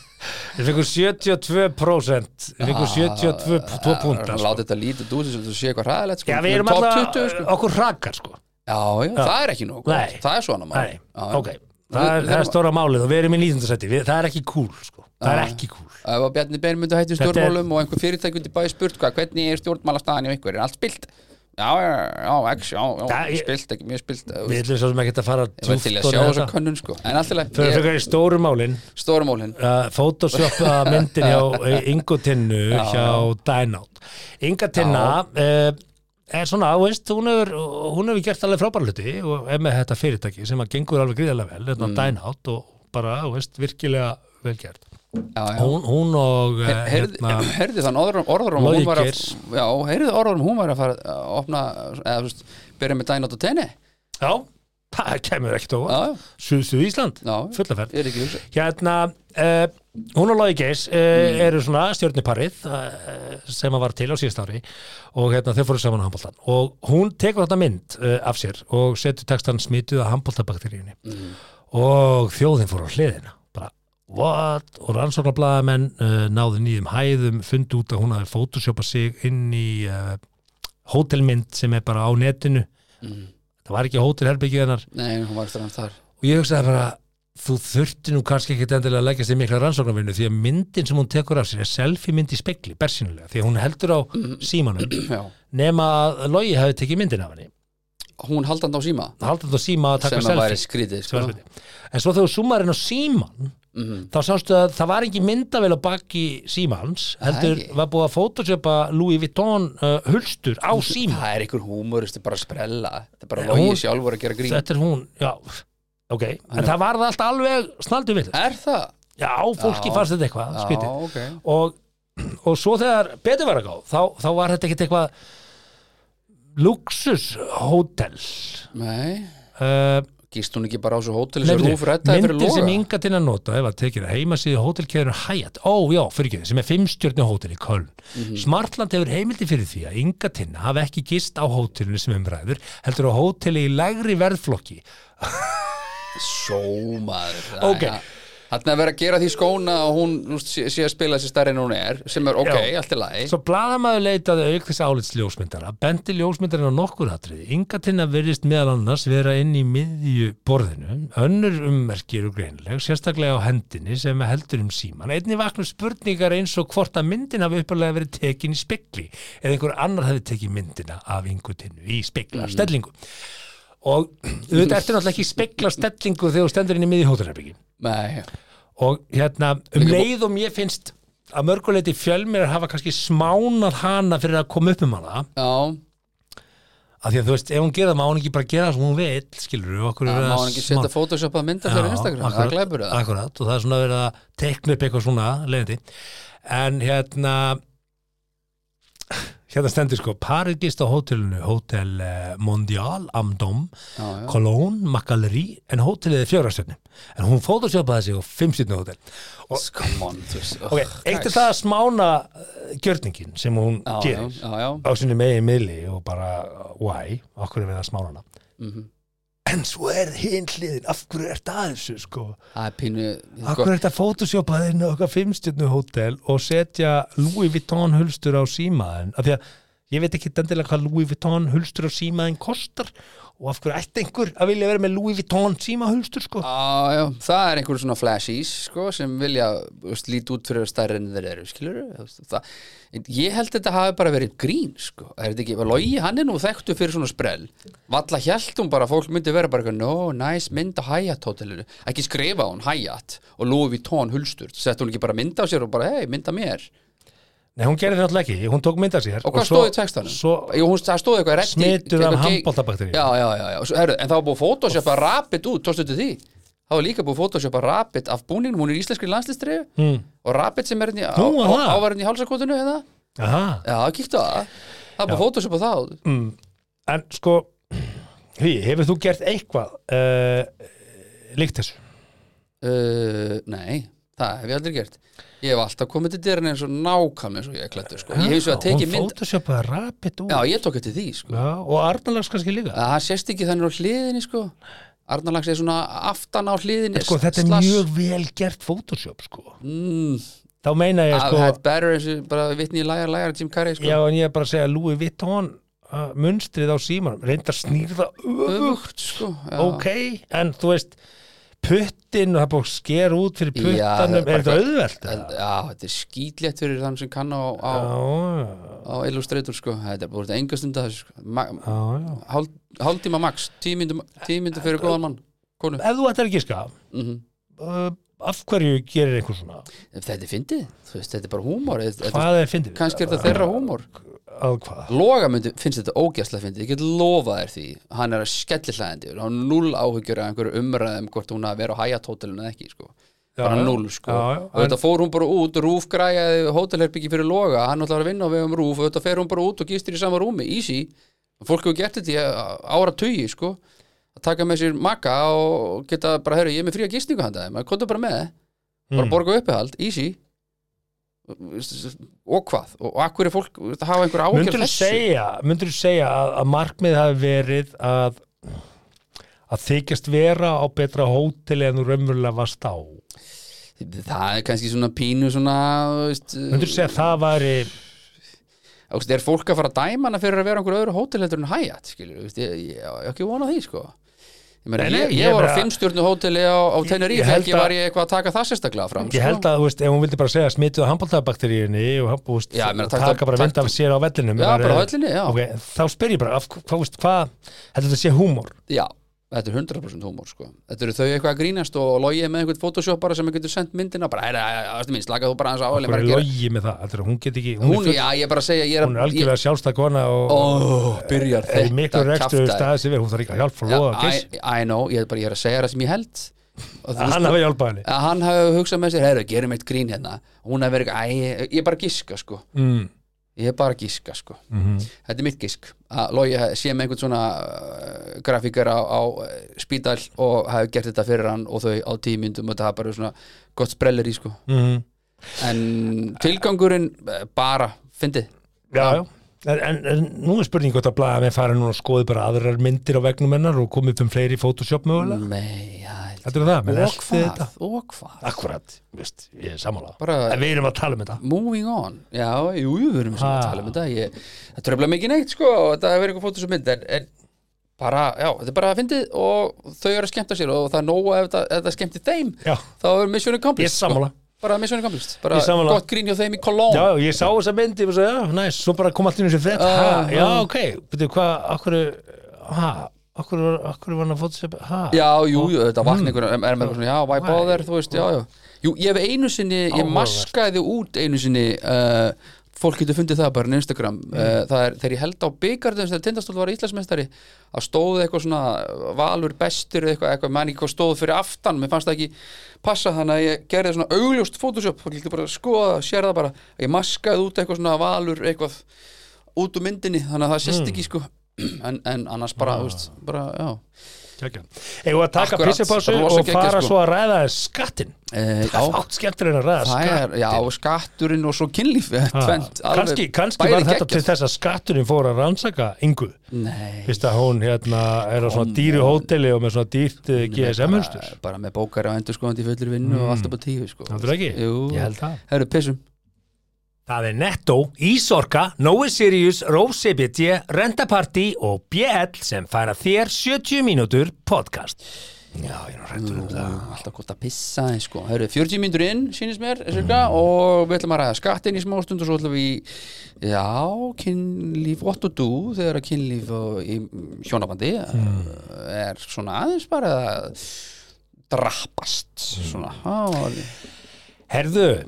S1: Þeir fengur 72% Þeir
S2: Ah,
S1: fengur 72 púnta sko.
S2: láta þetta lítið út þess að þú sé eitthvað hræðilegt sko.
S1: Já, við
S2: En
S1: erum
S2: eh, topp
S1: alltaf
S2: 20 sko.
S1: okkur hrakar sko
S2: já, já, það er ekki nóg
S1: Nei.
S2: það er
S1: Nei,
S2: svona maður Já,
S1: ok
S2: já.
S1: Það er,
S2: Við-
S1: það er
S2: við-
S1: stóra málið og við erum í 19. seti Við- Það er ekki cool sko Það er
S2: Já.
S1: ekki cool
S2: ef að Bjarni Bein myndi hætti í
S1: Þetta er-
S2: stjórnmálum og einhver fyrirtæk undir bæði spurt hvað, hvernig er stjórnmálastaðan í einhver, er allt spilt já, já, já, ekki, já, já,
S1: Já, ég-
S2: spilt ekki mjög spilt, þú
S1: Við
S2: veist.
S1: ætlum svo sem ekki að fara
S2: ég var til
S1: djúpt
S2: að sjá
S1: ofan í
S2: þessa
S1: þetta.
S2: könnun sko, en allt í lagi,
S1: Fyrir
S2: ég-
S1: fyrir í stóru málin
S2: stórmálin
S1: uh, Photoshop uh, myndin hjá Ingotinnu hjá Dynout Ingotinna uh, er svona, þú veist, hún hefur hún hefur gert alveg frábæra hluti og er með þetta fyrirtæki sem að gengur alveg gríðarlega vel þetta mm. Dynout og bara, þú veist, virkilega vel gert
S2: já, já
S1: hún, hún og uh,
S2: Heyrði, heyrði þann orðrum, orðrum
S1: Logi
S2: hún var að,
S1: Geirs.
S2: já, heyrði orðrum hún var að fara að opna, eða þú veist, byrja með dænátt og tenni já,
S1: já, það kemur ekkert óvart
S2: já,
S1: Suð-Suð Ísland,
S2: já,
S1: fullaferð
S2: ég er ekki hugsa
S1: Hérna, uh, hún og Lói Geis uh, eru svona stjórniparið uh, sem að var til á síðast ári og hérna, þau fóru saman á handbóltan og hún tekur þetta mynd uh, af sér og setur textan smituð af handbóltabakteríunni og þjóðin fór á hliðina bara, what? Og rannsóknarblaðamenn uh, náðu nýjum hæðum fundu út að hún hafi photoshoppað sig inn í uh, hótelmynd sem er bara á netinu það var ekki hótelherbyggið hennar
S2: nei, hún var strann þar
S1: og ég hugsaði bara þú þurfti nú kannski ekkit endilega að leggjast í mikla rannsóknarvinnu því að myndin sem hún tekur af sér er selfie mynd í spekli, bersýnulega því að hún heldur á
S2: Mhm.
S1: símanum
S2: já.
S1: nema að Logi hafi tekið myndin af henni
S2: hún haldandi á síma
S1: haldið á síma að taka
S2: sem að væri
S1: selfie
S2: skrítið
S1: sem
S2: sko.
S1: var hluti. en svo þegar þú súmar inn á síman
S2: mm,
S1: þá sástu að það var ekki myndavel á baki símans heldur
S2: Æ.
S1: var búið að photoshopa Louis Vuitton uh, hulstur á síman
S2: það er einhver húmurist, bara að sprella þetta er bara
S1: Nei,
S2: logið
S1: hún-
S2: hún... sjálfur að gera grín
S1: þetta er hún, já, ok en það var það allt alveg snaldum við
S2: er það?
S1: já, fólki
S2: Já.
S1: fannst þetta eitthvað, skrítið
S2: já, ok
S1: og, og svo þegar betur var að gá þá, þá var þetta ekkert eitthvað luxushótel
S2: Nei,
S1: uh,
S2: gíst hún ekki bara á svo hótel sem
S1: nefndu,
S2: hún fyrir þetta fyrir
S1: myndin
S2: loga
S1: sem ynga til að nota ef að tekið heimasíðu hótelkeðinu Hyatt ó já, fyrir ekki, sem er fimmstjörni hótel í Köln
S2: Mhm.
S1: Smartland hefur heimildi fyrir því að ynga tinna hafa ekki gist á hótelinu sem umræður, heldur á hóteli í lægri verðflokki
S2: Sjómaður
S1: Ok.
S2: Þannig að vera að gera því skóna og hún þú veist, sé, sé að spila sér stærri en hún er sem er ok,
S1: Já.
S2: allt í lagi
S1: Svo blaðamaður leitaði auk þess álits ljósmyndara, bendi ljósmyndarinn á nokkur atriði. Ingatinna virðist meðal annars vera inn í miðju borðinu, önnur ummerki eru greinileg, sérstaklega á hendinni sem heldur um síman. Einni vaknum spurningar eins og hvort að myndin hafi uppalega verið tekin í spekli eða einhver annar hafi tekið myndina af ingutinnu í spekla stellingu. Og auðvitað ertu náttúrulega ekki í spekla stellingu þegar þú stendur inn í miðju hóttarherbyggi.
S2: Nei,
S1: og hérna um leið og mér finnst að mörguleiti fjölmiðar hafa kannski smánað hana fyrir að koma upp um hana
S2: já,
S1: af því að þú veist, ef hún gera það má hún ekki bara gera það sem hún vil, skilur við okkur
S2: það má hann ekki setja photoshoppað mynda fyrir Instagram, það glæpur það
S1: akkurat, og það er svona verið að tekna upp eitthvað svona leiðandi en hérna hérna stendur sko parið gist á hótelinu Hótel eh, Mondial Amdom
S2: Já, já.
S1: Cologne, Macallery en hótelið er fjórastjörnum en hún fótosjópaði sig á fimmstjörnu hótel og
S2: Come on, þú veist
S1: Ok, eitt er það að smána eh, gjörningin sem hún
S2: Já, já,
S1: gerir
S2: já, já,
S1: á sinni megin miðli og bara uh, why, okkur er við að smána hana
S2: mhm.
S1: en svo er hinn hliðin, af hverju er það þessu sko,
S2: það er pínu
S1: af hverju er þetta fótosjópað inn á okkar fimmstjörnu hótel og setja Louis Vuitton hulstur á símaðin, af því að ég veit ekki dendilega hvað Louis Vuitton hulstur á símaðin kostar og af hverju ætti einhver að vilja vera með Louis Vuitton símahulstur sko
S2: Já, já, það er einhverjum svona flashies sko, sem vilja þú veist, líta út fyrir stærri en þeir eru, skilur það, ég held þetta hafi bara verið grín sko, er þetta ekki, logi hann er nú þekktu fyrir svona sprell, valla hjæltum bara að fólk myndi vera bara eitthvað, no, nice mynd á Hyatt hótelinu, ekki skrifa á hún Hyatt og Louis Vuitton hulstur sett hún ekki bara mynd á sér og bara, hei, mynda mér
S1: Nei, hún gerði það náttúrulega ekki, hún tók mynda sér
S2: og hvað
S1: svo-
S2: stóð í textanum?
S1: Svo,
S2: Jú, hún, það stóð eitthvað reddi-
S1: Smituð af
S2: eitthvað gei-
S1: handboltabakteríu.
S2: Já, já, já, já. Svo, heru, en það var búið að photoshopa rapid út, tókstu til því það var líka búið að photoshopa rapid af búningnum, hún er í íslenskri landslistri mm. og rapid sem er henni á,
S1: Hmm. Nú,
S2: á,
S1: aha.
S2: ávarinn í hálsakotinu eða?
S1: aha
S2: Já, kíktu á það það var búið að photoshopa það
S1: Hmm.
S2: út.
S1: en sko hví, hefur þú gert eitthvað uh, líkt þessu
S2: uh, Nei, það hef ég aldrei gert Ég hef alltaf komið til dyrun eins og nákvæm eins og ég er klættur sko. Ég hef svo að teki
S1: hún
S2: mynd
S1: photoshopaði rapid úr
S2: Já, ég tók eftir því sko.
S1: Já, og Arnalags kannski líka
S2: Það sést ekki þannig á hliðinni sko. Arnalags er svona aftan á hliðinni
S1: sko, þetta er
S2: slash-
S1: mjög vel gert photoshop sko.
S2: mm,
S1: þá meina ég
S2: I've
S1: sko,
S2: had better eins og bara vitni í lægar, lægar Jim Carrey sko.
S1: já, en ég er bara að segja Louis Vuitton uh, munstrið á símanum reyndar snýrða öfugt
S2: Öfugt, sko já.
S1: ok, en þú veist puttin og það er búið að skera út fyrir
S2: Já, það er
S1: puttanum,
S2: bara
S1: er þetta
S2: eitthvað-
S1: auðvelt?
S2: En,
S1: eða?
S2: já, þetta er skýtlegt fyrir þann sem kann á, á,
S1: Já,
S2: á Illustrator sko. þetta er búin enga stund að þessu sko. Ma-
S1: já, já
S2: hálf- hálftíma max, tímyndu, tímyndu fyrir góðan mann konu
S1: Ef þú ættir ekki ská
S2: mm
S1: uh, af hverju gerir einhver svona?
S2: þetta er fyndið, þú veist, þetta er bara húmor þetta- þetta-
S1: Hvað er fyndið?
S2: kannski er þetta þeirra húmor
S1: Að hvað?
S2: Loga myndi, finnst þetta ógæslega fyndið, ég get lofað þér því hann er að skelli hlæðandi, hann er null áhyggjur af einhverju umræðum hvort hún að vera á hæjat hótelinu eða ekki, sko bara
S1: já.
S2: null, sko
S1: Já, já,
S2: og þetta fór hún bara út, Rúf græjaði hótelherbyggi fyrir Loga, hann ætlaði að vinna á vegum Rúf og þetta fer hún bara út og gistir í sama rúmi, easy fólk hefur gert þetta í ára tugi, sko að taka með sér makka og geta bara, herru, ég er með fría gistingu handaði, maður kontur bara með
S1: Hmm.
S2: bara borga uppehald, easy og hvað og, og akkur er fólk, það hafa einhver áhyggjur
S1: Myndur þú segja, myndur segja að, að markmið hafi verið að að þykjast vera á betra hóteli en þú raunverulega varst á myndur
S2: það er kannski svona pínu svona þú veist,
S1: þú segja að það væri
S2: þú veist, er fólk að fara að dæma hana fyrir að vera á einhverju öðru hótel heldur en hæjat skilur, þú veist, ég, ég, ég ekki vona því sko ég, meina,
S1: Nei, nei,
S2: ég,
S1: ég
S2: ég var á
S1: meina-
S2: fimmstjörnu hóteli á, á
S1: ég
S2: Tenerife
S1: held
S2: ekki
S1: að-
S2: var ég eitthvað að taka það sérstaklega fram sko.
S1: ég held að, þú veist, ef hún vildi bara segja smituðu handbóltabakteríunni og, hann- og,
S2: Já, ég
S1: og
S2: meina,
S1: taka
S2: taktu-
S1: bara vind af
S2: taktu-
S1: sér á vellinum
S2: Já,
S1: það er-
S2: bara á vellinni, já.
S1: Ok, þá spyr ég bara, af, hvað, hvað, veist, hvað heldur þetta sé húmor?
S2: já, þetta er 100% húmor sko. þetta eru þau eitthvað að grínast og logið með einhvern photoshoppara sem getur sendt myndina bara, "Heyrðu, ástu mín, slaka þú bara aðeins á ég
S1: Hvað
S2: bara
S1: er
S2: að gera-
S1: logi með það? Heldurðu að Hún get ekki, hún,
S2: hún,
S1: er,
S2: já, ég er bara að segja ég
S1: full, hún er
S2: er,
S1: algjörlega sjálfstæð kona og,
S2: Ó, byrjar
S1: er í miklu
S2: þetta
S1: rekstu
S2: kjaftaði.
S1: staðið sem við, hún þarf ekki að hjálpa
S2: Já,
S1: loða og
S2: I,
S1: giss,
S2: I know, ég er bara ég er að segja það sem ég held Og þú veist,
S1: hann hafi hjálpað henni
S2: að hann hafi hugsað með sér, heyrðu, gerum eitt grín hérna hún hafi verið, æ, ég ég er bara að giska sko
S1: mm.
S2: ég er bara að giska sko
S1: Mhm.
S2: þetta er mitt gisk, að Logi hafi- sé með einhvern svona uh, grafíkar á, á eh, spítal og hafi gert þetta fyrir hann og þau á tímyndum og það er bara svona gott sprellir í sko
S1: Mm.
S2: en tilgangurinn eh, bara, fyndið
S1: Já, já En, en, en nú er spurning gott að blaða með fara núna og skoði bara aðrar myndir á vegnum hennar og komið upp um fleiri í Photoshop mögulega
S2: nei, já,
S1: Þetta er það, menn
S2: og
S1: elti
S2: hvað,
S1: þetta
S2: og hvað
S1: Mm. Akkurat, veist, ég er sammála
S2: Bara-
S1: En við erum að tala um þetta
S2: Moving on, já, jú, jú, við erum sem að
S1: Ha.
S2: tala um þetta ég, það tröfla mikið neitt sko og þetta hefur verið eitthvað fótið sem mynd en, en bara, já, þetta er bara að fyndið og þau eru að skemmta sér og það er nóg að ef þetta, ef þetta skemmti þeim
S1: Já,
S2: þá er mission
S1: ég er
S2: accomplished
S1: sammála
S2: bara mission accomplished,
S1: Ég
S2: bara
S1: er sammála.
S2: gott grín hjá þeim í Cologne
S1: Já, ég sá þessa myndi og svo, Uh-huh. já, næs, svo bara kom allt í einu sem þetta
S2: Já,
S1: ha,
S2: já.
S1: Já, ok, betur hvað, okkur ha, okkur, var- okkur var hann að fóta sér já,
S2: Já, jú, jú, þetta vakna ykkur er með bara svona, Mm. já, why bother, þú veist, já, já Jú, ég hef einu sinni, ég
S1: Áhugavert.
S2: maskaði út einu sinni uh, fólk getur fundið það bara á Instagram uh, það er, þegar ég held á byggarðum þegar Tindastóll var Íslandsmeistari að stóð eitthvað svona valur bestur eða eitthvað, eitthvað, mann ekki hvað stóð fyrir aftan mér fannst það ekki passa þannig að ég gerði svona augljóst Photoshop, fólk getur bara að skoða það, sér það bara, ég maskaði út eitthvað svona valur eitthvað út úr myndinni þannig að það sést ekki sko en, en annars bara, þú veist, bara, já
S1: ekki Eða að taka
S2: Akkurat,
S1: pissipásu
S2: rosa
S1: og
S2: geggjað,
S1: fara
S2: sko.
S1: svo að ræða skattin
S2: Eh, já.
S1: Það er átt skemmtur en að ræða
S2: Það
S1: skattin
S2: er, já, skatturinn og svo kynlíf tvent, alveg
S1: Kanski, kannski
S2: bæði
S1: var þetta
S2: geggjað.
S1: til þess að skatturinn fór að rannsaka yngu
S2: Nei,
S1: Fyrst að hún hérna er á svona dýru hóteli og með svona dýrt eh, GSM-unstur
S2: bara, bara með bókar og endur skoðandi í fullur vinnu og alltaf bara tíu sko.
S1: Mm. Heldur ekki?
S2: Jú,
S1: Ég held það.
S2: Herru, pissum
S1: Það er Netto, Ísorka, Nói Sirius, Rósebjörn, Rentaparty og BL sem færa þér 70 mínútur podcast. Já, ég er nú rættur um það.
S2: Alltaf gott að pissa eins, sko. Herru, 40 mínútur inn, sýnist mér cirka,
S1: Mm.
S2: og við ætlum að ræða skattinn í smástund og svo ætlum við í, já, kynlíf what to do þegar að kynlíf og, í hjónabandi
S1: Mm.
S2: eh, er svona aðeins bara að drapast
S1: Mm.
S2: svona, á,
S1: Herðu,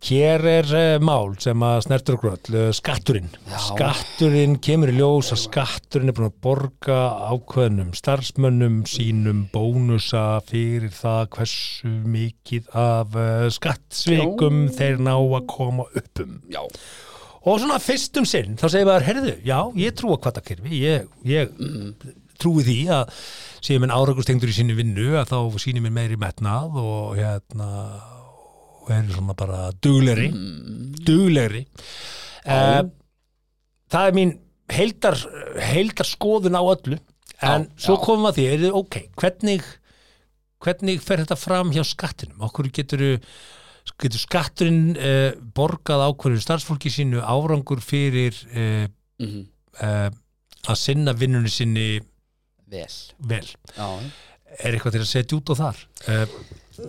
S1: hér er uh, mál sem að snertur okkur öll, uh, skatturinn. Skatturinn kemur í ljós að skatturinn er búin að borga ákveðnum starfsmönnum sínum bónusa fyrir það hversu mikið af uh, skattsvikum þeir ná að koma upp um.
S2: já
S1: Og svona fyrst um sinn, þá segir maður, herðu, já, ég trúa kvartakirfi, ég, ég trúi því að séu minn áragustengdur í sinni vinnu að þá sýni mér meiri metnað og hérna og er svona bara duglegri, duglegri. Uh, það er mín heildar, heildar skoðun á öllu, en
S2: Já,
S1: svo
S2: já.
S1: komum við að því, er þið ok, hvernig, hvernig fer þetta fram hjá skattinum? Okkur getur þú getur skatturinn uh, borgað ákvörðu starfsfólki sínu árangur fyrir uh,
S2: mm
S1: uh, að sinna vinnunni sinni
S2: vel
S1: vel.
S2: já,
S1: Er eitthvað til að setja út á þar? Uh,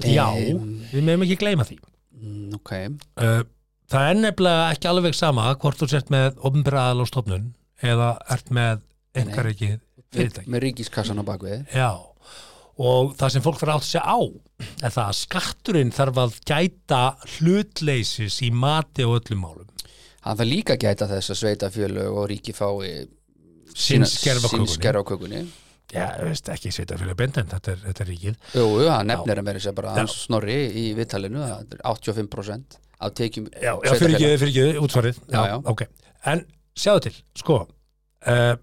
S1: já, við meðum ekki gleyma því.
S2: mm, ok
S1: Uh, það er nefnilega ekki alveg sama hvort þú sért með ofnbræðal og stofnun eða ert með einhver ekki fyrirtæki.
S2: með ríkiskassan á bakvið
S1: Já, og það sem fólk fyrir átt sér á er það að skatturinn þarf að gæta hlutleysis í mati og öllum málum.
S2: hann þarf líka að gæta þess að sveitafjölög og ríki fái
S1: Sinn
S2: sína-
S1: skerfakökunni.
S2: sín skerfakökunni jú,
S1: já, þú veist, ekki sveitafélag benda en þetta er, þetta er ríkið
S2: jú, hann nefnir að mér þess að bara hans snorri í vittalinu, það er 85% af tekjum
S1: já, já fyrir ekki, fyrir ekki, útsvarið já,
S2: Já, já.
S1: ok, en sjáðu til sko uh,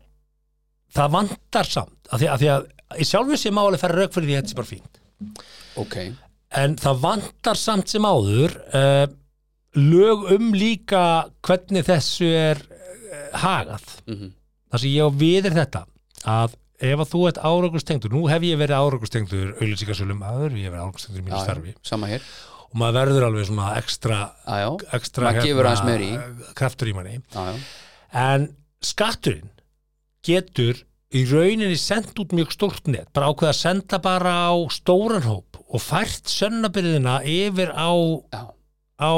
S1: það vantar samt, af því að, því að í sjálfu sem máli færa rauk fyrir því að þetta sé bara fínt
S2: ok,
S1: en það vantar samt sem áður uh, lög um líka hvernig þessu er uh, hagað
S2: Mhm.
S1: það sem ég á við er þetta að ef að þú ert árangustengdur, nú hef ég verið árangustengdur auðlýsingasölum aður, ég hef verið árangustengdur í mínu
S2: Já,
S1: starfi
S2: sama hér
S1: og maður verður alveg svona ekstra,
S2: já, já,
S1: ekstra hérna,
S2: Maður gefur aðeins meira
S1: kraftur í manni
S2: já, já,
S1: en skatturinn getur í rauninni sendt út mjög stórt net bara ákveða að senda bara á stóran hóp og fært sönnabyrðina yfir á,
S2: já.
S1: á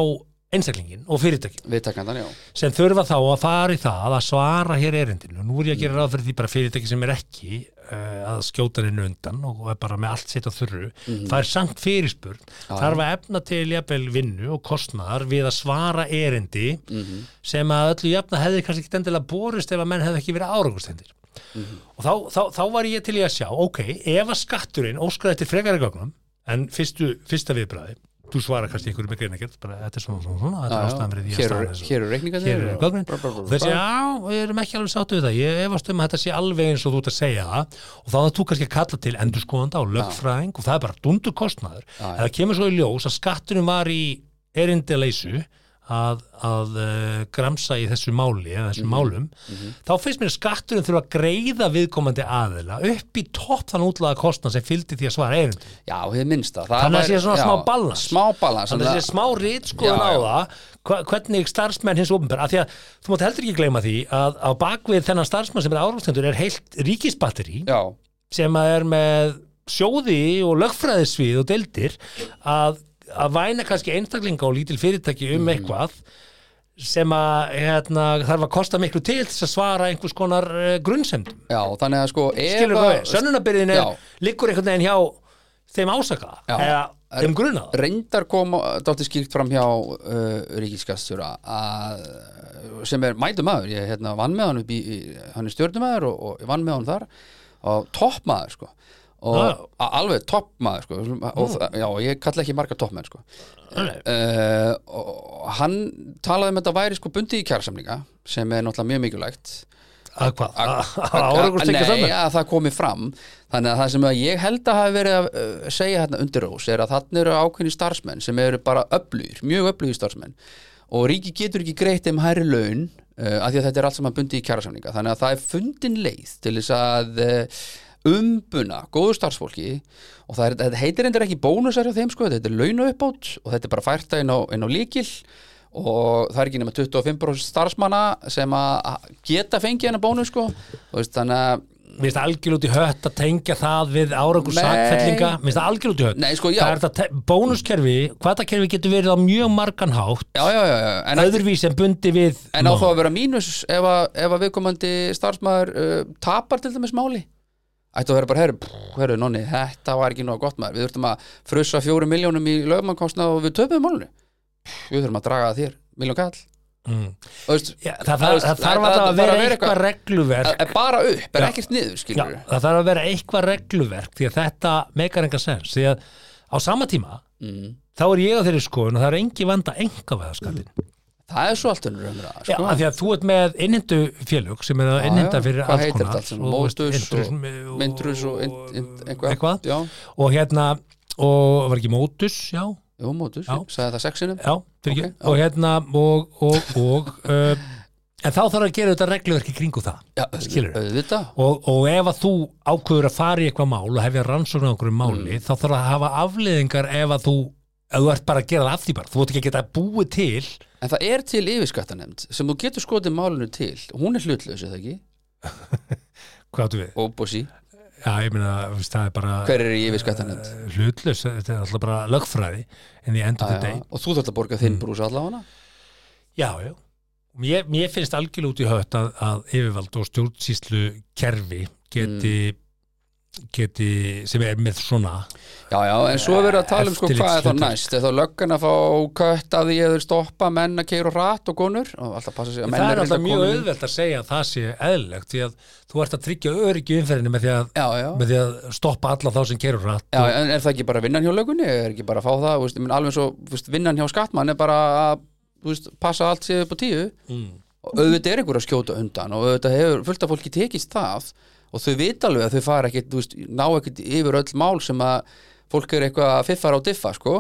S1: einstaklingin og fyrirtækin
S2: viðtakandan, já
S1: sem þurfa þá að fara í það að svara hér erindinu og nú er ég
S2: Mm.
S1: að gera ráð fyrir því bara fyrirtæki sem er ekki uh, að skjóta henni undan og er bara með allt sitt á þurru það er samt fyrirspurn
S2: Mm. Já,
S1: þarf að efna til jafnvel vinnu og kostnaðar við að svara erindi
S2: Mhm.
S1: sem að öllu jafna hefði kannski ekki endilega borist ef að menn hefði ekki verið árangustendir
S2: Mhm.
S1: og þá, þá, þá var ég til í að sjá ok, ef að skatturinn óskaði eftir frekari gögnum en fyrstu, fyrsta viðbræði þú svarar kannski einhverju með greinakert bara þetta er svona svona svona, þetta er
S2: Já, já.
S1: ástæðan fyrir því að
S2: hér
S1: staðan
S2: eru
S1: er svona."
S2: hér eru reikningarnir
S1: hér eru gögnin
S2: Bra, bra, bra,
S1: og þessi,
S2: bra.
S1: já, við erum ekki alveg sáttu við það ég efast um að þetta sé alveg eins og þú ert að segja það og þá það þú kannski að kalla til endurskoðanda og lögfræðing og það er bara dundur kostnaður
S2: Já, já.
S1: en það kemur svo í ljós að skatturinn var í erindileysu að, að uh, gramsa í þessu máli eða
S2: Mhm,
S1: þessum málum, þá finnst mér að skatturinn þurfa að greiða viðkomandi aðila upp í topp þann útlaða kostnað sem fylgdi því að svara erindi
S2: já, hér minnsta
S1: Þannig að sé svona smá balans.
S2: smá balans
S1: þannig að það sé smá
S2: Já,
S1: rítskoðan á
S2: já.
S1: það hva- hvernig starfsmenn hins opinbera af því að þú mátt heldur ekki gleyma því að á bakvið þennan starfsmenn sem er árumstendur er heilt ríkisbatteri
S2: já,
S1: sem að er með sjóði og lögfræðisvið og
S2: Mm.
S1: deildir að, að væna kannski einstaklinga og lítil fyrirtæki um eitthvað sem að hérna, þarf að kosta miklu til þess að svara einhvers konar uh, grunnsendum
S2: Já, þannig að sko ef
S1: skilur
S2: að-
S1: hvað við, sönnunabyrðin er
S2: Já.
S1: liggur einhvern veginn hjá þeim ásaka
S2: Já.
S1: eða þeim grunaða
S2: reyndar kom dátti skýrt fram hjá uh, ríkiskastjóra að sem er mætumæður, ég hérna vann með hann upp í, í hann er stjórnumæður og, og ég vann með hann þar og toppmæður sko og
S1: Já.
S2: a- alveg toppmæður sko og, mm. já, ég kalla ekki marga toppmenn sko
S1: Nei.
S2: uh, og hann talaði um þetta væri sko bundið í kjársamlinga sem er náttúrulega mjög mikilvægt
S1: að hvað, að áraugust ekki
S2: Nei,
S1: saman
S2: að það komi fram Þannig að það sem að ég held að hafi verið að uh, segja hérna undir ós er að þannig eru ákveðni starfsmenn sem eru bara öflugir, mjög öflugir starfsmenn og ríki getur ekki greitt um hærri laun uh, af því að þetta er allt saman bundið í kjærasamninga þannig að það er fundin leið til þess að uh, umbuna góðu starfsfólki og það er, þetta heitir endur ekki bónusar hjá þeim sko, þetta er launauppbót og þetta er bara fært inn á, inn á líkil og það er ekki nema 25% starfsmanna sem að geta fengið hennar bónus sko og veist, þannig að
S1: Mér finnst algjör út í hött að tengja það við áraugust
S2: Nei.
S1: sakfellinga Mér finnst það algjör út í hött
S2: Nei, sko, já.
S1: Það er þetta te- bónuskerfi, hvaða kerfi getur verið á mjög margan hátt
S2: já, já, já, já. En,
S1: öðruvís en bundi við
S2: en á
S1: mál.
S2: þá að vera mínus ef að, ef að viðkomandi starfsmæður uh, tapar til dæmis máli ættu að vera bara, herru, pff, herru, nonni þetta var ekki nóg gott maður, við þurfum að frussa fjóru miljónum í lögmannkostna og við töpum málunni, Pff, við þurfum að draga það þér miljón kall
S1: Mm.
S2: Þú veist,
S1: Já, það, það, það þarf
S2: það- það-
S1: alltaf
S2: það
S1: að
S2: þarf
S1: vera
S2: að vera
S1: eitthvað regluverk
S2: er bara upp, er
S1: Já.
S2: ekkert niður
S1: Já,
S2: skilur við
S1: það þarf að vera eitthvað regluverk því að þetta meikar enga sens því að á sama tíma
S2: mm.
S1: þá er ég á þeirri skoðun og það er engi vanda enga veðaskallin
S2: það er svo allt önnur umræða,
S1: Já,
S2: sko.
S1: af því að þú ert með innhendu félög sem er að
S2: Já,
S1: innhenda
S2: já,
S1: fyrir
S2: hvað
S1: alls
S2: heitir þetta
S1: konar
S2: allt saman? Móstus
S1: Indrus-
S2: og Myndrus og ind- ind- eitthvað.
S1: eitthvað.
S2: Já,
S1: og hérna, og var ekki Mótus já,
S2: jú, mótus,
S1: Já.
S2: ég sagði það sexinum
S1: já, fyrir
S2: Ok, já.
S1: og hérna og, og, og uh, en þá þarf að gera þetta regluverki kringu það
S2: Já,
S1: Skilurðu?
S2: auðvitað
S1: og, og ef að þú ákveður að fara í eitthvað mál og hefja rannsókn á einhverju máli
S2: Mm.
S1: þá þarf að hafa afleðingar ef að þú ef þú ert bara að gera það af því bara þú ert ekki að geta búið til
S2: En það er til yfirskattanemnd sem þú getur skotið málinu til hún er hlutlaus, eða ekki?
S1: hvað áttu við?
S2: Óbúsi,
S1: Já, ég meina, þú veist, það er bara
S2: hver er í yfirskattanemnd?
S1: hlutlaus, þetta er alltaf bara lögfræði en ég endur þetta Mm. einn
S2: Og þú þarft að borga þinn brús allavega
S1: Já, já Mér, mér finnst algjörlega út í hött að, að yfirvald og stjórnsýslu kerfi geti, geti sem er með svona
S2: Já, já, en svo er verið að tala um sko hvað er þá
S1: Eftirlitshlutverk.
S2: næst er þá löggan að fá kött að því eða þeir stoppa menn að keira rætt og konur og alltaf passa sig að menn
S1: það er
S2: reyndar
S1: alltaf mjög
S2: konur.
S1: auðvelt að segja að það sé eðlilegt því að þú ert að tryggja öryggi í umferðinni með því að,
S2: Já, já,
S1: með því að stoppa alla þá sem kerur rætt
S2: já, en er það ekki bara vinnan hjá lögunni? Er ekki bara að fá það, þú veist, ég meina, alveg svo þú veist, vinnan hjá skattmann er bara að þú veist, passa allt séð upp á tíu
S1: mm.
S2: og auðvitað er einhver að skjóta undan og auðvitað hefur fullt af fólki tekist það og þau vita alveg að þau fara ekkit, þú veist, ná ekkit yfir öll mál sem að fólk er eitthvað að fiffara og diffa, sko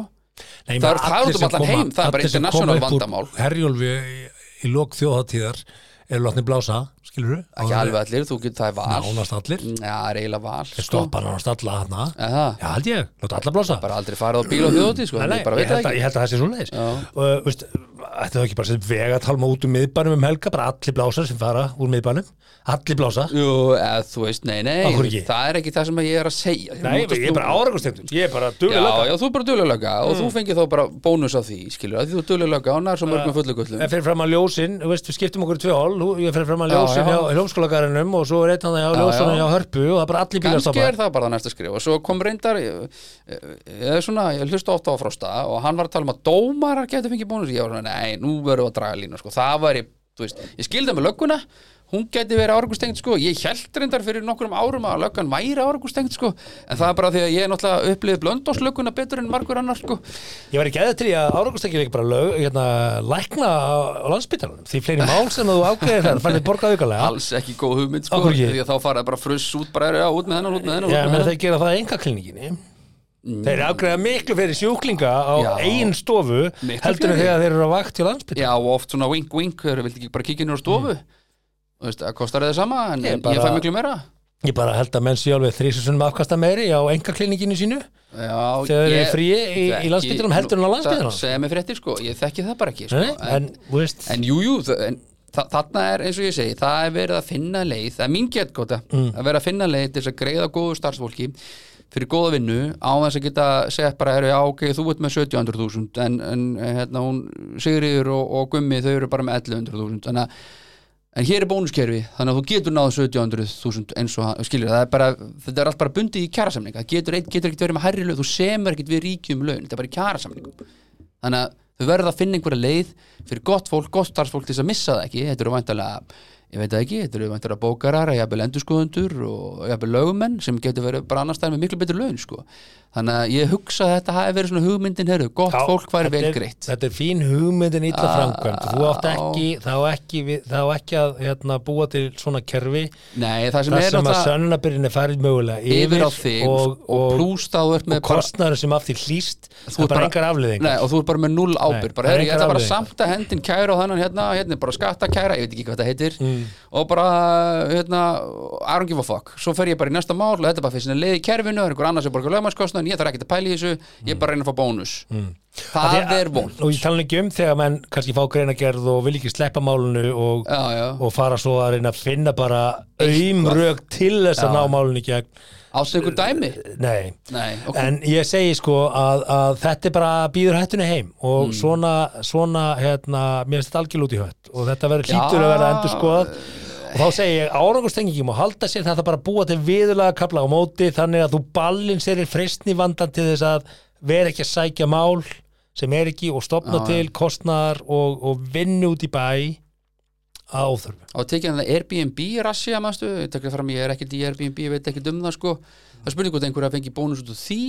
S1: Nei,
S2: Það er- það er út um allan heim, það er bara international vandamál.
S1: Herjólfi í, í lok þjóðatíðar eru látni blása, skilur þú?
S2: ekki alveg allir, þú getur það er val Mm,
S1: Nánast allir,
S2: Já, það er eiginlega val,
S1: þeir
S2: sko
S1: stoppa nánast alla hana
S2: Aha,
S1: Já, held ég, láta alla blása
S2: bara aldrei farað á bíl og þjóti, sko
S1: Nei, nei,
S2: ég bara
S1: ég,
S2: veit það
S1: held að,
S2: ekki
S1: ég held að það sé svoleiðis
S2: Já.
S1: og veist, ætti það ekki bara sem vegatalma út um miðbænum um helga, bara allir blásar sem fara úr miðbænum, allir blása
S2: Jú, eða, þú veist, nei, nei,
S1: Af hverju ekki?
S2: það er ekki það sem ég er að segja
S1: Nei,
S2: Nú, þú-
S1: ég er bara áraugustefnum, ég er bara
S2: Já,
S1: dugulega
S2: já, þú er bara duðlega og
S1: Mm.
S2: þú fengir þá bara bónus á því, skilur að því þú er duðlega og nær svo mörgum fullugullum
S1: Ég fer fram að ljósin, þú veist, við skiptum okkur í tvö hól, þú- ég fer fram að
S2: Já,
S1: ljósin
S2: já.
S1: hjá hljómskólagarinnum og svo er einn að það hjá ljósunum
S2: já.
S1: hjá hörpu og það er bara allir bílar
S2: kannski er
S1: stoppað.
S2: það bara það næsta skrif og svo kom reyndar ég, ég, svona, ég hlusta ofta á Frosta og hann var að tala um að dómarar getur fengið bónus ég var svona, nei, nú verðum við að draga línu sko. það var ég, þú veist, ég skildi með lögguna hún geti verið árgustengd sko ég held reyndar fyrir nokkrum árum að löggan væri árgustengd sko, en það er bara því að ég náttúrulega upplifið blöndóslögguna betur en margur annar sko,
S1: Ég var ekki eða til í að áraugustekjum ekki bara lög, hérna, lækna á, á landsbytarunum, því fleiri mál sem þú ágreðir þar, fannir borgað aukalega.
S2: alls ekki góð hugmynd sko,
S1: Af hverju ekki?
S2: því að þá faraði bara fruss út bara, já, út með hennan, út með hennan,
S1: Já,
S2: út með
S1: menn
S2: hennan.
S1: þeir gera það enga klíninginni Þeir afgreða miklu fyrir sjúklinga á
S2: Mm. Já.
S1: einn stofu
S2: Miklu
S1: heldur en
S2: fyrir.
S1: þegar þeir eru á vakt til landsbytt
S2: Já, og oft svona wink wink, þeir vildi ekki bara kíkja nýra stofu Þú veist, það kostar það sama en
S1: Mm. Ég
S2: ég,
S1: bara-
S2: ég fæ miklu meira
S1: Ég bara held að menn séu alveg þrísusunum afkasta meiri á enga klíninginu sínu
S2: Já,
S1: Þegar þeir
S2: ég-
S1: eru fríi í, í
S2: þekki-
S1: landsbyttunum heldur en á
S2: nú, það
S1: landsbyttunum
S2: segja mér fréttir sko, ég þekki það bara ekki sko.
S1: En, þú veist,
S2: en jú, jú, þa- en, þa þarna er eins og ég segi,
S1: Mm.
S2: það er verið að finna leið það er mín getgóta, að vera að finna leið til þess að greiða góðu starfsfólki fyrir góða vinnu á þess að geta sett bara, heru, já, ok, þú ert með 700.000 en, en hérna, hún Sigriður og, og Gummi, þau eru bara með 1100.000 þannig að En hér er bónuskerfi, þannig að þú getur náðu 700.000 eins og hann- skilur, það er bara, þetta er allt bara bundið í kjærasamninga, það getur, eitt- getur ekkert verið með hærri laun, þú semur ekkert við ríkjum laun, þetta er bara í kjærasamningum. Þannig að þau verða að finna einhverja leið fyrir gott fólk, gott starfsfólk til þess að missa það ekki, þetta eru væntalega, ég veit það ekki, þetta eru væntalega bókarar, jafnvel endurskoðundur og jafnvel lögumenn sem getur verið bara annar stæðan með miklu betur laun, sko. Þannig að ég hugsa að þetta hafi verið svona hugmyndin, heyrðu, gott
S1: Já,
S2: fólk væri
S1: þetta
S2: vel
S1: er-
S2: greitt. Ah,
S1: Þetta er fín hugmyndin illa framkvæmt Þú átt ekki, þá ekki, við- þá ekki að hérna, búa til svona kerfi
S2: Nei, það sem
S1: þar
S2: er
S1: sem að
S2: náttúrulega-
S1: sönnunabyrðin er farið mögulega yfir,
S2: yfir á þig
S1: og,
S2: og, og
S1: og,
S2: plús það þú ert með
S1: og kostnæður sem af því hlýst það
S2: þú
S1: er
S2: ert
S1: bara engar afleðing
S2: Nei, og þú ert bara með null ábyrg
S1: Nei,
S2: bara,
S1: það er
S2: herri, ég
S1: engar
S2: ætla bara að
S1: afleiðingar.
S2: samta hendin kæra og þannan hérna, hérna, bara skatta kæra ég veit ekki hvað það heitir
S1: Mm.
S2: og bara, hérna, I don't give a fuck svo fer ég bara í næsta mál og þetta er bara fyrir sinni leið í kerfinu það er einhver annars sem borgar lögmannskostnaðin ég þarf ekki að pæla í þessu,
S1: Mm.
S2: ég er bara að reyna að fá bónus það er vond
S1: og ég tala nú ekki um þegar menn kannski fá greinagerð og vil ekki sleppa málunu og,
S2: já, já.
S1: og fara svo að reyna að finna bara auðmrög til þess að ná málunu í gegn
S2: ástu ykkur dæmi
S1: nei,
S2: Nei, ok.
S1: en ég segi sko að, að þetta er bara býður hættunni heim og
S2: Hmm.
S1: svona, svona hérna, mér finnst þetta algjörl út í hött og þetta verður hlýtur að verða endur skoðað og þá segi ég árangurstengingum og halda sér þetta bara að búa til viðurlega kapla á móti þannig að þú ballin sér í freystni vandan til þess að vera ekki að sækja mál sem er ekki og stopna til kostnaðar og, og vinnu út í bæ að óþörfu
S2: og tekið hann það Airbnb rassja maðurstu, ég tekur fram ég er ekkert í Airbnb ég veit ekkert um það sko, það er spurning hvort einhverja fengi bónus út úr því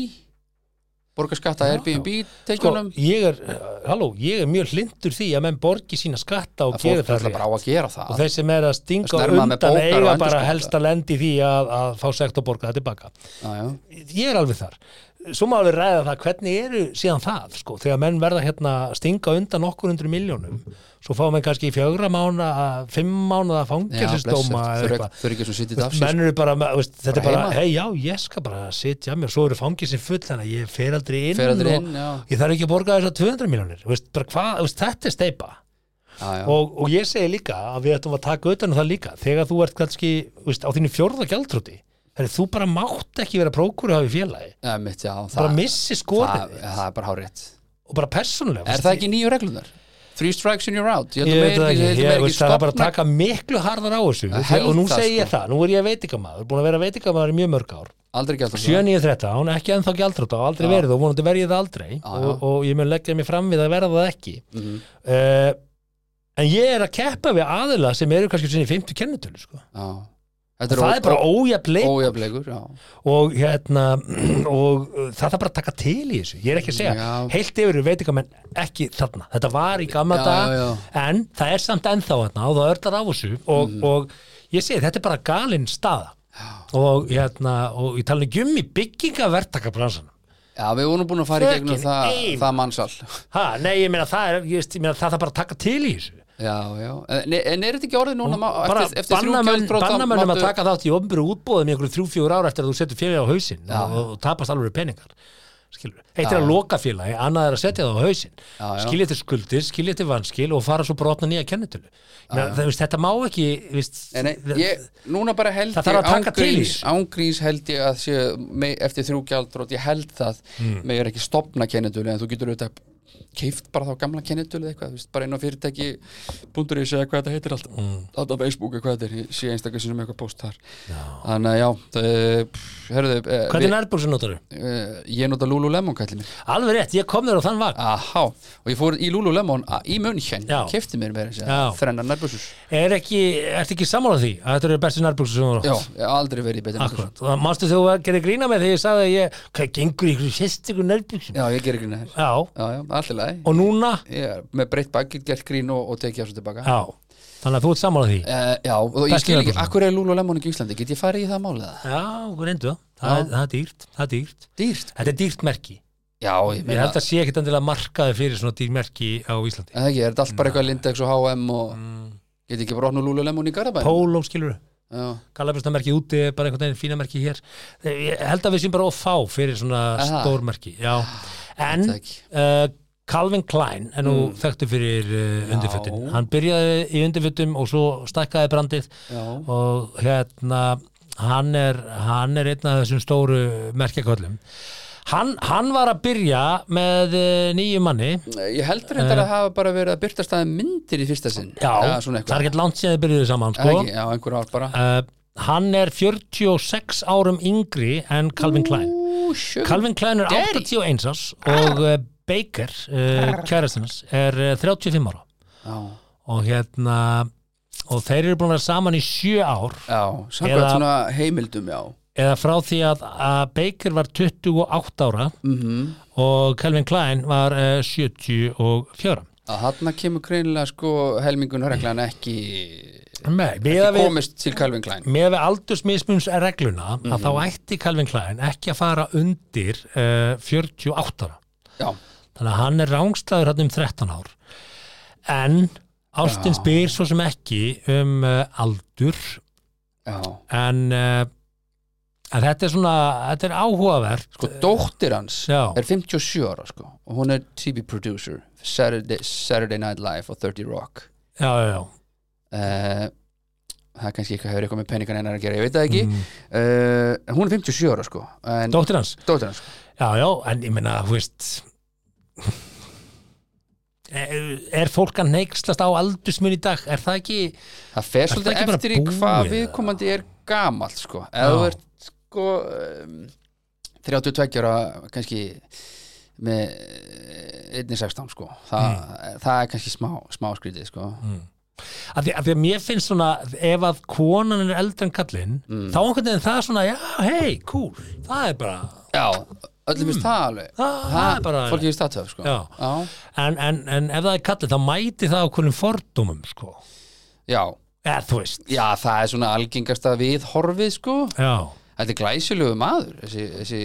S2: borga skatta Airbnb
S1: Sko,
S2: tekjunum
S1: ég er, halló, ég er mjög hlindur því að menn borgi sína skatta og
S2: að
S1: gera
S2: fólk
S1: það
S2: ætla
S1: rétt.
S2: bara á að gera það
S1: og þeir sem er að stinga
S2: Snemma með
S1: undan
S2: bókar og
S1: eiga bara
S2: endurskoða.
S1: helst að lendi því að, að fá sekt og borga það tilbaka
S2: já, já.
S1: ég er alveg þar svo má alveg ræða það hvernig eru síðan það sko, þegar menn verða hérna að stinga undan nokkur hundru miljónum svo fá menn kannski í fjögra mána fimm mána að
S2: Já, blessaður.
S1: fangelsistóma
S2: Þau eru ekki- þau eru ekki að sitja í dag
S1: menn eru bara, með- veist, þetta er
S2: sko. Bara
S1: bara,
S2: heima.
S1: hei já, ég skal bara sitja mér, svo eru fangelsin full þannig að ég fer aldrei inn,
S2: Fer aldrei
S1: og
S2: inn, já.
S1: ég þarf ekki að borga þess að 200 miljónir veist, bara, hvað, veist, þetta er steipa
S2: Já, já.
S1: og, og ég segi líka að við ættum að taka utan um það líka þegar þú ert kannski þú veist, á þínu fjórða gjaldrúti þú bara mátt ekki vera prókúru hafi félagi
S2: Já, mitt, já, það,
S1: bara missi
S2: það,
S1: skorið
S2: það er bara hárétt
S1: og bara persónulega
S2: er
S1: veist,
S2: það ekki nýju reglunar? three strikes and you're out ég
S1: ég veit
S2: heldur
S1: það
S2: meir
S1: ekki,
S2: ekki,
S1: ég
S2: ekki
S1: veist það er bara að
S2: stofna
S1: taka miklu harðar á þessu
S2: Ég
S1: og nú
S2: held það,
S1: segi
S2: sko.
S1: ég það, nú er ég veitingamaður búin að vera veitingamaður í mjög mörg ár
S2: aldrei gælt
S1: 7.9.13, ekki ennþá gjaldrúta og aldrei verið og vonandi verið það aldrei
S2: já. Mhm.
S1: og, og ég mun leggja mig fram við að verða það ekki uh, en ég er að keppa við aðila sem eru kannski sinni 50 kennitölu sko.
S2: það
S1: það er bara ójafleik
S2: ójafleikur já.
S1: og hérna og uh, það þarf bara að taka til í þessu ég er ekki að segja,
S2: Já.
S1: heilt yfir eru veitingamenn ekki þarna, þetta var í gamla
S2: Já,
S1: dag
S2: já,
S1: en það er samt ennþá þarna og það örlar á þessu og,
S2: Mhm.
S1: og ég segi þetta er bara galinn staða og hérna, og ég tala um í byggingavertakabransan
S2: já, við vorum búin að fara í gegnum
S1: Fucking
S2: það,
S1: aim.
S2: það mannsal
S1: ha, nei, ég meina það er, ég veist, ég meina það þarf bara að taka til í þessu
S2: Já, já, en, en er þetta ekki orðið núna má-
S1: bara
S2: eftir, eftir þrjú
S1: bannamönnum
S2: gjaldþrot þá
S1: bannamönnum að
S2: máttu-
S1: taka þátt í ofnbyrju útbóðum í einhverju þrjú, fjögur ára eftir að þú setur félagi á hausinn og, og tapast alveg peningar skilur. eitt er að loka félagi, annað er að setja það á hausinn
S2: Já, já.
S1: skilja til skuldir, skilja til vanskil og fara svo brotna nýja kennitölu Ná, það, veist, þetta má ekki veist,
S2: Eh, Nei, nei, ég, núna bara held
S1: Það þarf að
S2: ég
S1: taka til í
S2: ángríns,
S1: þessu.
S2: ángríns held ég að sé, me, eftir þrjú gjaldrót, ég held það
S1: Hmm.
S2: mm. með ég er ekki stopna kennitölu en þú getur auðvitað keift bara þá gamla kennitölu eða eitthvað, þú veist, bara inn á fyrirtæki búndur ég segja hvað þetta heitir alltaf mm.
S1: Hmm.
S2: alltaf Facebook eða hvað þetta er, ég sé einstaklega sinni með eitthvað post þar, þannig að já það, pff, herðu, eh,
S1: hvernig nærbúrsin notar þau?
S2: við, eh, ég nota Lululemon kallið mér
S1: alveg rétt, ég kom þér á þann vagn
S2: Aha, og ég fór í Lululemon a- í München,
S1: Já.
S2: kefti mér með
S1: Já.
S2: þessi þrennar nærbúsus,
S1: er ekki, ertu ekki sammála því að þetta eru bestu nærbúrsin sem þú
S2: já,
S1: notar?
S2: ég hef aldrei verið í betur nærbúsum,
S1: Akkurat, og mannstu þegar þú gerði grína með því ég sagði að ég, hvað gengur í ykkur sérstökur nærbúrsin?
S2: já, ég ger ekki næður
S1: Já,
S2: Já, já, allir lagi
S1: og núna
S2: Já, með breytt bakið, gert grín og, og tekið þessu tilbaka
S1: Já, þannig að þú ert sammála því
S2: uh, Já, og ég
S1: Bestu
S2: skil ekki,
S1: nefnum.
S2: akkur er Lululemon ekki í Íslandi, get ég farið í það málið það?
S1: Já, reyndu það, það, er- það er dýrt, það er dýrt
S2: Dýrt
S1: Þetta er dýrt merki
S2: Já, ég
S1: Ég
S2: meina,
S1: held að sé ekkit endilega markaði fyrir svona dýrt merki á Íslandi
S2: það ekki, er þetta allt bara eitthvað Lindex og H&M og
S1: Mm.
S2: get ekki brotn og Lululemon í Garabæn
S1: Polo skilur
S2: Já,
S1: Galabjörnsna merki úti, er bara einhvern veginn fína merki hér Ég held að við séum bara of fá fyrir svona
S2: Aha.
S1: stór merki Já, en
S2: Þetta ekki.
S1: uh, Calvin Klein er nú þekktu fyrir uh, undirfötin Hann byrjaði í undirfötum og svo stækkaði brandið
S2: já,
S1: og hérna hann er, hann er einn af þessum stóru merkjaköllum hann, hann var að byrja með eh, nýju manni
S2: Ég heldur þetta að hafa bara verið að byrta staði myndir í fyrsta sinn
S1: Eh. já,
S2: Eða
S1: Eh, það
S2: svona
S1: er
S2: eitthvað
S1: ekkert langt séð þið byrjuðu saman
S2: Eða
S1: sko.
S2: ekki, Já, einhver ár bara
S1: uh, hann er 46 árum yngri en Calvin Klein
S2: Ú, sjö
S1: Calvin Klein er
S2: Daddy.
S1: 81 árs og uh, Baker, uh, kærastannars er uh, 35 ára
S2: Já,
S1: og hérna og þeir eru búin að vera saman í sjö ár
S2: já samkvæmt
S1: Eða-
S2: svona heimildum, já
S1: eða frá því að, að Baker var 28 ára
S2: mm
S1: og Calvin Klein var uh, 74
S2: Að þarna kemur greinilega sko helmingunarreglan ekki
S1: Nei, meða við,
S2: komist til Calvin Klein
S1: með við aldursmismuns regluna
S2: Mhm.
S1: að þá ætti Calvin Klein ekki að fara undir uh, 48 ára
S2: Já,
S1: þannig að hann er rángstæður hann um 13 ár en Ástin
S2: Já.
S1: spyr svo sem ekki um uh, aldur
S2: já
S1: en, uh, en þetta er svona þetta er áhugavert
S2: Sko dóttir hans
S1: Já.
S2: er 57 ára sko og hún er TV producer Saturday, Saturday Night Live og 30 Rock
S1: já, já, já.
S2: uh, Það er kannski eitthvað hefur eitthvað með peningan hennar að gera, ég veit það ekki
S1: Mm.
S2: uh, Hún er 57 ára sko en
S1: dóttir hans
S2: dóttir hans
S1: Já, já, en ég meina, þú veist er er fólk að neykslast á aldursmun í dag, er það ekki
S2: Það fer
S1: það
S2: svolítið
S1: ekki bara
S2: eftir í
S1: búið,
S2: hvað
S1: eða?
S2: viðkomandi er gamalt sko. eða
S1: Já.
S2: þú ert sko um, 32 ára kannski með einni 16 sko Þa,
S1: Hmm.
S2: það er kannski smá, smá skrítið sko
S1: að því, að því að mér finnst svona ef að konan er eldri en kallinn
S2: Mm.
S1: þá einhvern veginn það er svona, já, hei, cool það er bara,
S2: Já, öllum finnst það alveg
S1: Hmm. það, það er bara
S2: fólki finnst það töf sko
S1: Já.
S2: já,
S1: en, en, en ef það er kallinn, þá mæti það okkur fordómum, sko
S2: já,
S1: eða þú veist,
S2: já, það er svona algengasta viðhorfið sko
S1: já,
S2: Þetta er glæsilegu maður þessi, þessi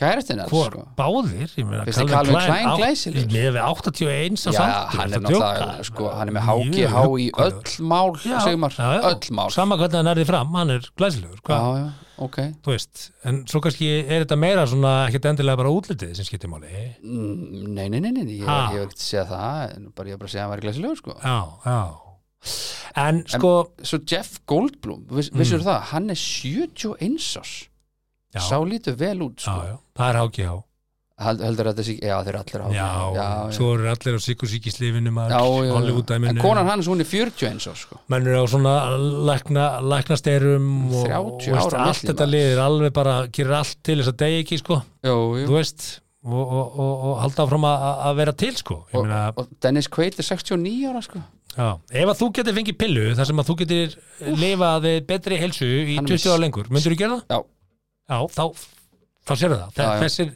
S2: kærastinn hans
S1: hvor
S2: sko
S1: báðir ég meina,
S2: Finnst þér Calvin Klein
S1: átt-
S2: glæsilegur?
S1: miðað við 81 á
S2: Já,
S1: samtíð
S2: hann er náttúrulega, sko, hann er með háki, há í öll mál,
S1: Já,
S2: segumar,
S1: já, já.
S2: öll mál.
S1: sama hvernig hann er því fram, hann er glæsilegur
S2: Já,
S1: hvað,
S2: já, ok.
S1: þú veist, en svo kannski er þetta meira svona, ekkert endilega bara útlitið sem skiptir máli, já,
S2: Mm, Nei, nei, nei, nei, ég,
S1: Ha.
S2: ég hef ekkert segjað það, en bara ég hef bara segjað að hann væri glæsilegur, sko.
S1: já en sko,
S2: Svo Jeff Goldblum, viss, vissur það, hann er 71 árs,
S1: já,
S2: sá lítur vel út,
S1: já,
S2: sko.
S1: já það er háki há,
S2: Held, heldur þetta sig, já, þeir eru allir á.
S1: já,
S2: já,
S1: svo eru allir á sikursíkislifinu
S2: já, já, já. En
S1: Hollywood-dæminu,
S2: konan hans, hún er 41 árs, sko.
S1: menn eru á svona lækna, læknasterum og,
S2: 30
S1: og veist,
S2: ára
S1: allt
S2: milli,
S1: þetta
S2: maður.
S1: liðir alveg bara, gerir allt til þess að degi ekki, sko,
S2: Jú,
S1: þú
S2: jú.
S1: veist og, og, og, og halda áfram að að vera til, sko ég
S2: Og,
S1: meina,
S2: og Dennis Quaid er 69 ára, sko.
S1: Já, ef að þú getur fengið pillu þar sem að þú getur eh, lifað við betri helsu í
S2: Hann er
S1: 20 ára lengur, myndur þú gera það?
S2: Já,
S1: Já, þá þá sérðu það Þe-
S2: Já, já.
S1: þessir,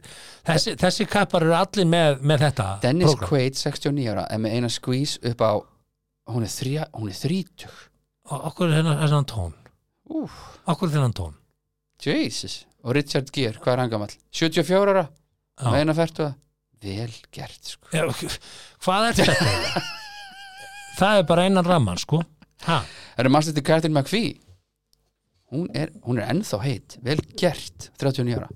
S1: þessi, þessi kappar eru allir með, með þetta
S2: Dennis
S1: prógram.
S2: Quaid, 69 ára, er með eina squeeze upp á, hún er, þrjá, hún er 30.
S1: og okkur er þennan- þennan tón
S2: Úf.
S1: okkur er þennan tón
S2: Jesus. Og Richard Gere, hvað er hann gamall? 74 ára,
S1: Já.
S2: meðina færtu það. Vel gert, sko.
S1: Já, ok, hvað er þetta? eiginlega? það er bara einan ramman sko ha,
S2: Það eru mannstætti Katrin McVie. Hún er, hún er ennþá heit. Vel gert, 39 ára.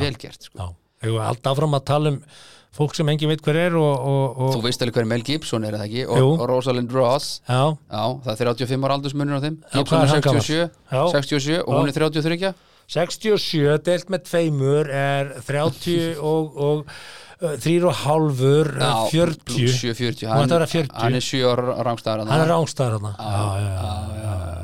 S2: Vel gert, sko.
S1: já, hefur alltaf áfram að tala um fólk sem engin veit hver er og, og, og
S2: Þú veist alveg hver Mel Gibson er það ekki og,
S1: Jú.
S2: og Rosalind Ross.
S1: já,
S2: Já, það er 35 ára aldursmunur á þeim.
S1: Já,
S2: Gibson
S1: hvað er
S2: er
S1: hann gamall?
S2: 67,
S1: Já.
S2: 67 og hún er 33.
S1: 67 deilt með tveimur er 30 og, og þrýr og hálfur
S2: Já,
S1: 40
S2: 7, 40.
S1: Hún ætti að vera 40.
S2: Hann er 7 ára rángstæðar.
S1: hann er rángstæður hann já, já, já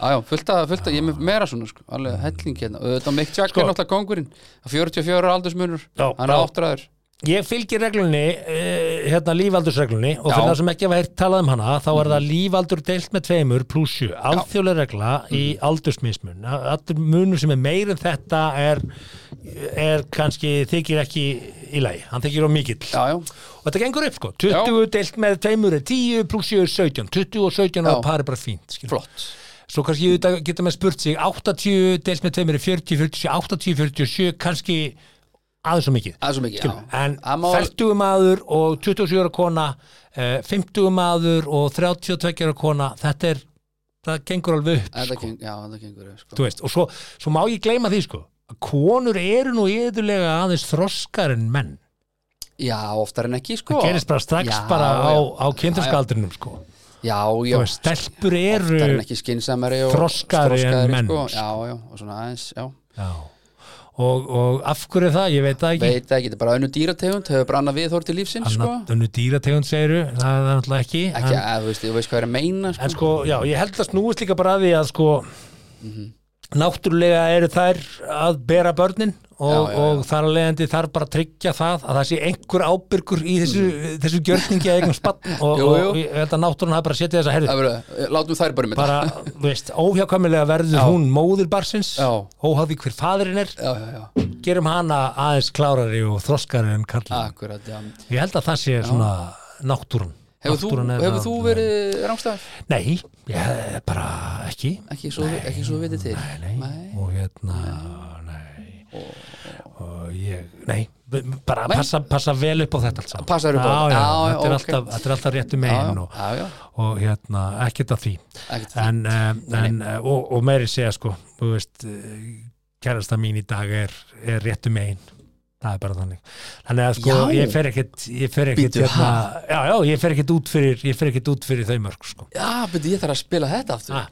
S2: Já, já, fullt að, fullt að, ég er með meira svona sko, alveg helling hérna, auðvitað Mick
S1: Sko.
S2: Jagger sko. náttúrulega kongurinn, á 44 ára aldursmunur
S1: Já,
S2: hann er
S1: já.
S2: áttræður
S1: Ég fylgir reglunni, uh, hérna lífaldursreglunni og fyrir
S2: Já.
S1: það sem ekki hafa heyrt talað um hana þá er það lífaldur deilt með tveimur pluss sjö alþjóðlega regla í
S2: Mm.
S1: aldursmismun aldur munur sem er meir en þetta er, er kannski þykir ekki í lagi, hann þykir á mikill
S2: Já, já,
S1: og þetta gengur upp sko, 20 deilt með tveimur er 10 pluss sjö er 17 20 og 17
S2: Já.
S1: og par er bara fínt skilur.
S2: flott
S1: svo kannski auðvitað geta maður spurt sig 80 deilt með tveimur er 40, 47 80, 47 kannski aðeins og mikið
S2: Það er svo mikið, já
S1: en
S2: Það má-
S1: 40 maður og 27 ára kona eh, 50 maður og 32 ára kona þetta er, það gengur alveg upp
S2: Þetta
S1: sko,
S2: keng- Já, þetta gengur upp, sko
S1: þú veist, og svo, svo má ég gleyma því sko að konur eru nú yfirlega aðeins þroskar en menn
S2: Já, oftar en ekki, sko
S1: það gerist bara strax
S2: Já,
S1: bara á,
S2: já.
S1: á kynþurskaldrinum sko
S2: já, já
S1: Þú veist, stelpur eru
S2: oftar en ekki skinsamari og
S1: þroskaðri en
S2: þroskaðri,
S1: menn,
S2: sko.
S1: sko.
S2: já, já, og svona aðeins, já
S1: Já. Og, og af hverju er það, ég veit það ekki
S2: veit ekki, þetta er bara önnu dýrategund hefur bara annað viðhór til lífsins, sko
S1: Þannig sko? dýrategund segiru, það er náttúrulega ekki,
S2: ekki,
S1: en,
S2: að, þú veist, þú veist hvað er að meina sko.
S1: en sko, já, ég held að snúist líka bara að því að sko
S2: Mhm.
S1: náttúrulega eru þær að bera börnin og,
S2: Já, já, já.
S1: og þar að leiðandi þarf bara að tryggja það að það sé einhver ábyrgur í þessu, þessu gjörningi að eignum spann og,
S2: Mm. Jú, jú.
S1: og ég held að náttúrulega hafi bara setið þess að herðu
S2: Það verður- látum þær bara um þetta
S1: bara, þú veist, óhjákvæmilega verður hún móðir barsins,
S2: Já.
S1: óháð því hver fadurinn er,
S2: já, já, já,
S1: gerum hana aðeins klárari og þroskari en kalla
S2: akkurat Ah. já.
S1: ég held að það sé svona náttúrun
S2: hefur þú,
S1: Náttúran er
S2: hefur
S1: það-
S2: þú verið rángstæður?
S1: Nei, ég, bara ekki
S2: ekki svo, ekki svo vitið til
S1: Nei, og hérna Nei og ég, nei, b- bara
S2: Nei.
S1: passa, passa vel upp á þetta allt saman.
S2: Passa upp á
S1: Já,
S2: þetta.
S1: já,
S2: Já, já,
S1: þetta er
S2: ok.
S1: alltaf, þetta er alltaf réttu
S2: Já, já,
S1: megin og,
S2: já, já.
S1: og hérna, ekkert að því
S2: Ekkert að því.
S1: en, um, en uh, og, og meiri segja sko, þú veist eh, kærasta mín í dag er, er réttu megin það er bara þannig þannig að sko,
S2: Já.
S1: ég fer ekkert ég fer ekkert,
S2: Bíddu,
S1: hérna, já, já, ég fer ekkert út fyrir ég fer ekkert út fyrir þau mörg sko.
S2: já, betur ég þarf að spila þetta aftur
S1: Ha.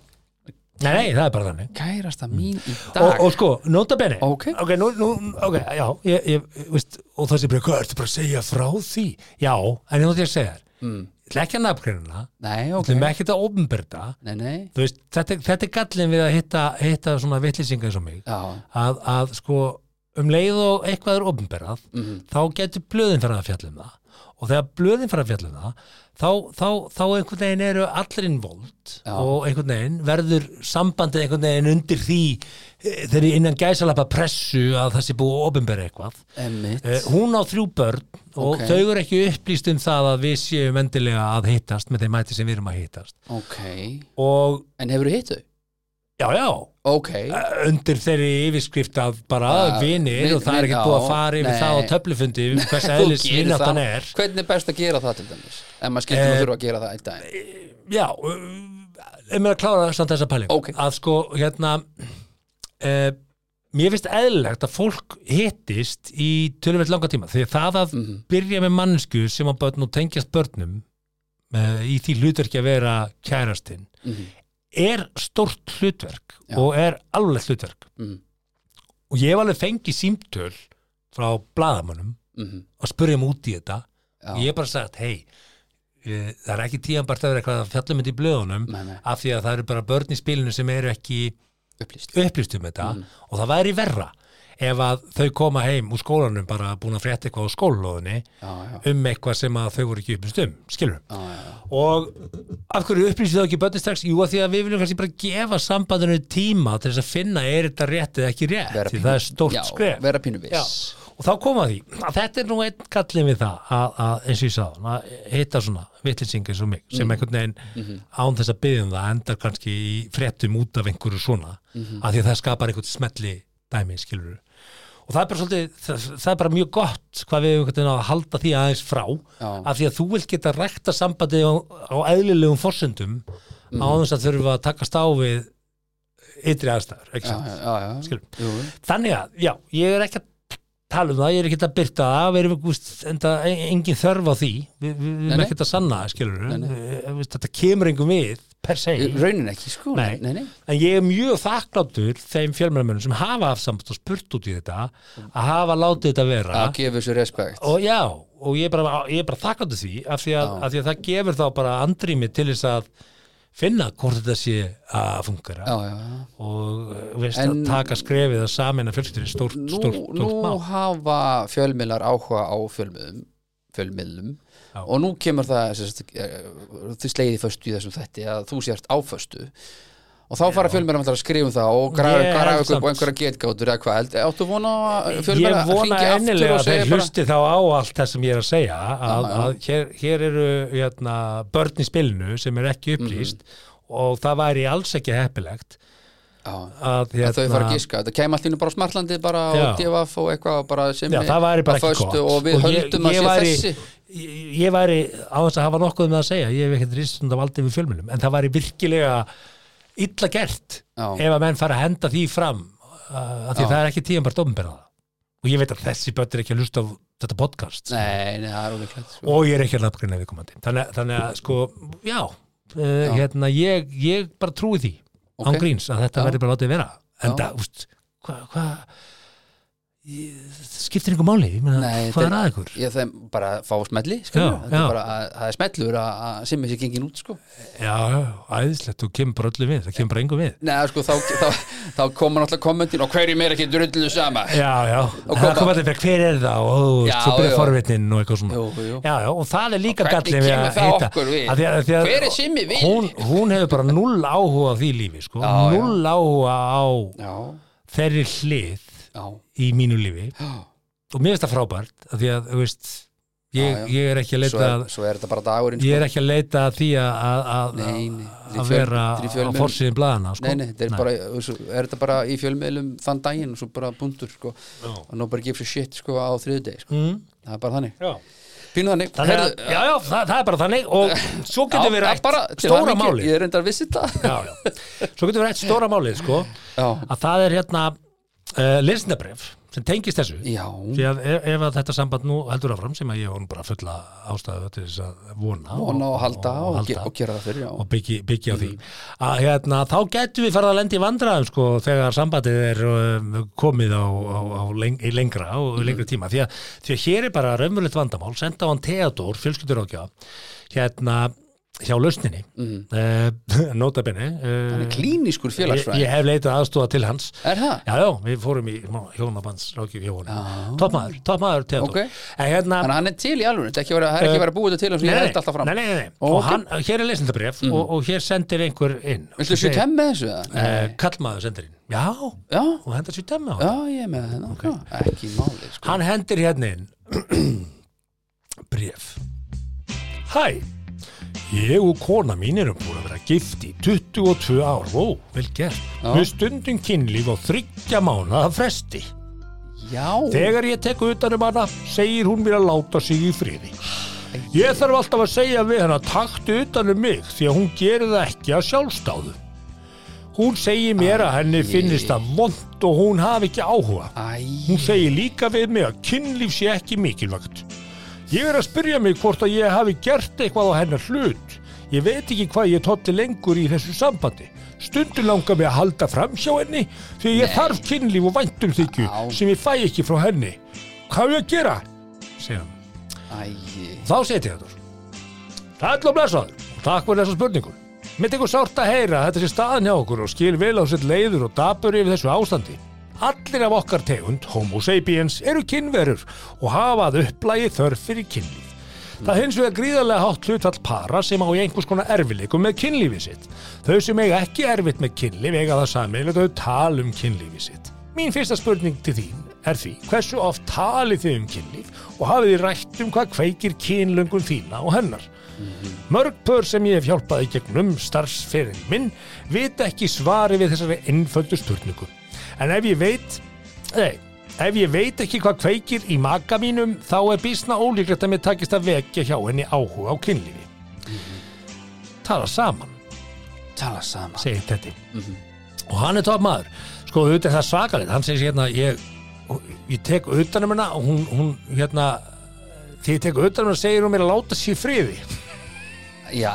S1: nei, nei, það er bara þannig
S2: kærasta mín í
S1: Mm. og,
S2: dag
S1: og sko, nota bene
S2: Ókei.
S1: ok, nú, nú, ok, já ég, ég, veist, og það sé bara, hvað ertu bara að segja frá því já, en ég þótti að segja þér mm. ekki að nafngreinuna,
S2: nei, ok,
S1: okay. við ekki að ofnberða
S2: nei, nei
S1: þú veist, þetta, er- þetta er gallin við að hitta, hitta svona vitlisinga eins og mig
S2: já,
S1: að, að sko, um leið og eitthvað er ofnberðað,
S2: Mhm.
S1: þá getur blöðin fyrir að fjalla um það og þegar blöðin fyrir að fjalla um það þá, þá, þá einhvern veginn eru allir involvd
S2: Já.
S1: og einhvern veginn verður sambandið einhvern veginn undir því eh, þegar innan gæsalappa pressu að það sé búið að opinbera eitthvað
S2: emmitt
S1: Eh, hún á þrjú börn og
S2: Ok.
S1: þau eru ekki upplýst um það að við séum endilega að hittast með þeim mæti sem við erum að hittast
S2: ok,
S1: og
S2: en hefur þú hittu?
S1: já, já,
S2: ok,
S1: Eh. undir þeirri yfirskrift af bara
S2: Ah,
S1: vinir
S2: vin-
S1: og það er
S2: vin-
S1: ekki
S2: já,
S1: búið að fara yfir
S2: nei.
S1: það á töflufundi um hvers
S2: Þú
S1: eðlis
S2: gerir
S1: vináttan
S2: það.
S1: er
S2: hvernig er best að gera það til dæmis en maður skiltum
S1: Eh,
S2: að þurfa að gera það einn dag
S1: já, um er að klára samt þessa pæling
S2: Ókei.
S1: að sko, hérna uh, mér finnst eðlilegt að fólk hittist í tölvöld langa tíma því að það að
S2: Mhm.
S1: byrja með mannsku sem á börn og tengjast börnum uh, í því hlutverki að vera kærastinn
S2: Mhm.
S1: er stórt hlutverk og er alveg hlutverk
S2: Mhm.
S1: og ég hef alveg fengið símtöl frá blaðamönnum
S2: Mhm.
S1: að spurja mig út í þetta
S2: Já.
S1: ég hef bara sagt, hei eh, það er ekki tíðanbært að vera eitthvað að fjallum þetta í blöðunum
S2: Nei, nei.
S1: af því að það eru bara börn í spilinu sem eru ekki
S2: upplýst Mm.
S1: upplýst um þetta og það væri verra ef að þau koma heim úr skólanum bara búin að frétta eitthvað á skólalóðinni
S2: já, já,
S1: um eitthvað sem að þau voru ekki upplýst um skilur
S2: já, já,
S1: og af hverju upplýsið þá ekki börnir strax jú að því að við viljum kannski bara gefa sambandinu tíma til þess að finna er þetta rétt eða ekki rétt
S2: Vera
S1: því
S2: pínu-
S1: það er stórt
S2: já,
S1: skref
S2: vera pínu viss.
S1: Já, og þá koma því að þetta er nú einn kallin við það að, að eins og ég sagði að hitta svona vitlisingar eins og mig
S2: Mhm.
S1: sem einhvern veginn án þess að byggja um það endar kannski í fréttum út af einhverju svona
S2: Mhm.
S1: af því að það skapar einhvern smelli dæmi skilur og það er bara svolítið það, það er bara mjög gott hvað við einhvern veginn á að halda því aðeins frá
S2: Já.
S1: af því að þú vilt geta rækta sambandi á, á eðlilegum forsendum
S2: Mhm.
S1: á þess að þurfa að takast á við ytri aðstæður ekki
S2: já,
S1: satt?
S2: já, já, já.
S1: Skilur.
S2: Jú,
S1: þannig að, já, ég er ekki að tala um það, ég er ekki að byrta það við erum gúst, enda, en- engin þörf á því við, við, við
S2: Nei,
S1: erum
S2: nei.
S1: ekkert að sanna, það, skilur
S2: Nei, nei.
S1: við þetta kemur engum við, per se
S2: Í rauninni ekki sko
S1: Nei. Ah.
S2: nei, nei.
S1: en ég er mjög þakkláttur þeim fjölmjörnmennum sem hafa haft samband og spurt út í þetta að hafa látið þetta vera
S2: að gefa þessu respekt
S1: og já, og ég er bara, ég er bara þakkláttur því af því, að,
S2: Já.
S1: af því að það gefur þá bara andrými til þess að finna hvort þetta sé að fungera
S2: já, já, já
S1: og uh, veist
S2: En-
S1: að taka skrefið að samina fjölskyldur stórt,
S2: nú,
S1: stórt, stórt
S2: nú
S1: mál
S2: hafa fjölmiðlar áhuga á fjölmiðlum fjölmiðlum
S1: Já.
S2: og nú kemur það sem sagt, eh, þið slegið föstu í þessum þætti að þú sért áföstu og þá fara fjölmiðlar að skrifa um það og grafa
S1: Ég
S2: grafa
S1: held
S2: ykkur upp á
S1: samt-
S2: einhverja getgátur eða hvað, Held- áttu vona fjölmiðlar
S1: ég
S2: að
S1: vona
S2: hringja aftur
S1: ennilega
S2: og
S1: að
S2: segja
S1: þeir
S2: bara
S1: hlusti þá á allt það sem ég er að segja að,
S2: Já, já.
S1: að hér, hér eru hérna, börn í spilinu sem er ekki upplýst
S2: Mhm.
S1: og það væri alls ekki heppilegt
S2: já,
S1: að,
S2: að
S1: hérna,
S2: þau fara að giska, þetta kem allir bara á smartlandi bara
S1: Já.
S2: og divaf og eitthvað bara sem
S1: já, það væri bara
S2: bara
S1: ekki
S2: föstu
S1: gott
S2: og við
S1: ég-
S2: höldum að
S1: ég
S2: sé
S1: væri-
S2: þessi
S1: ég- ég væri á þess að hafa nokkuð með að segja ég hef ekkert ristund af aldrei við fjölmjölum en það væri virkilega illa gert
S2: Já.
S1: ef að menn fara að henda því fram uh, að því
S2: Já.
S1: það er ekki tíðan bara dómberða og ég veit að þessi börn er ekki að hlusta á þetta podcast
S2: nei, nei, það er úrlega
S1: og ég er ekki að lafgrinna viðkomandi þannig, þannig að sko, já uh, hérna, ég, ég bara trúi því
S2: Ok.
S1: án gríns að þetta
S2: Já.
S1: verður bara látið vera en það, úst, hvað hva, það skiptir einhver máli ég meina,
S2: Nei,
S1: hvað
S2: þetta-
S1: er að ykkur
S2: Ég þeim bara fá smelli,
S1: Já,
S2: skilur Þetta
S1: já.
S2: er bara að það er smellur að að simmi sér gengin út, sko
S1: já, æðislegt, þú kemur bara öllu við það kemur bara engum við
S2: Nei, sko, þá, þá, þá koma náttúrulega kommentin og hverjum er ekki drullu sama
S1: já, já,
S2: Og
S1: það
S2: kom
S1: kom allir fyrir hver er það og þú veist,
S2: Já,
S1: svo
S2: já.
S1: byrja forvitnin og eitthvað svona
S2: Jú, jú.
S1: Já, já, og það er líka
S2: Og hvernig
S1: gallið við
S2: kemur
S1: að
S2: það
S1: hitta
S2: okkur við?
S1: að því að, því að
S2: Hver er Simmi við?
S1: Hún, hún hefur bara null áhuga á því lífi sko.
S2: Já, já.
S1: null áhuga á
S2: Já,
S1: þeirri hlið
S2: já,
S1: í mínu lífi
S2: já.
S1: og mér finnst það frábært að því að, þú veist ég,
S2: Já, já.
S1: ég er ekki að
S2: Svo
S1: leita
S2: er, svo er þetta bara dagurinn
S1: ég
S2: sko.
S1: er ekki að leita að því að- að að-
S2: Nei,
S1: að
S2: nei, þetta er í
S1: að
S2: fjöl-
S1: vera
S2: þetta er í
S1: á
S2: fjölmiðlum.
S1: forsýðin blaðana sko.
S2: Nei, nei, þetta er, Bara, svo er þetta bara í fjölmiðlum þann daginn og svo bara bundur sko. og nobody gives a shit sko, á þriðudeg sko.
S1: Mm,
S2: það er bara þannig,
S1: já.
S2: pínu
S1: Þannig
S2: þannig,
S1: að,
S2: Heyrðu,
S1: já, já, það, það er bara þannig og svo getum við
S2: já,
S1: rætt
S2: bara, til
S1: stóra
S2: hamingju,
S1: máli
S2: ég er reyndar að vissi þetta
S1: já, já. svo getum við rætt stóra málið sko,
S2: já,
S1: að það er hérna uh, lesnabref sem tengist þessu
S2: já,
S1: því að ef, ef að þetta samband nú heldur áfram sem að ég hún bara fulla ástæðu til þess að vona
S2: vona og halda og, og,
S1: halda
S2: og gera það fyrir já.
S1: og byggi, byggi á því
S2: Mm.
S1: að hérna, þá getum við farið að lenda í vandræðum sko, þegar sambandið er um, komið á, á, á leng, í lengra á
S2: Mm.
S1: lengri tíma, því að, því að hér er bara raunverulegt vandamál, senda á hann Theodor fjölskyldur hérna hjá lausninni mm. uh, notabene
S2: hann er Eh?
S1: uh,
S2: klínískur
S1: ég,
S2: félagsfræði
S1: ég hef leitað aðstóða til hans
S2: er það?
S1: Já, já, við fórum í hjónabandsrákjöf hjá honum Toppmaður, toppmaður, Theodor
S2: Ok.
S1: En hérna,
S2: Þannig að hann er til í alveg, þetta er ekki verið- það er ekki verið að búið þetta til og svo ég held alltaf fram
S1: Eh, nei, nei, nei, nei.
S2: Ó,
S1: og
S2: ok. Mm.
S1: hann, hér er lesendabref og, og hér sendir einhver inn
S2: Viltu sjútt
S1: Segir,
S2: hemm með þessu? eða?
S1: eh, Kallmaður sendir inn, já og
S2: Já,
S1: hendur sjutemma á
S2: já,
S1: þetta
S2: ég er með það Ekki máli, sko
S1: Hann hendir hérna inn Bref Hæ Ég og kona mín erum búin að vera gift í 22 ár, ó, vel gert
S2: Já.
S1: Við stundum kynlíf á þryggja mánaða fresti
S2: Já,
S1: Þegar ég tek utan um hana, segir hún mér að láta sig í friði. Ég þarf alltaf að segja við hana takt utan um mig því að hún gerir það ekki að sjálfstáðu. Hún segir mér að henni finnist það vond og hún hafi ekki áhuga.
S2: æ,
S1: Hún segir líka við mig að kynlíf sé ekki mikilvægt. Ég er að spyrja mig hvort að ég hafi gert eitthvað á hennar hlut. Ég veit ekki hvað ég tótti lengur í þessu sambandi. Stundu langar mig að halda fram hjá henni því að ég þarf kynlíf og væntumþykju
S2: Á.
S1: sem ég fæ ekki frá henni. Hvað er ég að gera? segir hann.
S2: æ
S1: Þá seti ég þetta. sko. Sæll og blessaður og takk fyrir þessa spurningu. Mér tekur sárt að heyra að þetta sé staðan hjá okkur og skil vel á sitt leiður og dapur yfir þessu ástandi. Allir af okkar tegund, homo sapiens, eru kynverur og hafa að upplægi þörf fyrir kynlíf. Það er hins vegar gríðarlega hátt hlutfall para sem á í einhvers konar erfileikum með kynlífið sitt. Þau sem eiga ekki erfitt með kynlíf eiga það sammeilegt að þau tala um kynlífið sitt. Mín fyrsta spurning til þín er því hversu oft talið þið um kynlíf og hafið þið rætt um hvað kveikir kynlöngun þína og hennar. Mörg pör sem ég hef hjálpað í gegnum starfsferðin minn vita ekki svari við þessari einföldu spurningu. En ef ég veit, nei, ef ég veit ekki hvað kveikir í maka mínum þá er bísna ólíklegt að mér takist að vekja hjá henni áhuga á kynlífi. Tala saman,
S2: tala saman
S1: segir Teddy. Og hann er top maður. Sko, auðvitað er það svakalegt. Hann segir hérna, ég, ég tek utanum hennar og hún, hún hérna, því ég tek utanum hennar segir hún mér að láta sér friði.
S2: Já,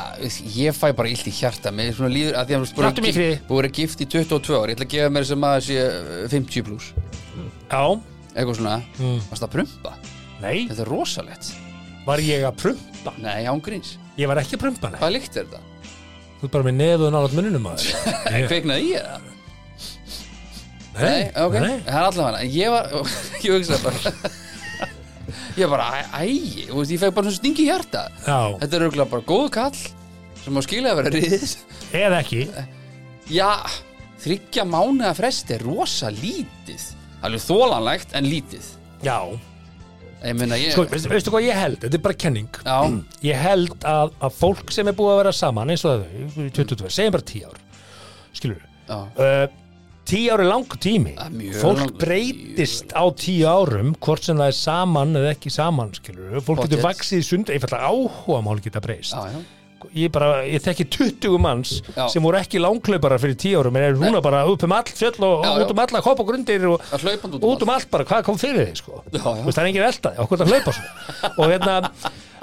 S2: ég fæ bara illt í hjarta Mér er svona líður að því að
S1: Láttu mig í friði.
S2: Búið að vera gift í 22 ár Ég ætla að gefa mér sem að sé uh, 50 plus
S1: Já,
S2: Eitthvað svona
S1: Mm.
S2: Varst að prumpa
S1: nei,
S2: Þetta er rosalegt
S1: var ég að prumpa?
S2: Nei, án gríns
S1: Ég var ekki að prumpa nei.
S2: Hvað líkt er þetta?
S1: Þú ert bara með nefðun álægt mununum að þér. Ég-
S2: Kveiknaði ég það?
S1: Nei,
S2: ok
S1: nei.
S2: Það er allavega hana Ég var Ég hugsaði bara Ég bara, æ, æ Þú veist, ég fæ bara svona stingi í hjarta
S1: Já,
S2: Þetta er auðvitað bara góð kall Sem á skilja að vera riðið
S1: eða ekki.
S2: Já, þryggja mánuða frest er rosa lítið Alveg þólanlegt en lítið
S1: Já,
S2: Ég meina ég
S1: sko, Mm. veistu, veistu hvað ég held? Þetta er bara kenning.
S2: Já,
S1: Ég held að, að fólk sem er búið að vera saman eins og þau, í 22, segjum bara 10 ár. Skilur við?
S2: já,
S1: Uh, 10 ár er langur tími.
S2: Það er mjög
S1: Fólk
S2: langur-
S1: breytist á 10 árum, hvort sem það er saman eða ekki saman, skilur við? Fólk getur
S2: Pottet.
S1: vaksið í sund, einfallega áhuga mál geta breyst.
S2: já, já
S1: ég bara, ég þekki 20 manns
S2: Já.
S1: sem voru ekki langklauparar fyrir 10 árum en er núna bara upp um all fjöll og
S2: Já, já.
S1: út um alla kopp og grundir og
S2: Það hlaupand út um
S1: út um allt bara, hvað kom fyrir þig sko
S2: Já, já.
S1: Þú Veist, það er engin elda, okkur það hlaupa svo og hérna,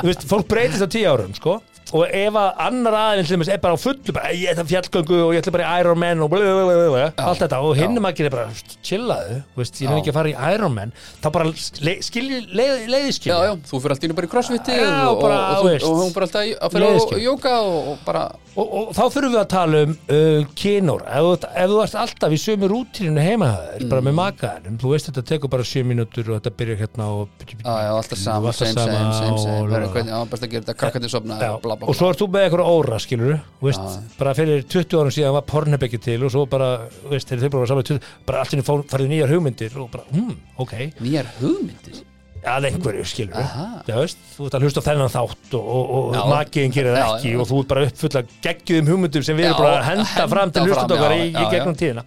S1: þú veist, fólk breytist á 10 árum sko og ef að annar aðeins til dæmis er bara á fullu bara, ég ætla fjallgöngu og ég ætla bara í Iron Man og blablabla, allt þetta og hinn
S2: já.
S1: maður gerir bara "St, chillaðu, þú veist, ég nefn
S2: Já.
S1: ekki að fara í Iron Man þá bara le, skilji, leið, leiðiskilji
S2: Já, já, þú fyrir allt í einu bara í crossfitti
S1: Já,
S2: og,
S1: bara,
S2: og, og,
S1: veist.
S2: þú- og hún bara alltaf í- að fyrir
S1: Leiðiskil.
S2: og jóka og, og bara
S1: og, og þá þurfum við að tala um uh, kynor, ef, þú ert- ef þú ert alltaf í sömu rútírinu heima mm. bara með makaðanum, þú veist þetta tekur bara 7 mínútur og þetta byrjar hérna og
S2: Já, já, alltaf sama,
S1: Alltaf
S2: same, same,
S1: sama
S2: same,
S1: og-
S2: same Bara hvernig- Já, best að gera þetta, krakkandi sopna
S1: Já,
S2: Ah, bla, bla, Ah.
S1: og
S2: bla.
S1: svo ert þú með eitthvað óra skilur veist, bara fyrir 20 árum síðan var Pornhub ekki til og svo bara, veist, þegar þau bara var saman í 20, bara allt inni fór- farið nýjar hugmyndir og bara, hmm, ok,
S2: Nýjar hugmyndir
S1: að einhverju skilur
S2: Aha.
S1: það veist, þú ert að hlusta á þennan þátt og, og,
S2: Já.
S1: og makiðin gerir
S2: Já,
S1: ekki
S2: já.
S1: og þú ert bara uppfull að geggjum hugmyndum sem við
S2: Já,
S1: erum bara að henda
S2: henda
S1: fram til
S2: fram,
S1: hlustandi okkar í,
S2: já,
S1: í
S2: já,
S1: gegnum
S2: já.
S1: tíðina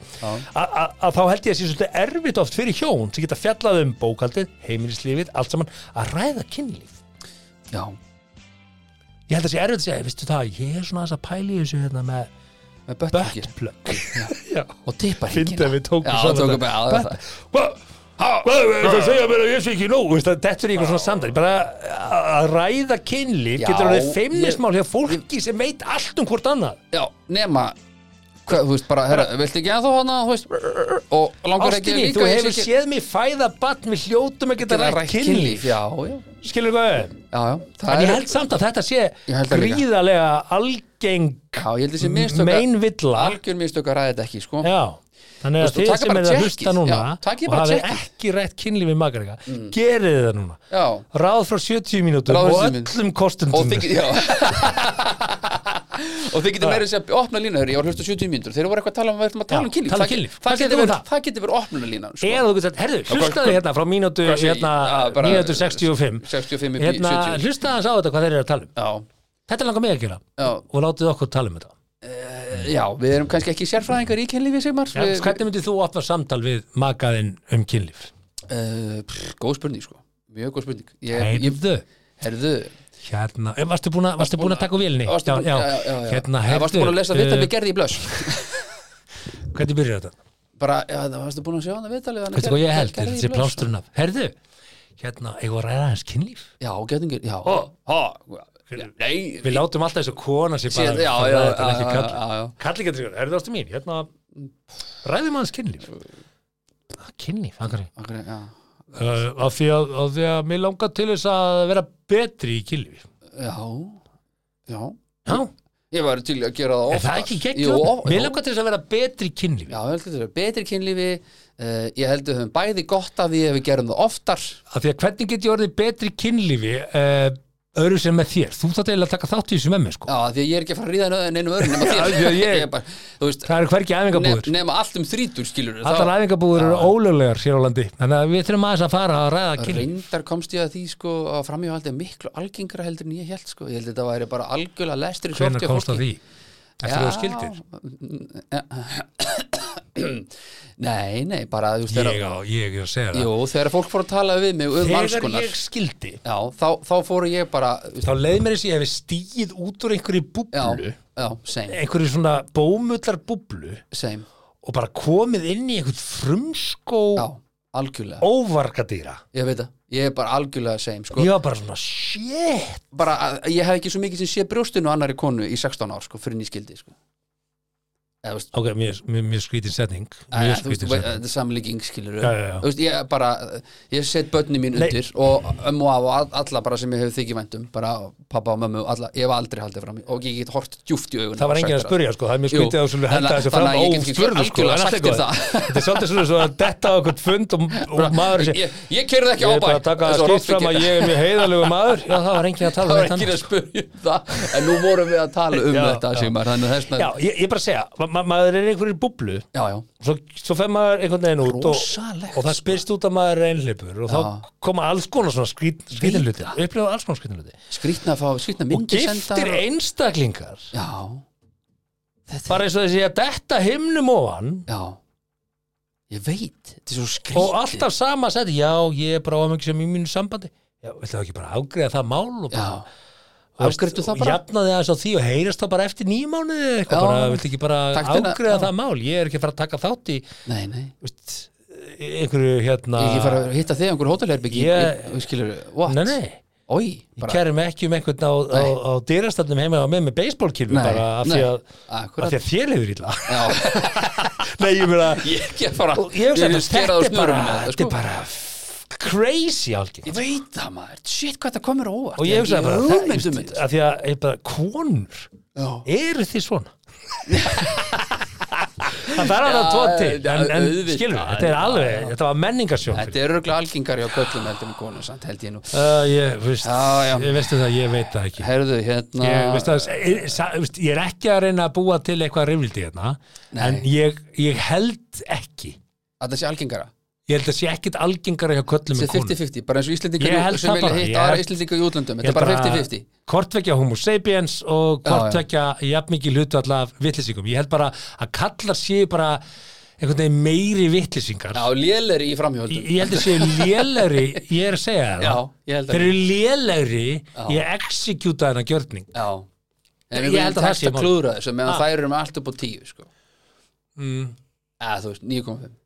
S1: A- a- að þá held ég að sé svolítið erfitt oft fyrir hjón sem geta fjallað um bókaldið, heimilislífið, allt saman að ræða kynlíf
S2: Já,
S1: ég held að sé erfitt að segja, veistu það, ég er svona aðeins að pæli þessu hérna með
S2: með böttbyggjur
S1: buttplug já,
S2: og tippar
S1: fyndi að við tókum
S2: Já, tókum bara á
S1: Butt-
S2: það.
S1: Hvað? Hvað er
S2: Ah.
S1: það að segja mér að ég sé ekki nóg Veist að Þetta er einhver svona samdæri bara að- að ræða kynlíf
S2: Já,
S1: getur orðið
S2: ég-
S1: feimnismál hjá fólki sem veit allt um hvort annað
S2: Já, nema hvað, Þú veist bara, herra, viltu ekki að þú hana þú veist, og langar ekki
S1: Ástinni,
S2: líka
S1: þú
S2: ég
S1: hefur
S2: sé ekki-
S1: séð mér fæða barn við hljótum að geta
S2: geta
S1: rætt kynlíf
S2: Já, já,
S1: skilur hvað er
S2: já, já
S1: En
S2: það
S1: ég
S2: er-
S1: held samt að þetta sé
S2: Ég held það líka.
S1: gríðarlega algeng
S2: Já, ég held þessi mistök að-
S1: meinvilla
S2: Algjör mistök að ræða þetta ekki, sko
S1: Já, þannig að
S2: Þú veist, þú
S1: þið
S2: takir
S1: sem
S2: bara
S1: er að
S2: checkið,
S1: hlusta núna
S2: já, takið
S1: og
S2: bara
S1: hafið
S2: checkið.
S1: ekki rætt kynlífið makar ykkar, mm. gerið þið það núna
S2: Já.
S1: Ráð frá 70 mínútur
S2: Ráð frá
S1: og
S2: 70 mínútur.
S1: öllum
S2: og
S1: kostundum
S2: þið getið og þið getið meira að segja opna lína þeirri, ég var að hlusta á 70 mínútur þeir voru eitthvað að tala um, við ætlum að
S1: Já,
S2: tala um kynlíf
S1: tala um
S2: Það-
S1: kynlíf. Hvað
S2: það
S1: segir þú
S2: getur
S1: um
S2: verið,
S1: það?
S2: það getur verið opna lína sko.
S1: Eða þú getur sagt, herðu, hlustaðu hérna frá mínútu
S2: hvað sé ég?
S1: hérna,
S2: Já, bara-
S1: mínútu 65
S2: 65 upp í
S1: hérna,
S2: 70.
S1: Hlustaðu hans á þetta hvað þeir eru að tala um
S2: já,
S1: Þetta langar mig að gera
S2: já,
S1: og látið okkur tala um þetta
S2: já, við erum kannski ekki sérfræðingar í kynlífi Sigmar
S1: Já, sko-
S2: Við-
S1: Hvernig myndir þú opna samtal við makaðinn um kynlíf?
S2: Eh, pff, góð spurning sko, mjög góð spurning Eh, ég, ég,
S1: Heyrðu,
S2: herðu
S1: hérna, eh, varstu búin að varstu búin að taka úr vélinni?
S2: varstu búin-
S1: já,
S2: já, já, já, já.
S1: Hérna,
S2: Eh, varstu búin að lesa viðtal við
S1: heyrðu,
S2: gerði í blöss
S1: eh, hvernig byrjar þetta?
S2: bara, já, það varstu búin að sjá hana viðtal við hana
S1: Veistu hvað ég
S2: Gerði-
S1: held,
S2: Gerði í
S1: þetta sé
S2: Blöss?
S1: plásturinn af Herðu, hérna, eigum við að ræða hans kynlíf
S2: já, getur, já, já, nei
S1: Við látum alltaf þessu kona sem bara
S2: Sér- já,
S1: bara
S2: já,
S1: ræða þetta, en
S2: já,
S1: ekki
S2: já,
S1: kall.
S2: já, já.
S1: Kalli getur sér, herðu ástu mín Hérna, ræðum hans kynlíf Ah, Kynlíf, af hverju?
S2: Akkur, já
S1: Uh, Af því að, af því að mér langar til þess að vera betri í kynlífi
S2: Já, já
S1: Já,
S2: Ég var til í að gera
S1: er
S2: það oftar
S1: það ekki
S2: Jú,
S1: geggjum?
S2: of-
S1: Mér
S2: jú.
S1: langar til þess að vera betri í kynlífi
S2: Já, ég held að þetta er betri kynlífi uh, Ég held að við höfum bæði gott af því ef við gerum það oftar
S1: Af því að hvernig get ég orðið betri í kynlífi uh, öðru sem með þér Þú þátt eiginlega að taka þátt í þessu með mér sko
S2: Já, af því að ég er ekki að fara að ríða nöðin einum öðrum nema
S1: Já, af því
S2: þér
S1: að ég-
S2: er bara, Þú veist,
S1: Það eru hvergi æfingabúður
S2: nef, nema allt um þrítur skilur
S1: Allar æfingabúður eru ólöglegar hér á landi Þannig að við þurfum aðeins að fara að ræða kynlíf
S2: Reyndar komst ég að því sko að framhjóhaldi er miklu algengara heldur en ég held sko Ég held að þetta væri bara algjörlega lestur í
S1: Hvenær
S2: sorti
S1: komst á því? Eftir að þú
S2: Já.
S1: skildir?
S2: Nei, nei, bara þú veist, þegar-
S1: Ég, á, ég er að segja það
S2: Jú, þegar fólk fór að tala við mig um alls
S1: Þegar
S2: konar
S1: ég skildi
S2: Já, þá, þá fór ég bara
S1: þá leið mér þess að ég hefði stíð út úr einhverju búblu
S2: Já, já, same,
S1: einhverju svona bómullar búblu
S2: same
S1: og bara komið inn í einhvern frumskó
S2: Já, algjörlega
S1: óvargadýra
S2: Ég veit það, ég er bara algjörlega same sko.
S1: ég var bara svona shit
S2: bara, að- Ég hef ekki svo mikið sem sé brjóstinu á annari konu í 16 ár, sko, fyrir nýskildi sko. Eða, þú veist,
S1: ok, mér, mér, mér skrítin setning mjög
S2: að, þú veist,
S1: skrítin
S2: veit-
S1: setning
S2: þetta er samlíking skilur
S1: Já, já, já.
S2: Veist, ég bara, ég set börni mín
S1: Nei.
S2: undir og ömmu af og all- alla bara sem ég hef þykir væntum, bara pappa og mömmu alla, ég hef aldrei haldið fram í- og ég get hort djúft í augun
S1: það var enginn að spurja sko, það er mjög
S2: Jú,
S1: skrítið að þú svolítið henda
S2: þannig-
S1: þessu
S2: þannig
S1: fram á
S2: að ég get ekki
S1: furðu sko,
S2: algjörlega
S1: en allt
S2: sagt
S1: er góð.
S2: þér það.
S1: þetta er svolítið svona svo að detta á einhvern fund og, og maður sé,
S2: ég, ég kerði ekki
S1: ég
S2: á
S1: er
S2: bæ
S1: bara að taka
S2: eins og
S1: skýrt
S2: Robby
S1: fram að
S2: gerði.
S1: ég er mjög heiðalegu maður já, það var enginn að tala
S2: það
S1: um
S2: var
S1: þetta
S2: ekki að spurja um það en nú vorum við að tala um
S1: Já,
S2: þetta
S1: já.
S2: Sigmar, þannig að þessna
S1: Já, ég, ég bara að segja, ma ma maður er einhverjir búblu
S2: já, já,
S1: svo, svo fer maður einhvern veginn út og,
S2: Rosalegt,
S1: og það spyrst út að maður er einhleipur og þá koma alls konar svona skrít, skrítinluti upplifa alls konar skrítinluti
S2: skrýtna að fá skrýtna
S1: og
S2: myndi
S1: giftir einstaklingar
S2: já, þetta
S1: bara eins og þessi að detta himnum ofan
S2: já ég veit, þetta er svo skrýtt
S1: og alltaf sama seti, já, ég er bara ámygg sem í mínu sambandi já, viltu þá ekki bara afgreða það mál og
S2: já,
S1: bara þú veist,
S2: afgriðtu það
S1: og
S2: bara
S1: jafnaði aðeins á því og heyrast þá bara eftir nýmánuði eitthvað
S2: Já.
S1: bara, viltu ekki bara
S2: Taktina,
S1: afgreða
S2: já.
S1: það mál ég er ekki að fara að taka þátt í
S2: nei, nei,
S1: veist, einhverju hérna
S2: ég ekki fara að hitta þig á einhver hótelherbyggi
S1: Ég-
S2: ég skilur, what
S1: Nei, nei
S2: Ói,
S1: Ég kæri mig ekki um einhvern á, á,
S2: Nei.
S1: á dyrastafnum heima á með með baseballkilfu
S2: Nei,
S1: bara af því
S2: nei,
S1: að,
S2: akkurat.
S1: af því að þér hefur illa
S2: Já,
S1: Nei, ég meina
S2: ég er ekki að fara
S1: og Ég hef
S2: vil
S1: sagt
S2: skera
S1: að
S2: úr
S1: þetta er bara
S2: snörunum með það,
S1: Þetta
S2: sko.
S1: er bara f- crazy algjör
S2: Ég veit það maður, shit hvað það komur óvart
S1: Og ég hef sagt bara
S2: það
S1: það-
S2: myndum mynd
S1: af Því að ég bara, konur Eru þið svona? Það þarf að það tvo
S2: Já,
S1: til En, en
S2: auðvitað,
S1: skilur, þetta er
S2: já,
S1: alveg Þetta var menningarsjón
S2: Þetta er örgulega algengar hjá köllum heldur með konu samt held ég nú
S1: Uh, ég, veist,
S2: Já, já.
S1: ég veistu það, ég veit það ekki
S2: Herðu hérna
S1: ég, veist, það, ég, sa- veist, ég er ekki að reyna að búa til eitthvað rifrildi hérna
S2: Nei.
S1: en ég, ég held ekki
S2: að það sé algengara
S1: ég held að sé ekkit algengara hjá köllum
S2: Þetta
S1: en
S2: er
S1: konum
S2: 50-50, bara eins og
S1: Ég
S2: Íslendingar
S1: held
S2: sem
S1: það
S2: vilja
S1: bara, ég
S2: hitta aðra
S1: held-
S2: Íslendinga í útlöndum
S1: Ég
S2: Þetta er
S1: held
S2: bara
S1: að
S2: 50-50
S1: hvort vekja homo sapiens og
S2: Já,
S1: hvort
S2: já.
S1: vekja jafnmikið hlutfall af vitlisingum ég held bara að kallar séu bara einhvern veginn meiri vitlisingar
S2: Já, lélir í framhjóldum
S1: ég ég held að séu lélegri ég er að segja það
S2: Já, ég held að-
S1: þeir eru lélegri í að exekjúta þennan gjörning
S2: Já En
S1: Ég
S2: við
S1: held
S2: viljum
S1: að það sé
S2: tekst að
S1: mál.
S2: klúðra þessu meðan
S1: Ah.
S2: þær eru með allt upp á 10 sko.
S1: mm.
S2: Eða þú veist, 9,5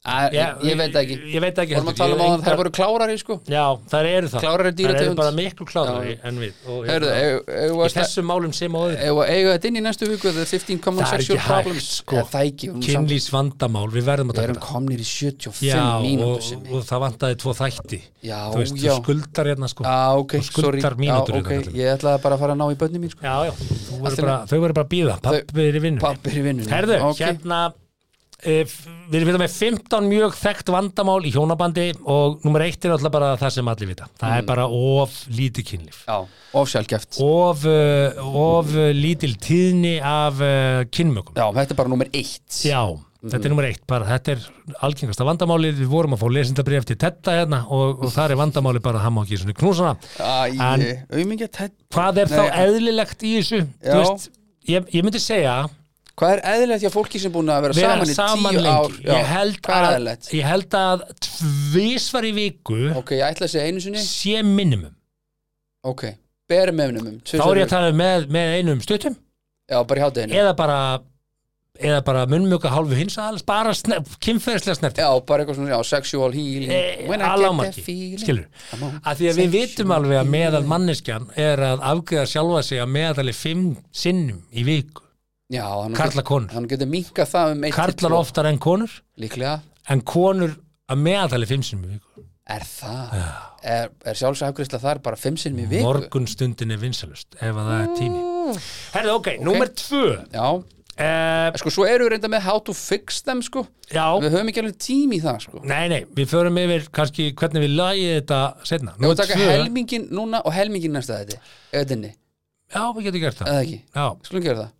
S2: Að- ég- Ég veit það ekki
S1: ég veit ekki
S2: Vorum
S1: heldur.
S2: að
S1: Ég
S2: tala um
S1: hef
S2: að þær
S1: engar-
S2: voru klárari sko
S1: Já, þær eru það
S2: Klárari
S1: Þær
S2: dýrategund.
S1: eru bara miklu klárari en við og,
S2: Herðu,
S1: hérna,
S2: eigum- eigum
S1: Í
S2: við að sta-
S1: þessum málum sem á öðru
S2: eigum við að eiga þetta inn í næstu viku The 15 common
S1: Það er
S2: sexual
S1: ekki hægt,
S2: problems
S1: sko.
S2: Eða Það er ekki, við erum samt-
S1: Kynlýs vandamál, við verðum að
S2: Við
S1: taka
S2: erum
S1: þetta
S2: komnir í 75
S1: Já,
S2: mínútur
S1: og,
S2: sem
S1: og það vantaði tvo þætti
S2: Já,
S1: Þú veist,
S2: já.
S1: þú skuldar hérna sko
S2: Já, ok,
S1: og skuldar
S2: sorry
S1: mínútur hérna, í
S2: já, ok,
S1: þetta.
S2: Ég ætlaði bara að fara að ná í bönni mín sko.
S1: Já, já, þú verður
S2: í
S1: bara, þau verður bara að býða Pappi er í vinnu
S2: Pappi er í vinnunni
S1: Herðu,
S2: Ok.
S1: hérna eh, f- Við erum hérna með 15 mjög þekkt vandamál í hjónabandi og nummer eitt er alltaf bara það sem allir vita Það er bara of lítið kynlíf
S2: Mm. Já, ofsjálgeft
S1: Of, eh, of eh, lítil tíðni af uh, kynmökum
S2: Já, þetta er bara nummer eitt
S1: Já, þetta er nummer eitt bara, þetta er algengasta vandamálið við vorum að fá lesendabrif til þetta hérna og, og þar er vandamálið bara að hann má ekki svona knúsana En-
S2: Æ, aumingja tætt
S1: Hvað er þá
S2: Nei.
S1: eðlilegt í þessu? Þú
S2: Já.
S1: ég, ég myndi segja
S2: Hvað er eðlilegt hjá fólki sem búin að vera
S1: vera
S2: saman í
S1: saman
S2: tíu ár
S1: lengi ég held,
S2: Hvað er
S1: að,
S2: eðlilegt?
S1: ég held að tvísvar í viku
S2: Ok, ég ætla að segja einu sinni
S1: sé minimum
S2: Ok, ber meðnum
S1: þá er ég að tala með, með einum stuttum
S2: Já, bara í hátæðinu
S1: eða bara eða bara munnmjöka hálfu hins aðals bara sne, kynferðislega snerti
S2: Já, bara eitthvað svona, já, sexual healing
S1: Eh,
S2: When I get
S1: alámarki,
S2: that feeling.
S1: skilur
S2: Come on.
S1: að því að við vitum alveg að meðal manneskjan er að afgriða sjálfa sig að meðalli fimm sinnum í viku
S2: Já, hann
S1: karla konur,
S2: Hann getur minkað það um eitt
S1: karlar oftar en konur
S2: Líklega,
S1: en konur að meðalli fimm sinnum í viku,
S2: er það Er, er sjálfsafgriðsla þar bara fimm sinnum í viku? Mm.
S1: morgunstundin er vinsalust ef að það er tími herðu ok, okay. númer tvö
S2: Já,
S1: uh,
S2: sko svo eru við reynda með how to fix them sko
S1: já,
S2: Við höfum ekki alveg tím í það sko
S1: nei nei við förum yfir kannski hvernig við lagið þetta setna,
S2: Nú
S1: númer
S2: taka
S1: tvö
S2: helmingin núna og helmingin næsta þetta Öðinni,
S1: já, við getum gert það
S2: eða ekki?
S1: já,
S2: Skulum gera það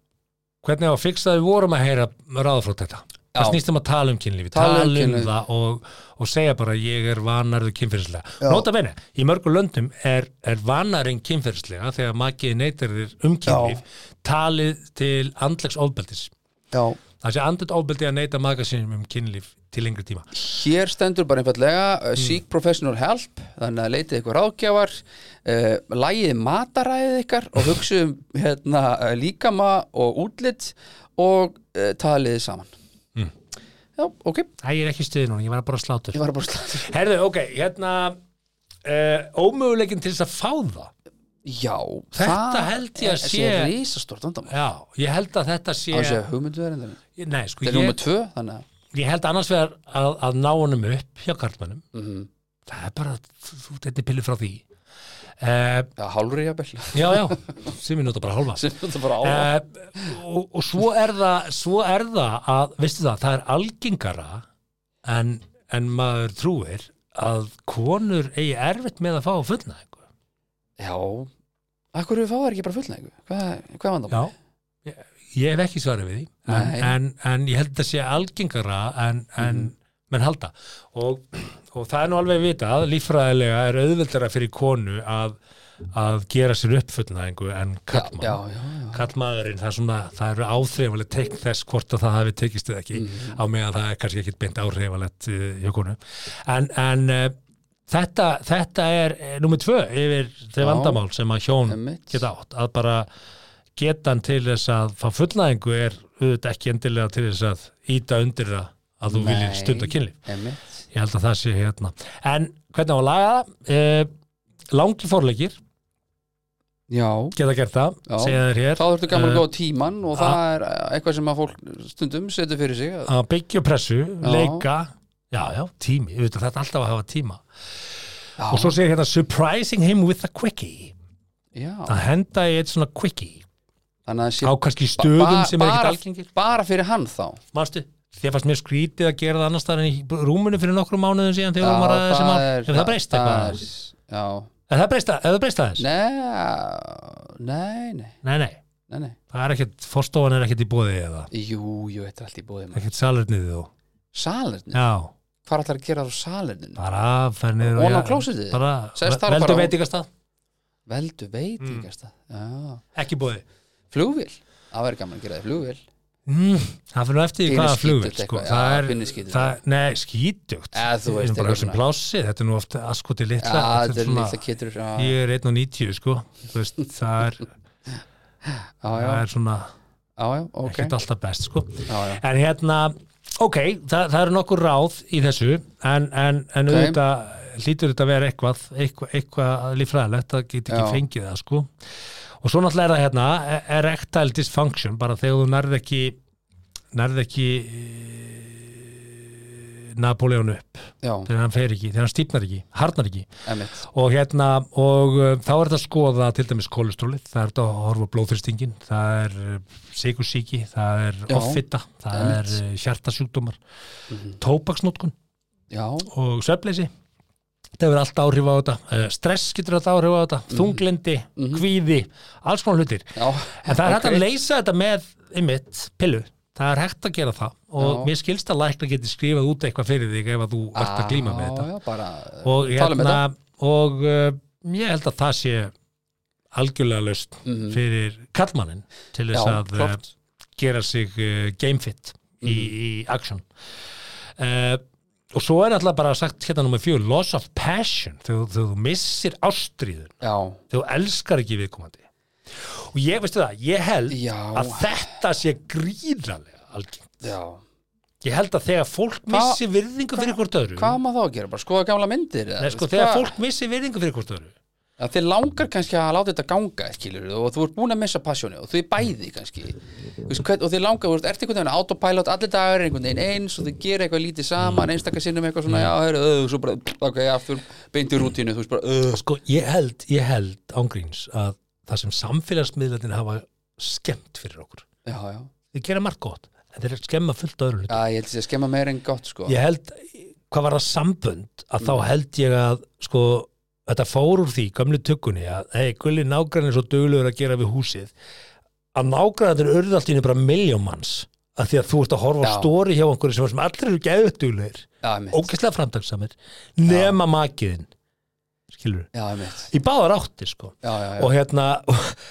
S1: hvernig á að fixa það við vorum að heyra ráðfrá þetta það
S2: Já.
S1: snýstum að tala um kynlífi,
S2: Tala um
S1: tala um
S2: kynlíf.
S1: það og, og segja bara ég er vanarður kynferðislega nota bene, í mörgum löndum er, er vanarinn kynferðislega þegar makiði neytir þér um kynlíf talið til andlegs ofbeldis
S2: Já
S1: það sé andlet ofbeldi að neyta maka sinum um kynlíf til lengri tíma
S2: Hér stendur bara einfallega
S1: Mm.
S2: uh, Seek professional help Þannig að leitið ykkur ráðgjafar uh, Lægið mataræðið ykkar Og hugsið um hérna, uh, líkama og útlit Og uh, talið þið saman
S1: Mm.
S2: Já, ok Ég
S1: Æ, ég er ekki stuði núna, ég var bara slátur
S2: var bara slætt
S1: Herðu, ok, hérna uh, ómöguleikin til þess að fá það
S2: Já,
S1: Þetta held ég að
S2: er-
S1: sé-
S2: risastort vandamál
S1: Já, ég held að þetta sé,
S2: Það yeah. sé hugmynduverðin
S1: Nei, sko,
S2: Þetta er
S1: ég,
S2: nummer tvö, þannig að
S1: ég held annars vegar að, að ná honum upp hjá karlmannum
S2: mhm,
S1: það er bara, þú þetta er pillu frá því uh,
S2: Já, hálfri jafnvel
S1: já, já sem ég nota bara hálfa
S2: sem þetta bara á
S1: uh, og, og svo er það svo er það að, veistu það það er algengara en, en maður trúir að konur eigi erfitt með að fá fullnæðingu
S2: Já, akkur við fáum ekki bara fullnægu Hvað, hvað vandamál?
S1: já, ég, ég hef ekki svarið við því en,
S2: Nei. Mhm.
S1: en, en ég held að sé algengara en, en menn halda og, og það er nú alveg vitað líffræðilega er auðveldara fyrir konu að, að gera sér uppfullnæðingu en kallmann
S2: já, já, já.
S1: kallmaðurinn, það, er svona, það eru áþreifanlega teikn þess hvort að það hafi tekist eða ekki
S2: Mhm.
S1: á meðan það er kannski ekkit beint áþreifanlegt uh, hjá konu en, en uh, þetta, þetta er uh, nummer tvö yfir þau
S2: Já.
S1: vandamál sem að hjón
S2: Einmitt.
S1: Mm. geta átt að bara getan til þess að fá fullnæðingu er auðvitað ekki endilega til þess að íta undir það að þú viljir
S2: Nei.
S1: stunda kynlíf
S2: Einmitt.
S1: ég held að það sé hérna en hvernig á að laga það? Uh, langi forleikir
S2: Já,
S1: geta gert það,
S2: Já.
S1: segja þér hér
S2: þá þurftu gaman
S1: Eh, ah.
S2: að góða tíman og það er eh, eitthvað sem að fólk stundum setur fyrir sig
S1: að byggja upp pressu, leika já, já, tími, við veitum þetta er alltaf að hafa tíma og svo segir hérna surprising him with a quickie
S2: Já,
S1: að henda í eitt svona quickie
S2: þannig að það sé
S1: á kannski stöðum
S2: ba-
S1: sem er ekkert
S2: bara-
S1: algengir
S2: bara fyrir hann þá
S1: Manstu, þér fannst mér skrítið að gera það annars staðar en í rúmunu fyrir nokkrum mánuðum síðan þegar
S2: Já,
S1: vorum að ræða þessi mál
S2: er-
S1: Hefur það breyst
S2: það
S1: eitthvað?
S2: er- Já,
S1: Hefur það breyst að- hefur það breyst aðeins?
S2: nei, nei, nei,
S1: Nei, nei,
S2: nei, nei.
S1: það er ekkert, forstofan er ekkert í bóði eða
S2: Jú, jú, þetta er allt í bóði maður.
S1: ekkert salurnið þú
S2: Salernin,
S1: Já,
S2: hvað ætlar að gera á salernin?
S1: bara fer niður
S2: Von á
S1: ja,
S2: klósitið?
S1: bara,
S2: Sest þar
S1: veldu
S2: bara á-
S1: veitingastað
S2: Veldu veit, mm. ekki Já,
S1: ekki bóði
S2: flugvél, það verður gaman að gera þið flugvél
S1: mm, það fyrir nú eftir í
S2: Pínu
S1: hvaða
S2: skítugt
S1: flugvill
S2: eitthvað,
S1: sko.
S2: já,
S1: það er,
S2: pínu skítugt.
S1: það, nei, skítugt
S2: Eða, þú
S1: Við
S2: veist,
S1: erum bara
S2: eitthvað
S1: sem
S2: svona.
S1: plási, þetta er nú ofta askoti
S2: Já,
S1: litla
S2: þetta er
S1: svona-
S2: litla kittur Já, já,
S1: ég er 1.90 sko Þú veist, það er,
S2: já,
S1: það er svona
S2: já, ok
S1: ekkert alltaf best sko
S2: Já, já,
S1: en hérna, ok, það, það eru nokkur ráð í þessu en, en, en
S2: Ok.
S1: auðvitað hlýtur þetta að vera eitthvað eitthvað, eitthvað líffræðilegt, það get ekki
S2: Já.
S1: fengið það sko og svo náttúrulega er það hérna e- erectile dysfunction, bara þegar þú nærð ekki nærð ekki eh, Napoleon upp
S2: já,
S1: þegar hann fer ekki, þegar hann stýpnar ekki, harnar ekki
S2: emitt
S1: og hérna og uh, þá er þetta að skoða til dæmis kolesterólið, það er þetta að horfa á blóðþristingin, það er sigursíki, það er
S2: Já,
S1: offita það er
S2: einmitt. Mhm.
S1: uh, hjartasjúkdómar mm -hmm. tópaksnótkun
S2: Já,
S1: og svefleysi þetta hefur allt áhrif á þetta, uh, stress getur allt áhrif á
S2: Mhm.
S1: þetta, þunglindi, kvíði alls konar hlutir,
S2: já,
S1: en það er hægt
S2: ok.
S1: að leysa þetta með einmitt pillu Það er hægt að gera það og
S2: Já.
S1: mér skilst að lækna geti skrifað út eitthvað fyrir þig ef að þú ert að glíma með þetta
S2: Já, já, bara
S1: og,
S2: tala um
S1: hérna, og uh, ég held að það sé algjörlega laust
S2: Mhm.
S1: fyrir kallmannin til þess
S2: Já,
S1: að uh,
S2: klárt.
S1: gera sig uh, gamefit í,
S2: Mhm.
S1: í action uh, og svo er alltaf bara sagt hérna nummer fjögur, loss of passion þegar þú- þegar þú missir ástríðun
S2: Já,
S1: þegar þú elskar ekki viðkomandi og ég veistu það, ég held
S2: Já.
S1: að þetta sé gríðarlega algengt
S2: já
S1: Ég held að þegar fólk missi virðingu fyrir hvort öðru
S2: Hvað á maður þá að gera? Bara skoða gamla myndir? eða,
S1: Nei, sko,
S2: veist,
S1: þegar
S2: hvað-
S1: fólk missi virðingu fyrir hvort öðru
S2: að Þið langar kannski að láta þetta ganga, skilur og þú ert búin að missa passjóni og þið bæði kannski Þú veist, hvern, og þið langar, þú veist, ert einhvern veginn autopilot allir dagar er einhvern veginn eins og þið gera eitthvað lítið
S1: Mm.
S2: saman einstakar sinnum eitthvað svona, já, heru, öð, svo bara, ok, aftur beinti rútínu, þú veist bara, uh. öð
S1: Sko, ég held, ég held ángríns að það sem samfélagsmiðlarnir hafa skemmt fyrir okkur.
S2: Já, já,
S1: Þeir gera margt gott, en þeir skemma fullt öðru hlut.
S2: já, ég held að sé að skemma meira en gott, sko
S1: Ég held, hvað var það sambönd, að þá held ég að, sko, þetta fór úr því, gamlu tökunni, að, hei, gulli nágrann er svo duglegur að gera við húsið, að nágrannir urðu allt í einu bara miljómanns, að því að þú ert að horfa á
S2: Já.
S1: stóri hjá einhverju sem, sem allir eru geðut duglegir,
S2: Já, mitt,
S1: ógæslega framtagssamir, nema makiðin, skilur,
S2: já, mitt
S1: í báðar átti, sko.
S2: Já, já, já,
S1: og hérna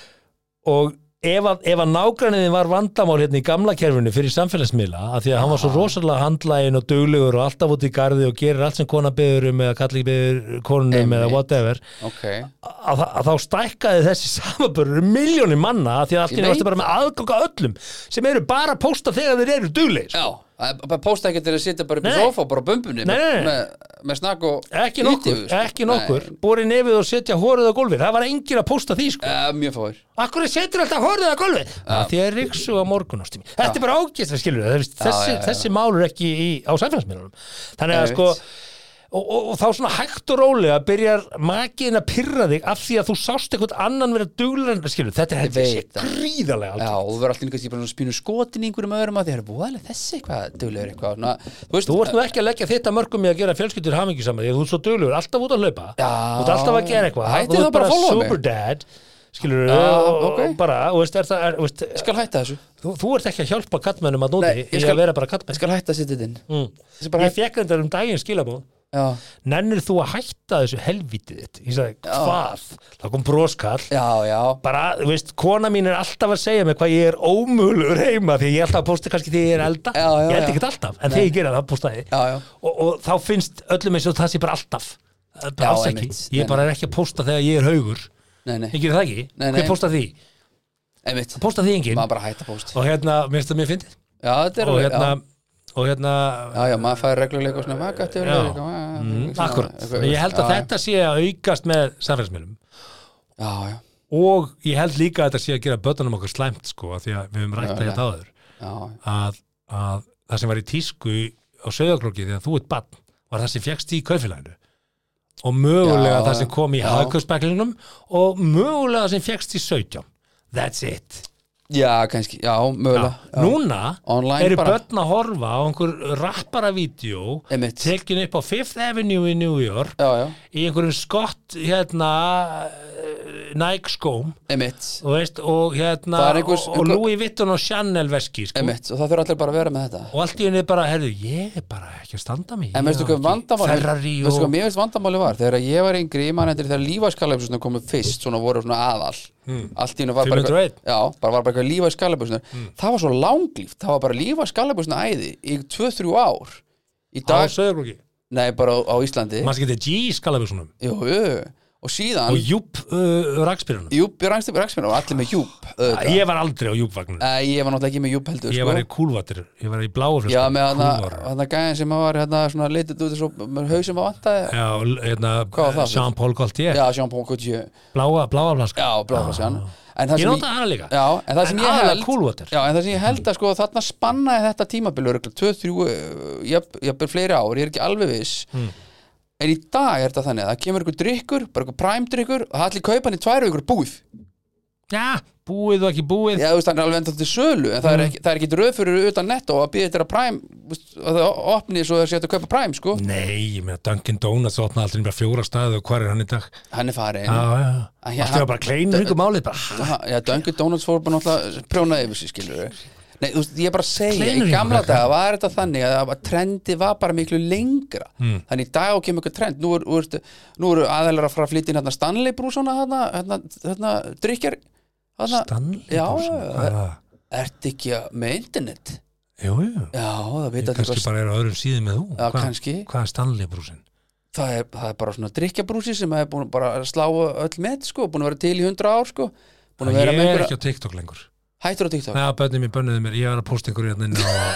S1: og ef að, ef að nágrannin var vandamál hérna í gamla kerfinu fyrir samfélagsmiðla af því að hann var svo rosalega handlægin og duglegur og alltaf út í garði og gerir allt sem kona beður um eða kalli beður konunum eða
S2: Einmitt.
S1: whatever
S2: ok
S1: að, að þá stækkaði þessi samabörur miljónir manna af því að allt í
S2: Ég
S1: einu varstu
S2: veit
S1: bara með aðganga öllum sem eru bara að pósta þegar þeir eru duglegir
S2: Já, að- bara posta ekki til að sitja bara upp í
S1: Nei.
S2: sofa bara á bumbunni
S1: Nei, nei, nei.
S2: með, með, með snakk og
S1: ekki nokkur,
S2: yfir, sko.
S1: ekki
S2: Nei,
S1: nokkur búið nefið og setja hórið á gólfið það var engin að pósta því sko
S2: eh, Mjög fáir
S1: Akkur setur alltaf horfið að gólfið ja. Því að ríksu á morgun ástími Þetta er bara ágæst að skilur þessi,
S2: já, já.
S1: þessi málur ekki í, á sæfnarsmiðlunum Þannig að
S2: Einmitt.
S1: sko og, og, og þá svona hægt og rólega byrjar makiðin að pyrra þig af því að þú sást eitthvað annan vera duglar en skilur Þetta er þetta sé
S2: veit það.
S1: gríðarlega
S2: Já,
S1: alveg
S2: og þú verður alltaf kannski bara svona spínu skotin í einhverjum öðrum að því það er voðalega þessi eitthvað duglegur eitthvað svona, þú veist,
S1: Þú ert nú ekki að leggja þetta mörgum í að gera fjölskyldur hamingi saman því að þú ert svo duglegur, alltaf út að hlaupa
S2: Já.
S1: Þú ert alltaf að gera eitthvað
S2: Hættu
S1: Þú
S2: þá
S1: ert
S2: bara að followa mig.
S1: super dad skilur,
S2: Já,
S1: og, og,
S2: ok.
S1: og bara, og veist, er það, er, veist,
S2: ég skal hætta þessu ég
S1: þú, þú ert ekki að hjálpa kattmennum að núti
S2: Nei, ég
S1: í
S2: skal-
S1: að vera bara kattmenn
S2: skal hætta að sitja þinn
S1: Mm.
S2: þessi bara
S1: Ég
S2: hætta
S1: fekk reyndar um daginn skilabóð
S2: já,
S1: Nennir þú að hætta þessu helvítið þitt? Ég sagði, hvað? Það kom broskall
S2: já, já,
S1: Bara, þú veist, kona mín er alltaf að segja mig hvað ég er ómögulegur heima Því að ég er alltaf að posta kannski því að ég er að elda
S2: Já, já,
S1: Ég
S2: já.
S1: elda ekkert alltaf, en þegar ég gera það posta ég
S2: já, já.
S1: og, og þá finnst öllum eins og það sé bara alltaf Það er bara
S2: Já,
S1: Alls ekki,
S2: einmitt.
S1: ég bara er ekki að posta þegar ég er haugur
S2: Nei, nei,
S1: Ég gerir það ekki,
S2: Nei, nei.
S1: hver posta því?
S2: einmitt
S1: Posta því engin
S2: maður bara hætta post já,
S1: Og hérna, minnst það mér fyndið
S2: þetta er
S1: og
S2: alveg,
S1: hérna
S2: já,
S1: og hérna
S2: Já, já, maður fær regluleika og svona vaka eftir
S1: Já.
S2: regluleika, vaka,
S1: mm,
S2: svona,
S1: akkurat,
S2: eitthvað,
S1: ég held að
S2: já,
S1: þetta sé að aukast með samfélagsmiðlum
S2: Já, já,
S1: og ég held líka að þetta sé að gera börnunum okkar slæmt sko, af því að við höfum rætt
S2: Já,
S1: að hérna áður
S2: já,
S1: að, að það sem var í tísku í- á söðaklokki þegar þú ert bann var það sem fjekst í kaufélaginu og mögulega
S2: Já,
S1: það sem kom í
S2: já.
S1: hagkaupspeklingnum og mögulega það sem fjekst í 17 that's it
S2: já, kannski, já, mögulega já.
S1: núna
S2: Online
S1: eru
S2: bara.
S1: börn að horfa á einhver rapparavídjó
S2: Einmitt.
S1: tekin upp á Fifth Avenue í New York
S2: Já, já,
S1: í einhverjum skott hérna eh, Nike skóm
S2: emitt,
S1: og, veist, og hérna
S2: Það er einhvers-
S1: og, og
S2: einhver-
S1: Louis Vuitton og Chanel veski sko.
S2: emitt og það þurfa allir bara að vera með þetta
S1: og allt í henni bara, herðu, ég er bara ekki að standa mig
S2: En veistu hvað vandamáli
S1: Ferrari og
S2: Veistu hvað mér veist vandamáli var Þegar ég var yngri, ég man eftir þegar lífaskalabusunar komu fyrst Svona voru svona aðal
S1: Hmm.
S2: Allt í hennu var bara
S1: 501.
S2: eitthvað- Já, bara var bara eitthvað lífaskalabusunar
S1: Hmm.
S2: Það var svo langlíft, það var bara lífaskalabusunar æði Í 2-3 ár Í
S1: á
S2: dag,
S1: Söðurglóki
S2: nei bara á, á Íslandi
S1: maður getið G skalabusunum
S2: Jú, jú. og síðan
S1: og Júp uh, rakspyrunum
S2: Júp, rakspinn og allir með júp auðvitað.
S1: ég var aldrei á Júpvagnum
S2: Nei, ég var náttúrulega ekki með júp heldur
S1: ég
S2: sko.
S1: var í kúlvatir, ég var í bláuflösku
S2: Já, með hana, hana gæðin sem var hérna, svona litið út svo, með hausum að vantaði
S1: Já, og l- hérna,
S2: Hvað var það?
S1: Jean-Paul Gaultier
S2: Já, Jean-Paul Gaultier
S1: bláa, bláa flaska
S2: Já, bláfra sér hann En það
S1: ég
S2: sem
S1: nota hana líka
S2: Já, en það sem
S1: en
S2: ég
S1: aðalega
S2: held
S1: kúlvatir
S2: Já, en það sem ég held að sko þarna spannaði þetta tímabil örugglega 2-3, eh, jafn- jafnvel fleiri ár, ég er ekki alveg viss
S1: Hmm.
S2: En í dag er þetta þannig að það kemur einhver drykkur, bara einhver prime drykkur og það allir kaupa hann í tvær og einhver búið
S1: já, búið og ekki búið
S2: Já, þú veist, hann er alveg enda til sölu en
S1: Mm.
S2: það er ekki, það er ekki röð fyrir utan netto að býða þetta prime, þú veist, að það opni svo það sé hægt að kaupa prime,
S1: Mm.
S2: sko
S1: nei, ég meina Dunkin Donuts opnaði allir bara fjóra staði og hvað er hann í dag já,
S2: Hann er farin
S1: já,
S2: Æ,
S1: já,
S2: já,
S1: allt er bara kleinur ykkur málið bara,
S2: Ha, Já, Dunkin Donuts fór bara náttúrulega prjónaði yfir sig, skilur við Nei, þú veist, ég er bara að segja,
S1: Kleinur
S2: í gamla
S1: ykkur,
S2: daga var þetta þannig að að trendi var bara miklu lengra mm. Þannig í dag kemur eitthvað trend Nú, er, nú, er, nú eru aðeinar að fara að flytja inn hérna Stanley brúsana hérna, hérna, hérna, drykjar hérna,
S1: Stanley
S2: Já,
S1: brúsana, hvað er
S2: já,
S1: það?
S2: ertu ekki að- með internet?
S1: Ah, jú, jú
S2: Já, það veit
S1: Ég
S2: allir
S1: kannski
S2: hvað
S1: bara er á öðrum síðum með þú
S2: Já,
S1: Hvað-
S2: kannski.
S1: Hvað er Stanley brúsin?
S2: það er, það er bara svona drykjabrúsi sem er búin bara að slá öll með, sko, búin að vera til í hundra ár, sko Búin að
S1: Ég
S2: vera með
S1: er
S2: einhverja,
S1: ekki á TikTok lengur
S2: hættur á TikTok
S1: Já, bönni mér, bönniði mér, ég var að posta einhverju hérna inn og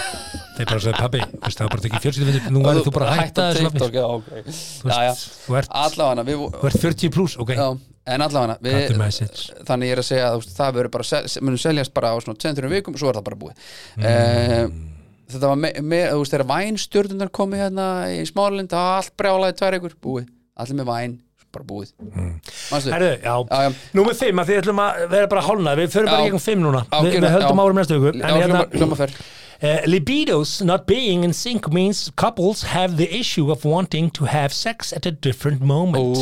S1: þeir bara sagði, pabbi, veist, það var bara ekki fjölsýttu nú verður þú bara að hætta
S2: að
S1: þessu nafni."
S2: TikTok, já, ok
S1: Þú
S2: Já, já,
S1: veist, þú ert-
S2: allavega við
S1: þú ert 40 pluss, ok
S2: já, en allavega
S1: Cut the
S2: við
S1: message.
S2: þannig ég er að segja að þú veist, það verður bara sel, munum seljast bara á svona 200 vikum svo er það bara búið mm. þetta var me- meira, þú veist, þegar vænstjörnunar komu hérna í smálinn það var allt brjálaði tvær ykkur, búið allir með væn, bara búið mm. Manstu,
S1: Herðu,
S2: Já, já.
S1: já, númer 5 að þið ætlum að vera bara hálna, við förum bara
S2: Já.
S1: gegn 5 núna,
S2: Já,
S1: við,
S2: gerum
S1: við
S2: það,
S1: höldum
S2: já.
S1: árum næstu ykkur
S2: já, hljóma, hljóma fer
S1: Uh, libidos not being in sync means couples have the issue of wanting to have sex at a different moment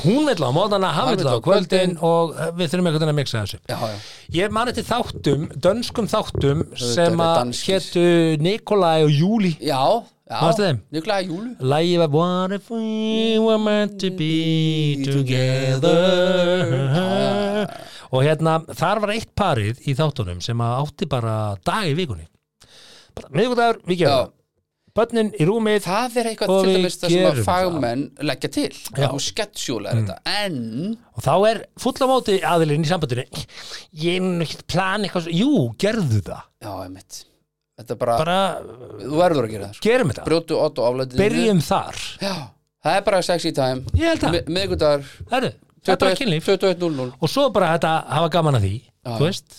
S1: hún vill á móðana, hann vill á kvöldin og uh, við þurfum eitthvað að mixa þessu
S2: já, já,
S1: ég man eftir þáttum, dönskum þáttum
S2: eru
S1: sem að
S2: danskir.
S1: hétu Nikolai og Júli
S2: já,
S1: Manstu
S2: já
S1: þeim?
S2: njöglega júlu
S1: Lægi var What if we were meant to be together Og hérna, þar var eitt parið í þáttunum sem að átti bara dag í vikunni bara, Miðvikudagur, við gerum
S2: Já.
S1: það Bönnin í rúmið
S2: það er eitthvað
S1: Og
S2: til
S1: við
S2: dæmis það sem að
S1: gerum það.
S2: fagmenn leggja til
S1: Já. Mm.
S2: að þú sketsjúlar þetta en
S1: og þá er full á móti aðilinn í sambandinu Ég er nú ekkert plan eitthvað svo Jú, gerðu það
S2: Já, einmitt Þetta er bara,
S1: Bara
S2: þú verður að gera það sko.
S1: gerum þetta
S2: Brjótu Otto aflætið
S1: Byrjum þar
S2: Já, það er bara sexy time
S1: Ég held það.
S2: Miðgudagur
S1: Herru, það er bara kynlíf
S2: 21.00
S1: og svo bara þetta hafa gaman að því
S2: Já,
S1: þú
S2: já.
S1: veist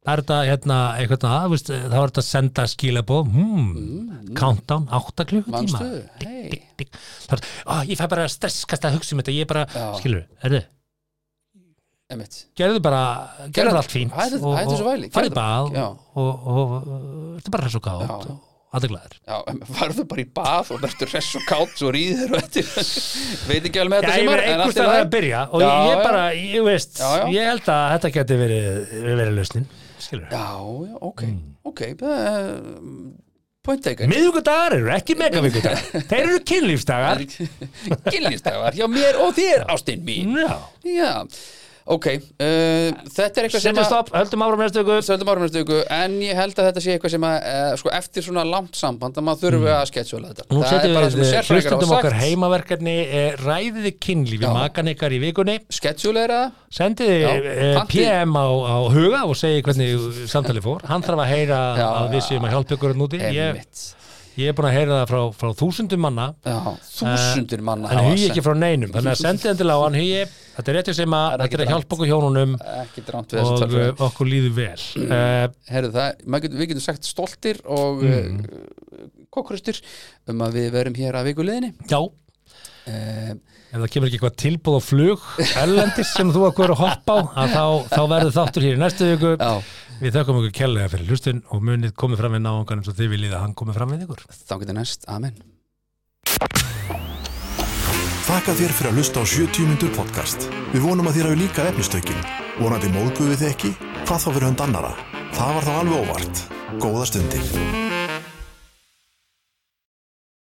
S1: það er þetta hérna eitthvað það, þú veist, það var þetta að senda skilabóð hmm, countdown, 8 klukkutíma
S2: Mm, Manstu, hei
S1: Digg. Það er, á, ég fæ bara stresskast að hugsa um þetta ég bara,
S2: Já.
S1: skilur, herðu
S2: Einmitt
S1: gerðu bara, gerðu bara allt fínt
S2: hættu-
S1: og-
S2: hættu þessu
S1: og
S2: væli,
S1: farðu í
S2: gerðu
S1: bað
S2: bara, já.
S1: og, og, og, og ertu bara hress og gátt
S2: Já.
S1: og aðeglaðir
S2: Já, em, farðu bara í bað og verður hress og kátt og ríður og þetta Veit ekki alveg með
S1: Já,
S2: þetta
S1: ég
S2: sem
S1: verið
S2: er
S1: einhvers
S2: en allt í
S1: það
S2: lagi.
S1: að byrja og ég,
S2: Já,
S1: ég
S2: já.
S1: bara, ég veist
S2: Já, já.
S1: ég held að þetta geti verið verið lausnin, skilur
S2: Já, já, ok,
S1: Mm.
S2: ok uh, Point taken
S1: Miðvíkudagar eru ekki megavíkudagar Þeir eru kynlífsdagar
S2: Gillistagar hjá mér og þér, ástinn mín
S1: Já. Mm.
S2: Já, ok uh, Þetta er eitthvað sem
S1: Setjum stopp, höldum áfram næstu ykkur
S2: stöldum árumjörnstöku en ég held að þetta sé eitthvað sem að e, sko, eftir svona langt samband að maður þurfi að sketsjóla þetta
S1: Mm. Nú
S2: það er
S1: setjum
S2: bara það sem
S1: við
S2: sérfræðingar
S1: hlustundum
S2: hafa
S1: okkar
S2: sagt
S1: heimaverkefni eh, Ræðiði kynlífi
S2: Já.
S1: makan ykkar í vikunni
S2: sketsjóla er það
S1: Sendiði
S2: Já,
S1: eh,
S2: pantið.
S1: PM á, á huga og segi hvernig samtalið fór Hann þarf að heyra
S2: Já,
S1: að við séum að hjálpa ykkur þarna úti Ég
S2: Einmitt.
S1: Ég er búin að heyra það frá, frá þúsundum manna
S2: Já, þúsundir manna
S1: Hann
S2: hafa
S1: hugi
S2: sent-
S1: ekki frá neinum Þannig að sendið endilega á hann hugi Þetta er rétt sem að
S2: Það er
S1: þetta er að
S2: ekki
S1: hjálpa okkur hjónunum
S2: ekki drámt við þessu
S1: og
S2: tölfræði
S1: uh, okkur líður vel uh,
S2: Herðu það, maður getur- við getum sagt stoltir og mm. kokkrustur um að við verum hér að vikuleginni
S1: Já Ef það kemur ekki eitthvað tilbúð á flug erlendis sem þú okkur er að hoppa á að þá, þá verður þáttur hér í næstu viku
S2: Já.
S1: Við þökkum okkur kellega fyrir hlustun og munið komið fram við náungan eins og þið viljið að hann komið fram við ykkur
S2: Þá getur næst, amen
S3: Þakka þér fyrir að hlusta á 70 mínútur podcast. Við vonum að þér hafi líka efnistökin. Vonandi móðguðu þið ekki? Hvað þá fyrir hund annara? Það var þá alveg óvart. Góða stundir.